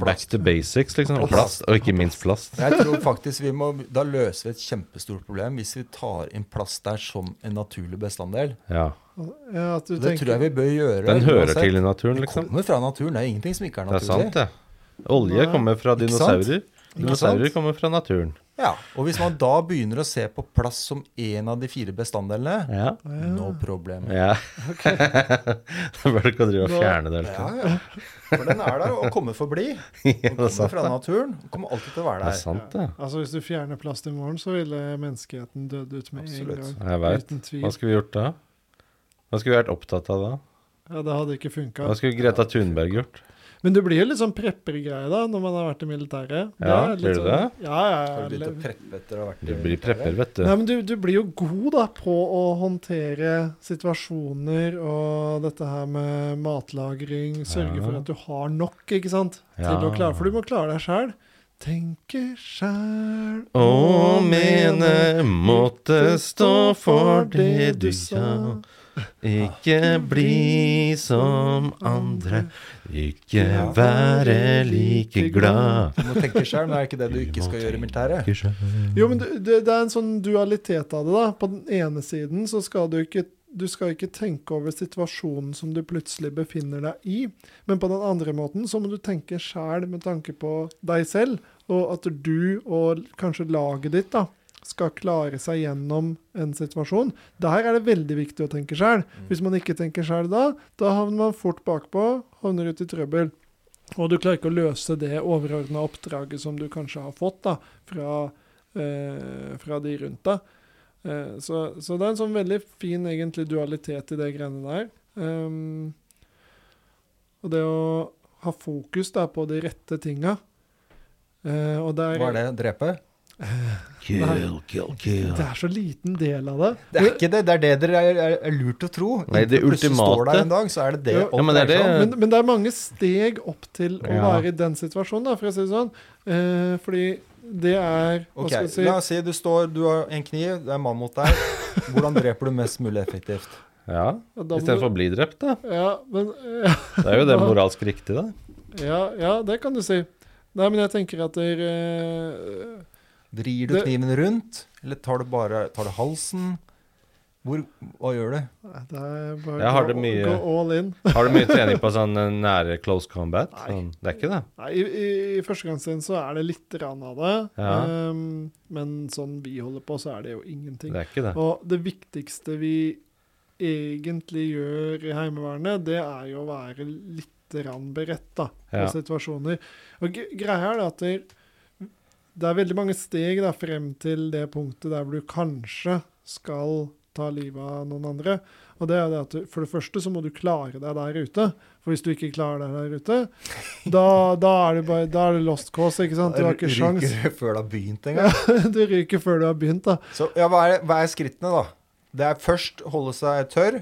Speaker 1: Back to basics, liksom. Og plast. Og ikke minst plast.
Speaker 2: Jeg tror faktisk vi må, Da løser vi et kjempestort problem hvis vi tar inn plast der som en naturlig bestanddel.
Speaker 1: Ja.
Speaker 3: Ja, at du
Speaker 2: Det tror jeg vi bør gjøre.
Speaker 1: Den hører
Speaker 2: uansett.
Speaker 1: til i naturen,
Speaker 2: Det
Speaker 1: liksom.
Speaker 2: kommer fra naturen. Det er ingenting som ikke er
Speaker 1: Det er
Speaker 2: naturlig.
Speaker 1: sant, det. Olje
Speaker 3: Nei.
Speaker 1: kommer fra
Speaker 2: Ikke sant?
Speaker 1: dinosaurer.
Speaker 2: Ikke sant?
Speaker 1: Dinosaurer kommer fra naturen.
Speaker 2: Ja, Og hvis man da begynner å se på plast som en av de fire bestanddelene,
Speaker 1: Ja.
Speaker 2: no problem.
Speaker 1: ja. da bør du ikke drive og fjerne det.
Speaker 2: Ja,
Speaker 1: Liksom.
Speaker 2: ja. For den er der og kommer for å bli.
Speaker 1: Ja,
Speaker 2: Den
Speaker 1: det er
Speaker 2: kommer
Speaker 1: sant,
Speaker 2: fra
Speaker 1: det.
Speaker 2: naturen og kommer alltid til å være
Speaker 1: Det er
Speaker 2: der.
Speaker 1: sant, det.
Speaker 3: Altså Hvis du fjerner plast i morgen, så ville menneskeheten dødd ut med
Speaker 2: Absolutt.
Speaker 3: en gang.
Speaker 1: Jeg vet.
Speaker 3: Uten tvil.
Speaker 1: Hva skulle vi gjort da? Hva skulle vi vært opptatt av da?
Speaker 3: Ja, Det hadde ikke funka.
Speaker 1: Hva skulle Greta Thunberg gjort?
Speaker 3: Men du blir jo litt sånn preppergreie da, når man har vært i militæret. Det
Speaker 1: Ja,
Speaker 3: er litt
Speaker 1: blir du
Speaker 3: sånn- Ja, ja,
Speaker 2: Har du begynt
Speaker 3: ja.
Speaker 2: å preppe etter å ha vært
Speaker 1: Du
Speaker 2: i
Speaker 1: blir prepper,
Speaker 2: militæret?
Speaker 1: vet du.
Speaker 3: Nei, men du, du blir jo god da på å håndtere situasjoner og dette her med matlagring. Sørge
Speaker 1: Ja.
Speaker 3: for at du har nok, ikke sant? Til
Speaker 1: Ja.
Speaker 3: å klare, for du må klare deg sjæl. Tenke sjæl
Speaker 1: Å mene måtte stå for det du sa. Ikke bli som andre, ikke være like glad.
Speaker 2: Du må tenke sjøl, men er det ikke det du ikke skal gjøre i militæret?
Speaker 1: Ikke skjønne.
Speaker 3: Jo, men det, det det er en sånn dualitet av det, da. På den ene siden så skal du ikke du skal ikke tenke over situasjonen som du plutselig befinner deg i, men på den andre måten så må du tenke sjæl med tanke på deg selv, og at du og l- kanskje laget ditt da, skal klare seg gjennom en situasjon. Der er det veldig viktig å tenke sjæl. Hvis man ikke tenker sjæl da, da havner man fort bakpå, havner ut i trøbbel. Og du klarer ikke å løse det overordna oppdraget som du kanskje har fått da, fra eh, fra de rundt deg. Eh, så, så det er en sånn veldig fin egentlig dualitet i det greiene der. Ehm, og det å ha fokus da, på de rette tinga. Eh, og det er,
Speaker 2: Hva er det? Drepe?
Speaker 5: Kill, kill, kill.
Speaker 3: det er så liten del av det.
Speaker 2: Det er ikke det. Det er det dere er, er, er lurt å tro.
Speaker 1: Nei, det
Speaker 2: Inntil plutselig
Speaker 1: ultimate-
Speaker 2: står der en dag, så er det sånn. det.
Speaker 3: Ja,
Speaker 2: alt
Speaker 1: men det er
Speaker 2: dreier seg om.
Speaker 1: det-
Speaker 3: Men, men det er mange steg opp til å
Speaker 2: Ja.
Speaker 3: være i den situasjonen, da, for å si det sånn. Eh, fordi det er Hva
Speaker 2: Ok,
Speaker 3: skal jeg si?
Speaker 2: La oss si du står, du har en kniv, det er en mann mot deg. Hvordan dreper du mest mulig effektivt?
Speaker 1: Ja,
Speaker 3: Ja, da må du-
Speaker 1: istedenfor å bli drept, da.
Speaker 3: Ja, men eh,
Speaker 1: Det er jo det moralsk riktige, da.
Speaker 3: ja, ja, det kan du si. Nei, men jeg tenker at dere eh,
Speaker 2: Vrir du
Speaker 3: Det-
Speaker 2: kniven rundt, eller tar du bare tar du halsen? Hvor, hva gjør du?
Speaker 3: Nei, det er bare
Speaker 1: Jeg har
Speaker 3: gå-
Speaker 1: det mye-
Speaker 3: gå all in.
Speaker 1: Har du mye trening på sånn eh, nære close combat? Sånn, det er ikke det?
Speaker 3: Nei, I, i, i førstegangstjenesten så er det litt rann av det,
Speaker 1: Ja.
Speaker 3: ehm, men sånn vi holder på, så er det jo ingenting.
Speaker 1: Det er ikke det.
Speaker 3: Og det viktigste vi egentlig gjør i Heimevernet, det er jo å være litt rann beredt da, på
Speaker 1: Ja.
Speaker 3: situasjoner. Og g- greia er det at det, det er veldig mange steg da, frem til det punktet der hvor du kanskje skal ta livet av noen andre. Og det er det at du, For det første så må du klare deg der ute. For hvis du ikke klarer deg der ute, da, da, er, det bare, da er det lost cause. ikke sant? Du har ikke sjans.
Speaker 2: Ryker du før du har begynt engang?
Speaker 3: Du ryker før du har begynt. da.
Speaker 2: Så ja, hva, er, hva er skrittene, da? Det er først holde seg tørr.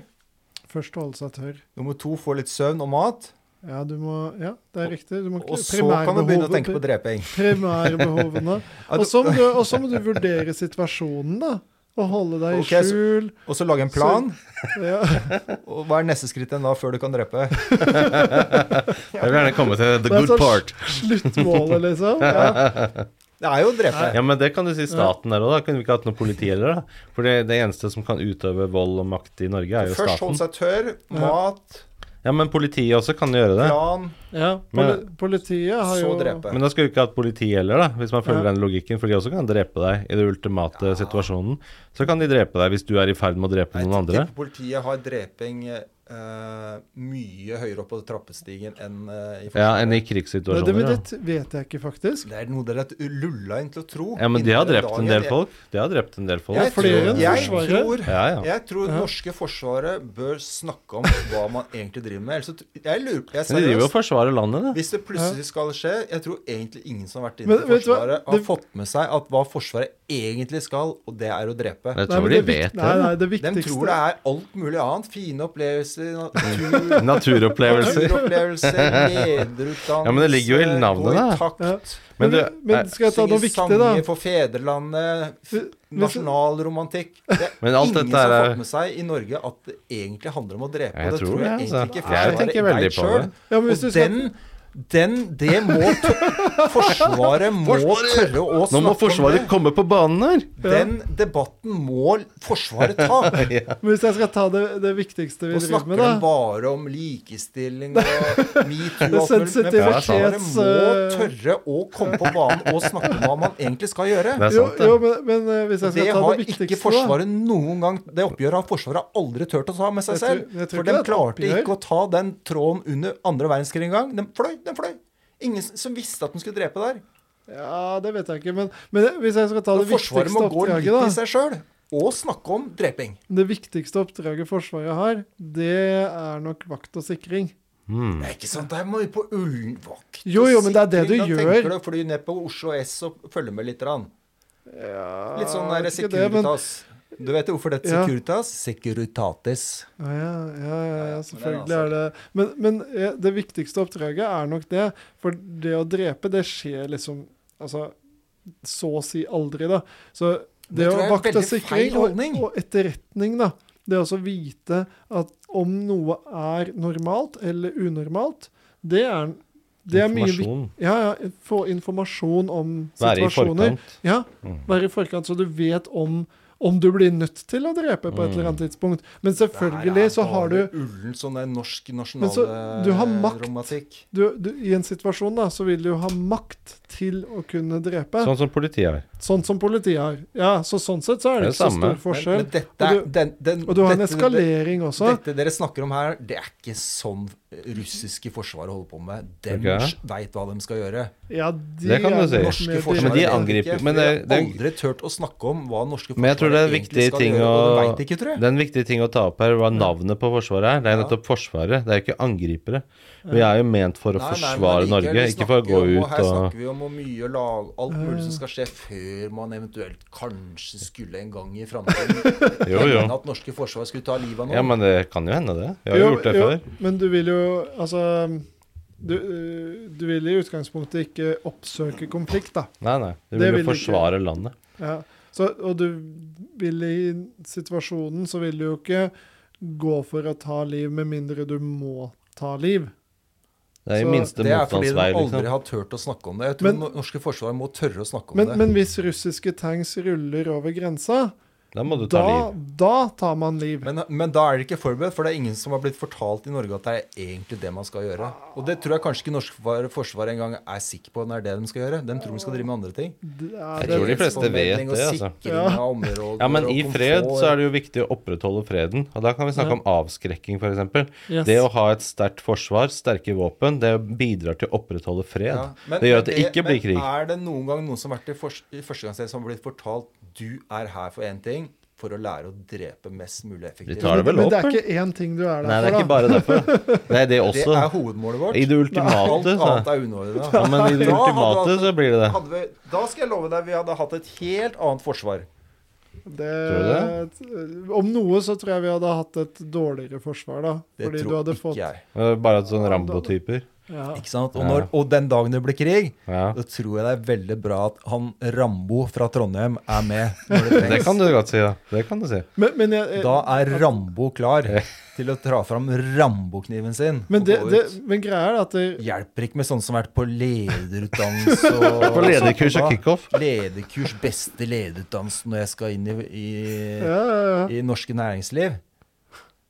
Speaker 3: Først holde seg tørr.
Speaker 2: Nummer to få litt søvn og mat.
Speaker 3: Ja, du må, ja, det er riktig. Du må
Speaker 2: Og så kan du begynne å tenke på
Speaker 3: pri-
Speaker 2: dreping.
Speaker 3: primærbehovene.
Speaker 2: Ja,
Speaker 3: Og
Speaker 2: du-
Speaker 3: så må, du- og så må du vurdere situasjonen, da. Og holde deg i
Speaker 2: Ok, så-
Speaker 3: skjul.
Speaker 2: Og så lage en plan.
Speaker 3: Ja.
Speaker 2: Og hva er neste skritt igjen da, før du kan drepe?
Speaker 1: Jeg vil gjerne komme til the
Speaker 3: Det er
Speaker 1: good
Speaker 3: sånn
Speaker 1: part.
Speaker 3: Sluttmålet, liksom. Ja.
Speaker 2: Det er jo å drepe.
Speaker 1: Ja, men det kan du si staten der òg, da. Kunne vi ikke hatt noe politi heller, da? For det, det eneste som kan utøve vold og makt i Norge, er jo
Speaker 2: Først holde
Speaker 1: staten.
Speaker 2: seg tørr, mat,
Speaker 1: Ja, men politiet også kan gjøre det.
Speaker 2: plan,
Speaker 3: ja. Poli
Speaker 1: Men-
Speaker 3: politiet har
Speaker 2: så
Speaker 3: jo
Speaker 2: drepe.
Speaker 1: Men da skulle vi ikke hatt politi heller, da, hvis man følger
Speaker 3: Ja.
Speaker 1: den logikken. For de også kan drepe deg i den ultimate situasjonen. Så kan de drepe deg hvis du er i ferd med å drepe
Speaker 2: Jeg
Speaker 1: noen andre.
Speaker 2: tipper politiet har dreping eh, mye høyere opp på trappestigen enn eh, i
Speaker 1: Ja,
Speaker 2: Forsvaret.
Speaker 1: enn i
Speaker 3: Nei, det, men
Speaker 1: krigssituasjoner.
Speaker 3: det vet jeg ikke, faktisk.
Speaker 2: Det er noe dere er lulla inn til å tro.
Speaker 1: Ja. ja, men de har
Speaker 2: Inntil
Speaker 1: drept
Speaker 2: dagen-
Speaker 1: en del folk. De har drept en del
Speaker 2: Jeg,
Speaker 1: folk.
Speaker 3: Ja, flere
Speaker 2: tror,
Speaker 3: enn
Speaker 2: jeg,
Speaker 3: Forsvaret.
Speaker 2: tror,
Speaker 1: Ja, ja.
Speaker 2: jeg tror
Speaker 3: Ja.
Speaker 2: norske forsvaret bør snakke om hva man egentlig driver med. Ellers så tr- jeg lurer jeg er
Speaker 1: Men de driver jo og
Speaker 2: seriøst.
Speaker 1: forsvarer landet, da.
Speaker 2: Hvis det plutselig skal skje Jeg tror egentlig ingen som har vært inne
Speaker 3: Men
Speaker 2: i
Speaker 3: vet du hva?
Speaker 2: Forsvaret, har
Speaker 3: Det-
Speaker 2: fått med seg at hva Forsvaret egentlig skal, og det er å drepe.
Speaker 1: Jeg
Speaker 3: Nei, men
Speaker 1: tror de
Speaker 3: det vik-
Speaker 1: vet
Speaker 3: Nei,
Speaker 1: det.
Speaker 3: nei, det
Speaker 2: De
Speaker 3: viktigste
Speaker 2: tror det er alt mulig annet. Fine opplevelser, natur,
Speaker 1: Naturopplevelser.
Speaker 2: naturopplevelser, lederutdannelse
Speaker 1: Ja, men det ligger jo i navnet,
Speaker 2: gå i
Speaker 1: da.
Speaker 2: takt,
Speaker 3: Ja.
Speaker 1: Men
Speaker 3: Men,
Speaker 1: du-
Speaker 3: men, skal jeg ta noe
Speaker 2: synge
Speaker 3: viktig, da?
Speaker 2: sanger for fedrelandet, f-
Speaker 3: Hvis- hvis-
Speaker 2: nasjonalromantikk Det er
Speaker 1: Men alt
Speaker 2: ingen
Speaker 1: dette
Speaker 2: som har
Speaker 1: er-
Speaker 2: fått med seg i Norge at det egentlig handler om å drepe.
Speaker 1: Ja, jeg
Speaker 2: og det
Speaker 1: tror
Speaker 2: tror jeg
Speaker 1: det, altså.
Speaker 2: egentlig ikke
Speaker 1: Jeg
Speaker 2: Forsvaret
Speaker 1: tenker
Speaker 2: vet
Speaker 1: veldig på det.
Speaker 2: selv.
Speaker 3: Ja, men hvis du
Speaker 2: og
Speaker 3: skal-
Speaker 2: den, den Det må t- Forsvaret må tørre
Speaker 1: Nå
Speaker 2: å
Speaker 1: må
Speaker 2: snakke om
Speaker 1: Forsvaret
Speaker 2: det.
Speaker 1: komme på banen her!
Speaker 2: Den debatten må Forsvaret ta.
Speaker 3: Men Hvis jeg skal ta det, det viktigste vi
Speaker 2: Nå
Speaker 3: driver
Speaker 2: snakker
Speaker 3: med,
Speaker 2: de
Speaker 3: da
Speaker 2: bare om likestilling og metoo og alt mulig. Men
Speaker 3: Sensitivitets- eh,
Speaker 2: Forsvaret må tørre å komme på banen og snakke om hva man egentlig skal gjøre.
Speaker 1: Det er
Speaker 3: jo,
Speaker 1: sant,
Speaker 3: jo,
Speaker 1: det.
Speaker 3: men, men eh, hvis jeg
Speaker 2: Det
Speaker 3: skal ta det
Speaker 2: har
Speaker 3: viktigste
Speaker 2: ikke Forsvaret noen gang Det oppgjøret har Forsvaret aldri turt å ta med seg
Speaker 3: Jeg tror-
Speaker 2: selv.
Speaker 3: jeg tror
Speaker 2: For de
Speaker 3: ikke det er et
Speaker 2: klarte
Speaker 3: oppgjør.
Speaker 2: ikke å ta den tråden under andre verdenskrig engang. Den fløy, den fløy. Ingen s- som visste at den skulle drepe der.
Speaker 3: da Ja, det vet jeg ikke, men, men hvis jeg skal ta det
Speaker 2: Men Forsvaret
Speaker 3: viktigste
Speaker 2: må gå litt
Speaker 3: oppdraget, da
Speaker 2: i seg sjøl og snakke om dreping.
Speaker 3: Det viktigste oppdraget Forsvaret har, det er nok vakt og sikring.
Speaker 1: Mm.
Speaker 2: Det er ikke sant, der må vi på Ullenvakt.
Speaker 3: Jo, jo, men det er det du
Speaker 2: Da
Speaker 3: gjør.
Speaker 2: tenker du å fly ned på Oslo S og følge med litt. Rann.
Speaker 3: Ja,
Speaker 2: Litt sånn der
Speaker 3: vet ikke det, men-
Speaker 2: Securitas. Du vet jo hvorfor det heter
Speaker 3: Ja.
Speaker 2: Securitas? Securitatis.
Speaker 3: Ja, ja, ja, ja,
Speaker 2: Ja, ja,
Speaker 3: ja,
Speaker 2: men det
Speaker 3: selvfølgelig
Speaker 2: er altså-
Speaker 3: er det Men, men eh, det viktigste oppdraget er nok det. For det å drepe, det skjer liksom Altså så å si aldri, da. Så det,
Speaker 2: Det
Speaker 3: å
Speaker 2: tror jeg er
Speaker 3: vakte
Speaker 2: veldig
Speaker 3: sikring
Speaker 2: feil
Speaker 3: og,
Speaker 2: holdning.
Speaker 3: og etterretning, da. Det å så vite at om noe er normalt eller unormalt, det er, det er mye viktig.
Speaker 1: Informasjon.
Speaker 3: Ja, ja, få informasjon om
Speaker 1: Være i
Speaker 3: situasjoner.
Speaker 1: forkant.
Speaker 3: Ja,
Speaker 1: Mm.
Speaker 3: være i forkant, så du vet om, om du blir nødt til å drepe på et eller
Speaker 1: Mm.
Speaker 3: annet tidspunkt. Men selvfølgelig så har du
Speaker 2: Ullen sånn der norsk eh,
Speaker 3: Men så, du har makt.
Speaker 2: nasjonalromantikk.
Speaker 3: du, du, I en situasjon da, så vil du ha makt til å kunne drepe. Sånn,
Speaker 1: Sånn som politiet er.
Speaker 3: som politiet har. Ja, så Sånn sett så er det,
Speaker 1: Det er
Speaker 3: ikke så
Speaker 1: samme.
Speaker 3: stor
Speaker 2: Men,
Speaker 3: forskjell.
Speaker 2: men dette, er-
Speaker 3: og, du,
Speaker 2: den, den,
Speaker 3: og du har en
Speaker 2: dette-
Speaker 3: eskalering også.
Speaker 2: Dette dere snakker om her, det er ikke sånn russiske forsvaret holder på med. De
Speaker 1: Ok.
Speaker 2: veit hva de skal gjøre.
Speaker 3: Ja, de
Speaker 1: Det kan du
Speaker 3: er
Speaker 1: si.
Speaker 3: nok
Speaker 1: Norske
Speaker 2: Norske
Speaker 3: mer-
Speaker 1: men
Speaker 2: forsvaret
Speaker 1: de
Speaker 2: vet
Speaker 1: angriper-
Speaker 2: ikke, for
Speaker 1: men
Speaker 2: de
Speaker 1: det- det-
Speaker 2: har aldri turt å snakke om hva norske
Speaker 1: Men jeg tror det er en
Speaker 2: forsvaret egentlig
Speaker 1: viktig
Speaker 2: skal
Speaker 1: ting
Speaker 2: gjøre, og de
Speaker 1: å
Speaker 2: veit ikke, tror jeg.
Speaker 1: Det er en viktig ting å ta opp her, hva navnet på Forsvaret er. Det er
Speaker 2: Ja.
Speaker 1: nettopp Forsvaret, det er ikke angripere. Vi er jo ment for å
Speaker 2: Nei, nei, men
Speaker 1: forsvare
Speaker 2: allikevel,
Speaker 1: Norge,
Speaker 2: vi
Speaker 1: ikke for å gå
Speaker 2: snakker jo om-
Speaker 1: ut
Speaker 2: Her
Speaker 1: og
Speaker 2: snakker vi om hvor mye lag, alt mulig som skal skje før man eventuelt kanskje skulle en gang i framtiden
Speaker 1: Jo, jo.
Speaker 2: at norske forsvar skulle ta livet av noen.
Speaker 1: Ja, men det kan jo hende, det. Vi har jo gjort det
Speaker 3: jo,
Speaker 1: før.
Speaker 3: Men du vil jo Altså du, øh, du vil i utgangspunktet ikke oppsøke konflikt, da.
Speaker 1: Nei, nei. Vi vil
Speaker 3: Det vil
Speaker 1: jo
Speaker 3: du ikke.
Speaker 1: forsvare landet.
Speaker 3: Ja. Så, og du vil i situasjonen så vil du jo ikke gå for å ta liv med mindre du må ta liv.
Speaker 1: Det er
Speaker 3: Så
Speaker 1: jo minste
Speaker 2: det er fordi de
Speaker 1: motstandsvei,
Speaker 2: aldri
Speaker 1: liksom.
Speaker 2: har turt å snakke om det. Jeg tror
Speaker 3: Men-
Speaker 2: no- norske forsvar må tørre å snakke om
Speaker 3: Men,
Speaker 2: det.
Speaker 3: men hvis russiske tanks ruller over grensa,
Speaker 1: Da må du ta
Speaker 3: da,
Speaker 1: liv.
Speaker 3: da tar man liv.
Speaker 2: Men, men da er det ikke forberedt, for det er ingen som har blitt fortalt i Norge at det er egentlig det man skal gjøre. Og det tror jeg kanskje ikke norsk forsvar, forsvar engang er sikker på når det er det de skal gjøre. De tror de skal drive med andre ting.
Speaker 3: Det
Speaker 1: Jeg
Speaker 3: er,
Speaker 1: tror de
Speaker 3: det,
Speaker 1: fleste vet
Speaker 2: Fredsformidling og
Speaker 1: det, altså.
Speaker 2: sikring av områder
Speaker 1: Ja, men
Speaker 2: og
Speaker 1: i
Speaker 2: komfort.
Speaker 1: fred så er det jo viktig å opprettholde freden. Og da kan vi snakke om avskrekking, f.eks.
Speaker 3: Yes.
Speaker 1: Det å ha et sterkt forsvar, sterke våpen, det bidrar til å opprettholde fred.
Speaker 2: Ja, men-
Speaker 1: det gjør at det
Speaker 2: men
Speaker 1: ikke blir krig.
Speaker 2: Men er det noen gang noen som har vært i, fors- i førstegangsdel som har blitt fortalt du er her for én ting, for å lære å drepe mest mulig
Speaker 1: Vi
Speaker 2: effektivt?
Speaker 1: tar det vel
Speaker 3: men
Speaker 1: opp,
Speaker 3: det er
Speaker 1: eller?
Speaker 3: ikke én ting du er
Speaker 1: Nei, det
Speaker 3: der
Speaker 1: er ikke
Speaker 3: for, da.
Speaker 1: bare derfor. Det er det
Speaker 2: Det
Speaker 1: også.
Speaker 2: er hovedmålet vårt.
Speaker 1: I det
Speaker 2: Alt
Speaker 1: ultimate, Sånn,
Speaker 2: annet
Speaker 1: så.
Speaker 2: er unødvendig.
Speaker 1: Ja, men i det
Speaker 2: Da hadde altså-
Speaker 1: ultimate så blir det det.
Speaker 2: Hadde vi, da skal jeg love deg, vi hadde hatt et helt annet forsvar.
Speaker 1: Tror
Speaker 3: Det, Eh, om noe så tror jeg vi hadde hatt et dårligere forsvar, da.
Speaker 2: Det
Speaker 3: Fordi du
Speaker 2: tror
Speaker 3: hadde
Speaker 2: ikke
Speaker 3: fått
Speaker 2: jeg.
Speaker 1: Det er Bare sånne Rambo-typer.
Speaker 3: ja.
Speaker 2: Ikke sant? Og,
Speaker 1: Ja.
Speaker 2: når, og den dagen det blir krig,
Speaker 1: Ja.
Speaker 2: da tror jeg det er veldig bra at han Rambo fra Trondheim er med. Når det
Speaker 1: Det
Speaker 2: trengs.
Speaker 1: kan du godt si, da. Det kan du si.
Speaker 3: Men, men jeg,
Speaker 2: Da er Rambo klar til å dra fram Rambo-kniven sin.
Speaker 3: Men,
Speaker 2: og
Speaker 3: det,
Speaker 2: gå
Speaker 3: det,
Speaker 2: ut.
Speaker 3: men greia er at det,
Speaker 2: Hjelper ikke med sånne som har vært på lederutdannelse og
Speaker 1: På lederkurs og
Speaker 2: Ja,
Speaker 1: kickoff.
Speaker 2: Lederkurs, beste lederutdannelse når jeg skal inn i, i,
Speaker 3: ja, ja, ja.
Speaker 2: i norske næringsliv.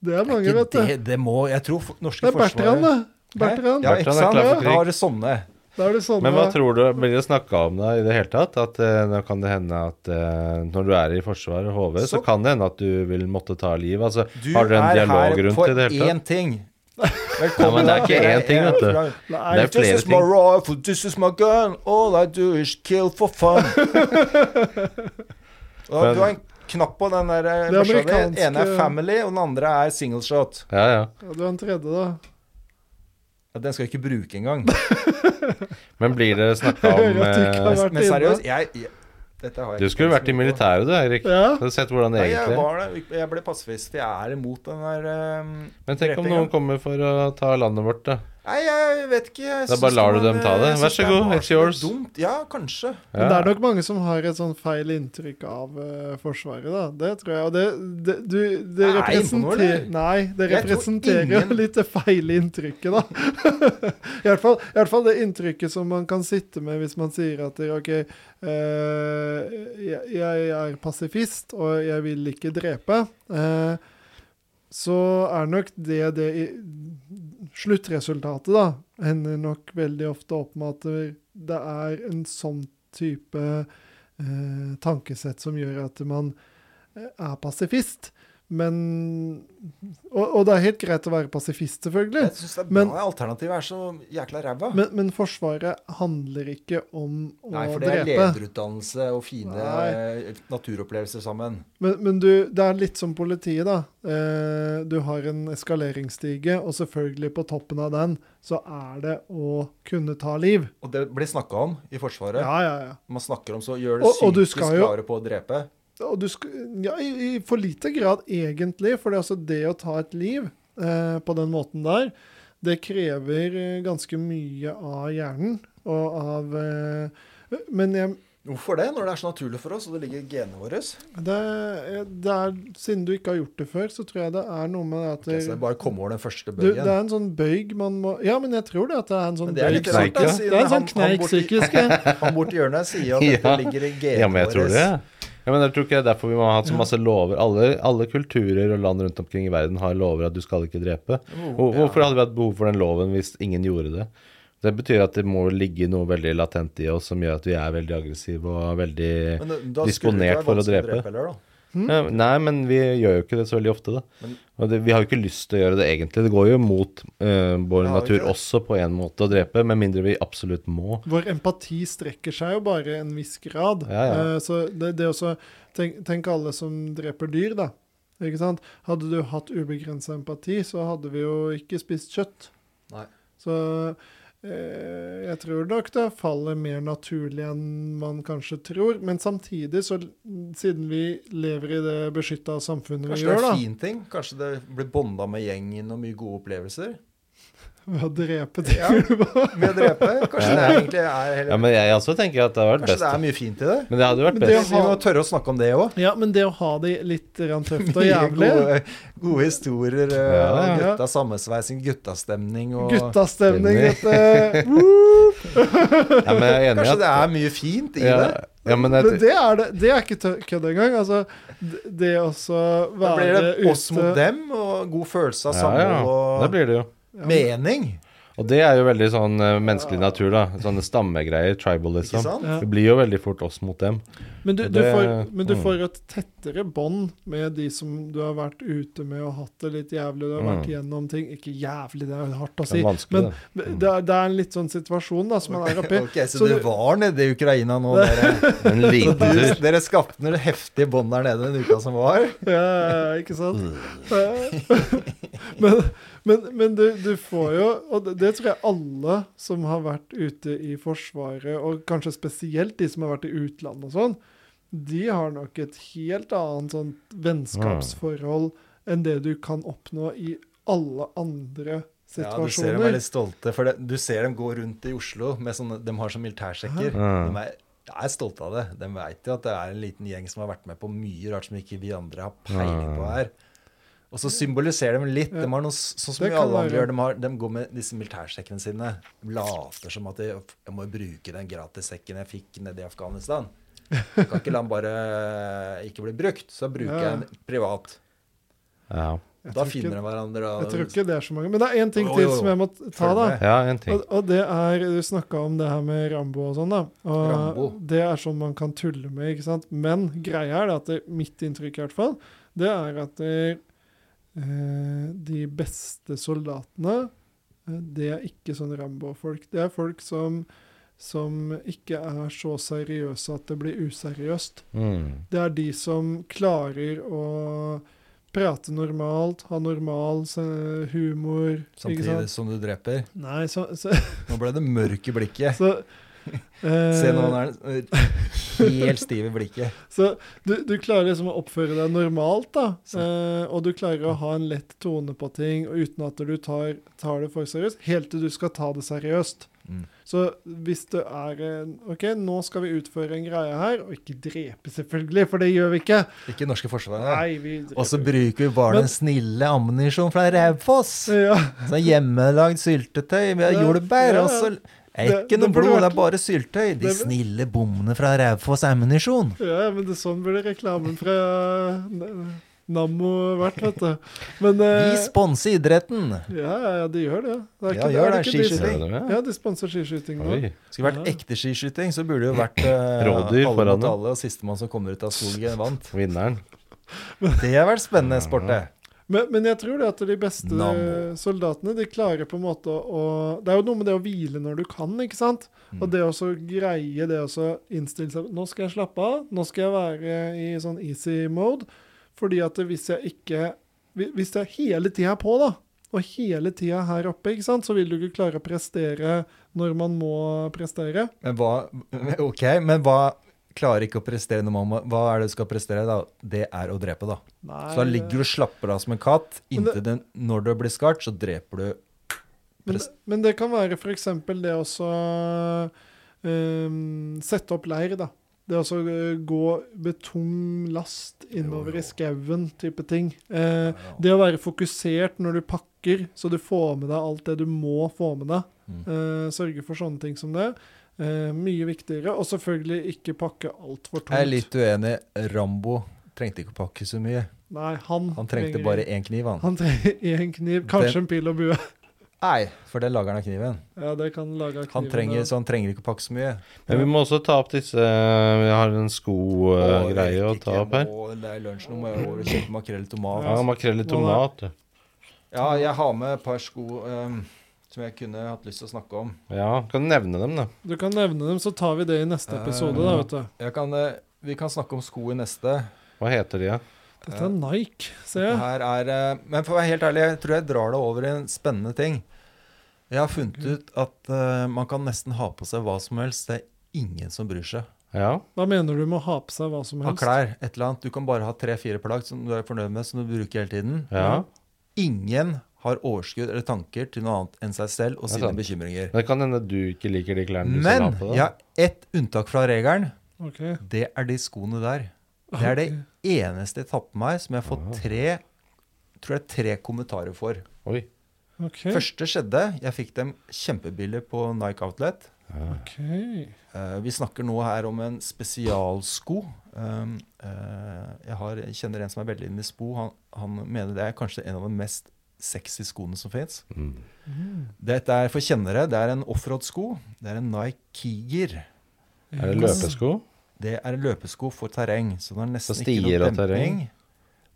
Speaker 3: det er
Speaker 2: Det,
Speaker 3: mange,
Speaker 2: er
Speaker 3: vet
Speaker 2: ikke
Speaker 3: du.
Speaker 2: det, det må Jeg tror for- norske
Speaker 3: Det er Bertrand, da. Bertrand.
Speaker 2: Ja,
Speaker 1: Bertrand er
Speaker 2: ikke sant?
Speaker 1: klar for krig.
Speaker 2: Da har du sånne.
Speaker 3: Da er det sånn
Speaker 1: Men hva
Speaker 3: da.
Speaker 1: tror du, blir det snakka om da i det hele tatt? At eh, nå kan det hende at eh, når du er i Forsvaret og HV, så
Speaker 2: Så-
Speaker 1: kan det hende at du vil måtte ta liv. Altså,
Speaker 2: Du
Speaker 1: har dere en
Speaker 2: er
Speaker 1: dialog
Speaker 2: her
Speaker 1: rundt
Speaker 2: for
Speaker 1: i det hele tatt?
Speaker 2: én ting.
Speaker 1: Ja, men det er ikke
Speaker 2: Dere
Speaker 1: én ting, vet du.
Speaker 2: er-
Speaker 1: Det er flere
Speaker 2: This is my
Speaker 1: ting.
Speaker 2: rifle, this is my gun, all I do is kill for fun. Og
Speaker 1: Men-
Speaker 2: du har en knapp på den der. eh,
Speaker 3: Det
Speaker 2: forskjellen. Den
Speaker 3: amerikanske-
Speaker 2: ene er family, og den andre er single shot.
Speaker 1: Ja, ja.
Speaker 3: Ja, du er en tredje, da.
Speaker 2: Ja, Den skal jeg ikke bruke engang.
Speaker 1: Men blir det snakka
Speaker 3: Hører
Speaker 1: om
Speaker 3: at du ikke har
Speaker 1: eh,
Speaker 3: vært
Speaker 2: Men
Speaker 3: inne.
Speaker 2: seriøst, jeg, jeg Dette har jeg
Speaker 1: Du
Speaker 2: ikke
Speaker 1: skulle vært i
Speaker 2: tenkt så mye på.
Speaker 1: militæret du, Eirik.
Speaker 3: Ja.
Speaker 1: Du har sett hvordan det
Speaker 2: Nei, jeg,
Speaker 1: egentlig er.
Speaker 2: var det. jeg ble passivist. Jeg er imot den der eh,
Speaker 1: Men tenk om
Speaker 2: drepingen.
Speaker 1: noen kommer for å ta landet vårt, da.
Speaker 2: Nei, jeg vet ikke. Jeg
Speaker 1: Da bare
Speaker 2: syns
Speaker 1: lar du
Speaker 2: var-
Speaker 1: dem ta det.
Speaker 2: jeg
Speaker 1: Vær
Speaker 2: syns
Speaker 1: så
Speaker 2: det
Speaker 1: god,
Speaker 2: var
Speaker 1: it's
Speaker 2: så
Speaker 1: yours.
Speaker 2: Dumt. Ja, kanskje.
Speaker 3: Men det
Speaker 1: Ja.
Speaker 3: er nok mange som har et sånn feil inntrykk av eh, Forsvaret, da. Det tror jeg. Og det, det, du, det
Speaker 2: Nei,
Speaker 3: representerer
Speaker 2: imponerende.
Speaker 3: Nei, det
Speaker 2: Jeg tror
Speaker 3: representerer jo
Speaker 2: ingen-
Speaker 3: litt det feile inntrykket, da. I hvert fall, I hvert fall det inntrykket som man kan sitte med hvis man sier at det, OK, eh, jeg, jeg er pasifist, og jeg vil ikke drepe. eh, så er nok det det i, Sluttresultatet, da, hender nok veldig ofte opp med at det- det er en sånn type eh, tankesett som gjør at man eh, er pasifist. Men og, og det er helt greit å være pasifist, selvfølgelig.
Speaker 2: Jeg syns det er
Speaker 3: Mm. Men-
Speaker 2: bra alternativet er så jækla ræva.
Speaker 3: Men, men Forsvaret handler ikke om å
Speaker 2: Nei, for det er
Speaker 3: drepe.
Speaker 2: lederutdannelse og fine
Speaker 3: Nei.
Speaker 2: eh, naturopplevelser sammen.
Speaker 3: Men, men du, det er litt som politiet, da. Eh, du har en eskaleringsstige, og selvfølgelig på toppen av den så er det å kunne ta liv.
Speaker 2: Og det blir snakka om i Forsvaret.
Speaker 3: Ja, ja, ja.
Speaker 2: Man snakker om så gjør det
Speaker 3: Og- og du
Speaker 2: psykisk
Speaker 3: skal jo-
Speaker 2: klare på å drepe.
Speaker 3: Og du sk- ja, i, i for lite grad egentlig, for det, er altså det å ta et liv eh, på den måten der, det krever eh, ganske mye av hjernen og av eh, Men jeg
Speaker 2: Hvorfor det, når det er så naturlig for oss, og det ligger i genene våre? Ok,
Speaker 3: Det, eh, det er, siden du ikke har gjort det før, så tror jeg det er noe med at det,
Speaker 2: så det er bare å komme over den første
Speaker 3: du, det
Speaker 2: bøyen.
Speaker 3: er en sånn bøyg man må Ja, men jeg tror det at det er en sånn
Speaker 2: Men det er litt
Speaker 3: bøyg.
Speaker 1: kneik,
Speaker 2: rart,
Speaker 1: ja.
Speaker 2: da,
Speaker 3: Det
Speaker 2: siden
Speaker 3: er en sånn
Speaker 2: han- han
Speaker 3: kneik
Speaker 2: borti-
Speaker 3: psykisk. ja.
Speaker 2: Han borti hjørnet sier at dette
Speaker 1: Ja.
Speaker 2: ligger i genene
Speaker 1: Ja, men jeg tror
Speaker 2: våres.
Speaker 1: det. Ja, men jeg tror ikke det er derfor vi må ha hatt så masse lover. Alle, alle kulturer og land rundt omkring i verden har lover at du skal ikke drepe.
Speaker 2: Oh,
Speaker 1: Hvor, hvorfor hadde vi hatt behov for den loven hvis ingen gjorde det? Det betyr at det må ligge noe veldig latent i oss som gjør at vi er veldig aggressive og veldig
Speaker 2: Men eh, da skulle det ikke
Speaker 1: disponert
Speaker 2: være
Speaker 1: for å
Speaker 2: vanskelig
Speaker 1: drepe.
Speaker 2: heller, da.
Speaker 1: ja, Nei, men vi gjør jo ikke det så veldig ofte, da. Og det, vi har jo ikke lyst til å gjøre det egentlig. Det går jo mot eh, vår
Speaker 2: Ja, ikke
Speaker 1: natur
Speaker 2: det?
Speaker 1: også på en måte å drepe, med mindre vi absolutt må.
Speaker 3: Vår empati strekker seg jo bare en viss grad.
Speaker 1: Ja, ja.
Speaker 3: Eh, Så det, det også tenk, tenk alle som dreper dyr, da. Ikke sant? Hadde du hatt ubegrensa empati, så hadde vi jo ikke spist kjøtt.
Speaker 2: Nei.
Speaker 3: Så eh, jeg tror nok det faller mer naturlig enn man kanskje tror. Men samtidig, så siden vi lever i det beskytta samfunnet
Speaker 2: Kanskje
Speaker 3: vi
Speaker 2: det
Speaker 3: gjør,
Speaker 2: er
Speaker 3: da
Speaker 2: en fin ting? Kanskje det blir bonda med gjengen og mye gode opplevelser?
Speaker 3: Ved å drepe dyr.
Speaker 2: Ja, Med å drepe? Kanskje det er egentlig er
Speaker 1: Ja, men jeg også tenker at det har vært best.
Speaker 2: Kanskje det er mye fint i det?
Speaker 1: Men det hadde vært
Speaker 3: Men det
Speaker 1: best.
Speaker 3: å
Speaker 2: Vi må tørre å snakke om det òg.
Speaker 3: Ja, men det å ha det litt grann tøft og
Speaker 2: Mye
Speaker 3: jævlig
Speaker 2: gode, gode historier. eh,
Speaker 1: Ja, ja.
Speaker 2: og Gutta sammensveising, guttastemning og
Speaker 3: eh, Guttastemning,
Speaker 1: Enig.
Speaker 3: dette.
Speaker 1: Ja, men jeg er enig i
Speaker 2: Kanskje
Speaker 1: at
Speaker 2: det er mye fint i
Speaker 1: ja,
Speaker 2: det?
Speaker 1: Ja, men jeg,
Speaker 3: Men det er, det, det er ikke tø- kødd engang. Altså, d- det å så
Speaker 2: Da
Speaker 3: være
Speaker 2: blir det oss
Speaker 3: ute-
Speaker 2: mot dem, og god følelse av
Speaker 1: ja, ja.
Speaker 2: samhold
Speaker 1: Det
Speaker 2: og
Speaker 1: blir det jo.
Speaker 2: mening.
Speaker 1: Og det er jo veldig sånn eh, menneskelig natur, da. Sånne stammegreier,
Speaker 2: Ikke
Speaker 1: tribalism.
Speaker 2: sant?
Speaker 3: Ja.
Speaker 1: Det blir jo veldig fort oss mot dem.
Speaker 3: Men, du,
Speaker 1: Og
Speaker 3: du
Speaker 1: det-
Speaker 3: får, men du
Speaker 1: mm.
Speaker 3: får et tettere bånd med de som du har vært ute med og hatt det litt jævlig. Du har vært
Speaker 1: Mm.
Speaker 3: gjennom ting Ikke jævlig, det er hardt å
Speaker 1: Det
Speaker 3: si.
Speaker 1: er vanskelig,
Speaker 3: Men
Speaker 1: da.
Speaker 3: men det er, det er en litt sånn situasjon da, som man er oppi.
Speaker 2: Ok, Så
Speaker 3: Så
Speaker 2: du
Speaker 3: du-
Speaker 2: var nede i Ukraina nå, dere.
Speaker 1: En liten
Speaker 2: Dere,
Speaker 1: tur.
Speaker 2: dere skapte noen heftige bånd der nede den uka som var.
Speaker 3: Ja, ikke sant? Eh, men men, men du, du får jo Og det, det tror jeg alle som har vært ute i Forsvaret, og kanskje spesielt de som har vært i utlandet og sånn, de har nok et helt annet sånt vennskapsforhold enn det du kan oppnå i alle andre
Speaker 2: Ja, du ser dem er
Speaker 3: situasjoner.
Speaker 2: litt stolte, for det, du ser dem gå rundt i Oslo med sånne De har sånn militærsekker.
Speaker 1: Hæ?
Speaker 2: De er, jeg er stolte av det. De veit jo at det er en liten gjeng som har vært med på mye rart som ikke vi andre har peiling på her. Og så symboliserer de litt. De har noe, s- sånn som
Speaker 3: Det
Speaker 2: vi
Speaker 3: kan
Speaker 2: alle andre
Speaker 3: være.
Speaker 2: gjør. De, har, de går med disse militærsekkene sine. De later som at de, jeg må bruke den gratissekken jeg fikk nede i Afghanistan. Jeg kan ikke la den bare ikke bli brukt. Så bruker
Speaker 3: Ja.
Speaker 2: jeg den privat.
Speaker 1: Ja.
Speaker 3: Jeg
Speaker 2: Da
Speaker 3: tror ikke-
Speaker 2: finner de hverandre. og-
Speaker 3: Jeg tror ikke det er så mange. Men det er én ting
Speaker 2: Jo,
Speaker 3: til
Speaker 2: jo, jo.
Speaker 3: som jeg må t-
Speaker 2: Følg
Speaker 3: ta, da.
Speaker 2: med.
Speaker 1: ja, en ting.
Speaker 3: Og, og det er, Du snakka om det her med Rambo og sånn, da. Og
Speaker 2: Rambo.
Speaker 3: Det er sånn man kan tulle med, ikke sant. Men greia er det at det, mitt inntrykk i hvert fall, det er at det, eh, de beste soldatene, eh, det er ikke sånn Rambo-folk. Det er folk som, som ikke er så seriøse at det blir useriøst.
Speaker 1: Mm.
Speaker 3: Det er de som klarer å prate normalt, ha normal eh, humor. ikke
Speaker 2: Samtidig
Speaker 3: sant?
Speaker 2: som du dreper.
Speaker 3: Nei, så, så
Speaker 2: Nå ble det mørk i blikket.
Speaker 3: Så, eh,
Speaker 2: Se nå, han er helt stiv i blikket.
Speaker 3: så du, du klarer liksom å oppføre deg normalt, da. Eh, og du klarer å ha en lett tone på ting og uten at du tar, tar det for seriøst, helt til du skal ta det seriøst.
Speaker 2: Mm.
Speaker 3: Så hvis du er en OK, nå skal vi utføre en greie her, og ikke drepe, selvfølgelig, for det gjør vi ikke.
Speaker 2: Ikke norske forsvaret.
Speaker 3: Nei, vi dreper.
Speaker 2: Og så bruker vi bare den
Speaker 3: Men-
Speaker 2: snille ammunisjonen fra Raufoss.
Speaker 3: ja,
Speaker 2: Sånn hjemmelagd syltetøy med
Speaker 3: Ja,
Speaker 2: jordbær.
Speaker 3: ja,
Speaker 2: Og så er
Speaker 3: Det-
Speaker 2: ikke
Speaker 3: det
Speaker 2: noe
Speaker 3: burde
Speaker 2: blod, det
Speaker 3: vært-
Speaker 2: er bare syltetøy. De
Speaker 3: det-
Speaker 2: snille bommene fra Raufoss ammunisjon.
Speaker 3: ja, men det er sånn burde reklamen fra eh, Nammo vært, vet du. Men eh,
Speaker 2: Vi sponser idretten.
Speaker 3: ja, ja, ja, de gjør det. det
Speaker 2: Ja,
Speaker 3: er ikke,
Speaker 2: gjør
Speaker 3: er
Speaker 2: det,
Speaker 3: ikke de som-
Speaker 1: Ser du det?
Speaker 3: Ja, de sponser skiskyting nå.
Speaker 1: Oi.
Speaker 2: Skulle vært
Speaker 3: Ja.
Speaker 2: ekte skiskyting, så burde det jo vært eh,
Speaker 1: Rådyr
Speaker 2: alle
Speaker 1: foran
Speaker 2: mot
Speaker 1: dem.
Speaker 2: alle, og sistemann som kommer ut av solgen, vant.
Speaker 1: Vinneren.
Speaker 2: Det har vært spennende sport, det.
Speaker 3: Men, men jeg tror det at de beste
Speaker 2: Nammo.
Speaker 3: soldatene, de klarer på en måte å Det er jo noe med det å hvile når du kan, ikke sant?
Speaker 2: Mm.
Speaker 3: Og det å så greie det å så innstille seg Nå skal jeg slappe av. Nå skal jeg være i sånn easy mode. Fordi at hvis jeg ikke hvi- Hvis jeg hele tida er på, da, og hele tida er her oppe, ikke sant, så vil du ikke klare å prestere når man må prestere.
Speaker 2: Men hva, ok, men hva klarer ikke å prestere når man må Hva er det du skal prestere, da? Det er å drepe, da.
Speaker 3: Nei,
Speaker 2: Så da ligger du og slapper av som en katt.
Speaker 3: Men det-
Speaker 2: Inntil den, når du blir skarpt, så dreper du.
Speaker 3: Men,
Speaker 2: Pres-
Speaker 3: men det kan være f.eks. det å så, ehm, sette opp leir, da. Det å så gå med tung last innover i skauen, type ting. Eh, det å være fokusert når du pakker, så du får med deg alt det du må få med deg.
Speaker 4: Mm.
Speaker 3: Eh, sørge for sånne ting som det. Eh, mye viktigere. Og selvfølgelig ikke pakke altfor tungt.
Speaker 4: Jeg er litt uenig. Rambo trengte ikke å pakke så mye.
Speaker 3: Nei, han,
Speaker 4: Han trengte
Speaker 3: trenger-
Speaker 4: bare én kniv, han.
Speaker 3: Han trenger én kniv, kanskje en pil og bue.
Speaker 4: Nei, for det lager han av kniven.
Speaker 3: Ja, det kan lage av
Speaker 4: Han
Speaker 3: kniven,
Speaker 4: trenger,
Speaker 3: ja.
Speaker 4: så han trenger ikke å pakke så mye.
Speaker 1: Men vi må også ta opp disse eh, Vi har en skogreie å ta opp her.
Speaker 2: Og det er lunsj, nå må jeg over og kjøpe makrell i tomat.
Speaker 1: Ja, makrell i tomat.
Speaker 2: Ja, jeg har med et par sko ehm, som jeg kunne hatt lyst til å snakke om.
Speaker 1: Ja, kan du nevne dem, da.
Speaker 3: Du kan nevne dem, så tar vi det i neste episode, da, vet du.
Speaker 2: Jeg kan, eh, vi kan snakke om sko i neste.
Speaker 1: Hva heter de, da?
Speaker 3: Dette er Nike, ser jeg.
Speaker 2: Her er, eh, men for å være helt ærlig, jeg tror jeg drar det over i en spennende ting. Jeg har funnet
Speaker 1: Mm.
Speaker 2: ut at eh, man kan nesten ha på seg hva som helst. Det er ingen som bryr seg.
Speaker 1: Ja.
Speaker 3: Hva mener du med å ha på seg hva som
Speaker 2: Ha
Speaker 3: helst?
Speaker 2: klær, et eller annet. Du kan bare ha tre-fire plagg som du er fornøyd med, som du bruker hele tiden.
Speaker 1: ja.
Speaker 2: Ingen har overskudd eller tanker til noe annet enn seg selv og
Speaker 1: Det er
Speaker 2: sine
Speaker 1: sant.
Speaker 2: bekymringer.
Speaker 1: Det kan hende du ikke liker de klærne du skal
Speaker 2: Men
Speaker 1: ha på deg.
Speaker 2: jeg har ett unntak fra regelen.
Speaker 3: Ok.
Speaker 2: Det er de skoene der. Det er det eneste jeg tar på meg som jeg har fått tre tror jeg tre kommentarer for.
Speaker 1: Oi.
Speaker 3: Ok.
Speaker 2: Første skjedde. Jeg fikk dem kjempebillig på Nike Outlet.
Speaker 3: ok.
Speaker 2: Eh, vi snakker nå her om en spesialsko. Um, eh, jeg, har, jeg kjenner en som er veldig inne i sko. Han, han mener det er kanskje en av de mest sexy skoene som fins.
Speaker 1: Mm.
Speaker 2: Dette er for kjennere. Det er en offroad-sko. Det er en Nike Kiger.
Speaker 1: Er det løpesko?
Speaker 2: Det er en løpesko for terreng. Så den har nesten
Speaker 1: For
Speaker 2: ikke
Speaker 1: stier
Speaker 2: noe
Speaker 1: og terreng?
Speaker 2: demping.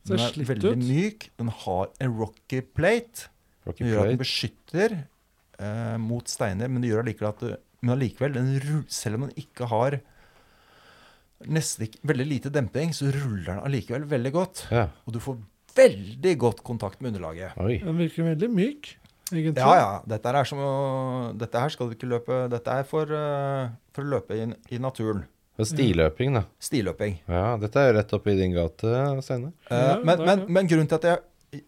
Speaker 2: Den
Speaker 3: Ser
Speaker 2: er
Speaker 3: slitt
Speaker 2: veldig
Speaker 3: ut.
Speaker 2: myk. Den har en rocky plate.
Speaker 1: Rocky
Speaker 2: Den gjør at den
Speaker 1: Plate?
Speaker 2: beskytter eh, mot steiner, men det gjør allikevel at du, men allikevel, den ru- selv om den ikke har nesten ikke, veldig lite demping, så ruller den allikevel veldig godt.
Speaker 1: Ja.
Speaker 2: Og du får veldig godt kontakt med underlaget.
Speaker 1: Oi.
Speaker 3: Den virker veldig myk, egentlig.
Speaker 2: Ja, ja. Dette her, er som, å- dette her skal du ikke løpe Dette er for, eh, for å løpe i, i naturen.
Speaker 1: Og Stiløping, da.
Speaker 2: Stiløping.
Speaker 1: Ja, dette er jo rett oppi din gate, Steinar.
Speaker 3: Ja,
Speaker 2: Eh, men,
Speaker 3: det er
Speaker 2: men,
Speaker 3: det.
Speaker 2: men grunnen til at jeg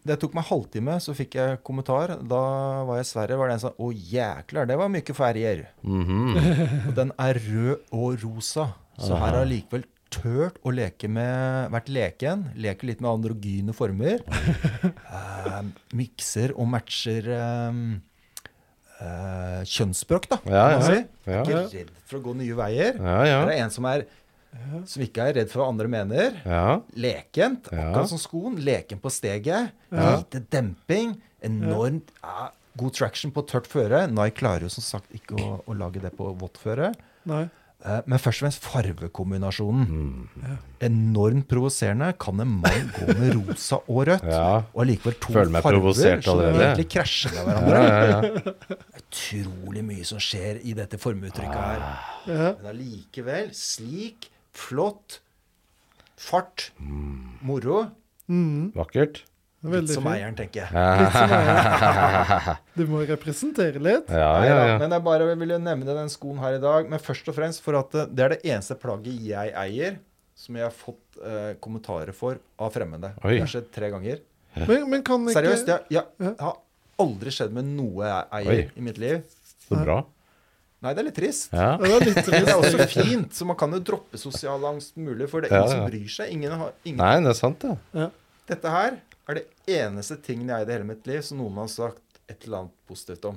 Speaker 2: det tok meg halvtime, så fikk jeg kommentar. Da var jeg i Sverige, var det en som sa 'Å, jæklar, det var mye ferger'.
Speaker 1: Mhm.
Speaker 2: Og den er rød og rosa. Så her har jeg likevel tørt å leke med Vært leken. Leker litt med androgyne former. Eh, mikser og matcher eh, eh, kjønnsspråk, da.
Speaker 1: Ja, ja.
Speaker 2: kan man si.
Speaker 1: Ja,
Speaker 2: Ikke redd for å gå nye veier.
Speaker 1: ja.
Speaker 2: Her er
Speaker 1: ja.
Speaker 2: det en som er som ikke er redd for hva andre mener.
Speaker 1: ja.
Speaker 2: Lekent,
Speaker 1: Ja.
Speaker 2: akkurat som skoen. Leken på steget. Lite demping. Enormt ja, god traction på tørt føre. Nike klarer jo som sagt ikke å, å lage det på vått føre.
Speaker 3: Nei.
Speaker 2: Eh, Men først og fremst farvekombinasjonen.
Speaker 1: Mm.
Speaker 2: Enormt provoserende. Kan en mann gå med rosa og rødt?
Speaker 1: Ja.
Speaker 2: Og allikevel to
Speaker 1: Føler meg
Speaker 2: farver
Speaker 1: provosert
Speaker 2: som
Speaker 1: allerede.
Speaker 2: egentlig krasjer med hverandre. Utrolig mye som skjer i dette formueuttrykket her.
Speaker 1: Ah.
Speaker 3: Ja.
Speaker 2: Men allikevel slik, flott, fart,
Speaker 1: Mm.
Speaker 2: moro.
Speaker 1: Vakkert.
Speaker 2: Litt
Speaker 3: Veldig
Speaker 2: som
Speaker 3: fint.
Speaker 2: eieren, tenker jeg.
Speaker 3: Litt som eier. Du må representere litt.
Speaker 1: Ja, ja,
Speaker 2: Neida,
Speaker 1: ja.
Speaker 2: Men jeg bare ville nevne den skoen her i dag. Men først og fremst for at eh, det er det eneste plagget jeg eier som jeg har fått eh, kommentarer for av fremmede.
Speaker 1: Oi.
Speaker 2: Det har skjedd tre ganger.
Speaker 3: Men, men kan ikke
Speaker 2: Seriøst, jeg, jeg,
Speaker 3: Ja.
Speaker 2: har aldri skjedd med noe jeg eier
Speaker 1: Oi.
Speaker 2: i mitt liv.
Speaker 1: Så bra.
Speaker 2: Nei, det er litt trist.
Speaker 1: Ja.
Speaker 3: Ja, det er litt
Speaker 2: Men det er også
Speaker 3: trist.
Speaker 2: fint, så man kan jo droppe sosial angst mulig, for det er
Speaker 1: Ja,
Speaker 2: ingen som
Speaker 1: ja.
Speaker 2: bryr seg. Ingen har, ingen.
Speaker 1: Nei, det er sant, det.
Speaker 2: Dette her er det eneste tingen jeg eide i hele mitt liv som noen har sagt et eller annet positivt om.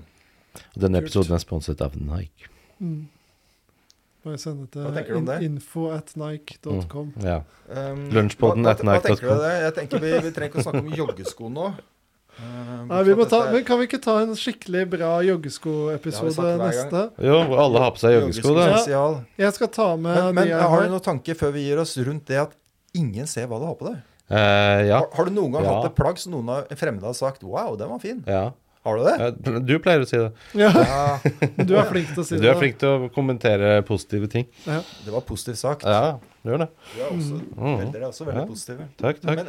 Speaker 1: Denne episoden er sponset av Nike.
Speaker 3: Bare sende
Speaker 2: Hva tenker
Speaker 3: til
Speaker 2: du om
Speaker 3: in
Speaker 2: det?
Speaker 3: info at nike.com.
Speaker 1: Ja.
Speaker 2: Um,
Speaker 1: Lunsjpodden
Speaker 2: hva-
Speaker 1: at
Speaker 2: hva- hva
Speaker 1: nike.com.
Speaker 2: tenker du om det? Jeg tenker vi, vi trenger ikke å snakke om joggesko nå. Um,
Speaker 3: Nei, vi
Speaker 2: for
Speaker 3: må
Speaker 2: at
Speaker 3: ta,
Speaker 2: dette er-
Speaker 3: men kan vi ikke ta en skikkelig bra
Speaker 2: Det
Speaker 3: joggeskoepisode
Speaker 2: har vi sagt hver
Speaker 3: neste?
Speaker 2: gang.
Speaker 1: Jo, hvor alle har på seg joggesko, da.
Speaker 2: spesial.
Speaker 3: Jeg skal ta med
Speaker 2: Men, men
Speaker 3: de jeg
Speaker 2: har du
Speaker 3: har.
Speaker 2: noen tanke før vi gir oss rundt det at ingen ser hva du har på deg?
Speaker 1: Eh, ja.
Speaker 2: Har, har du noen gang
Speaker 1: Ja.
Speaker 2: hatt et plagg som noen av fremmede har sagt 'wow, den var fin'?
Speaker 1: ja.
Speaker 2: Har du det?
Speaker 1: Eh, Du pleier å si det.
Speaker 3: Ja,
Speaker 2: Ja,
Speaker 3: du er flink til å si
Speaker 1: Du
Speaker 3: det.
Speaker 1: er flink til å kommentere positive ting.
Speaker 3: Ja.
Speaker 2: det var positivt sagt.
Speaker 1: Ja, du gjør det.
Speaker 2: Du er også, veldig, dere er også veldig positive.
Speaker 1: Takk, takk.
Speaker 2: Men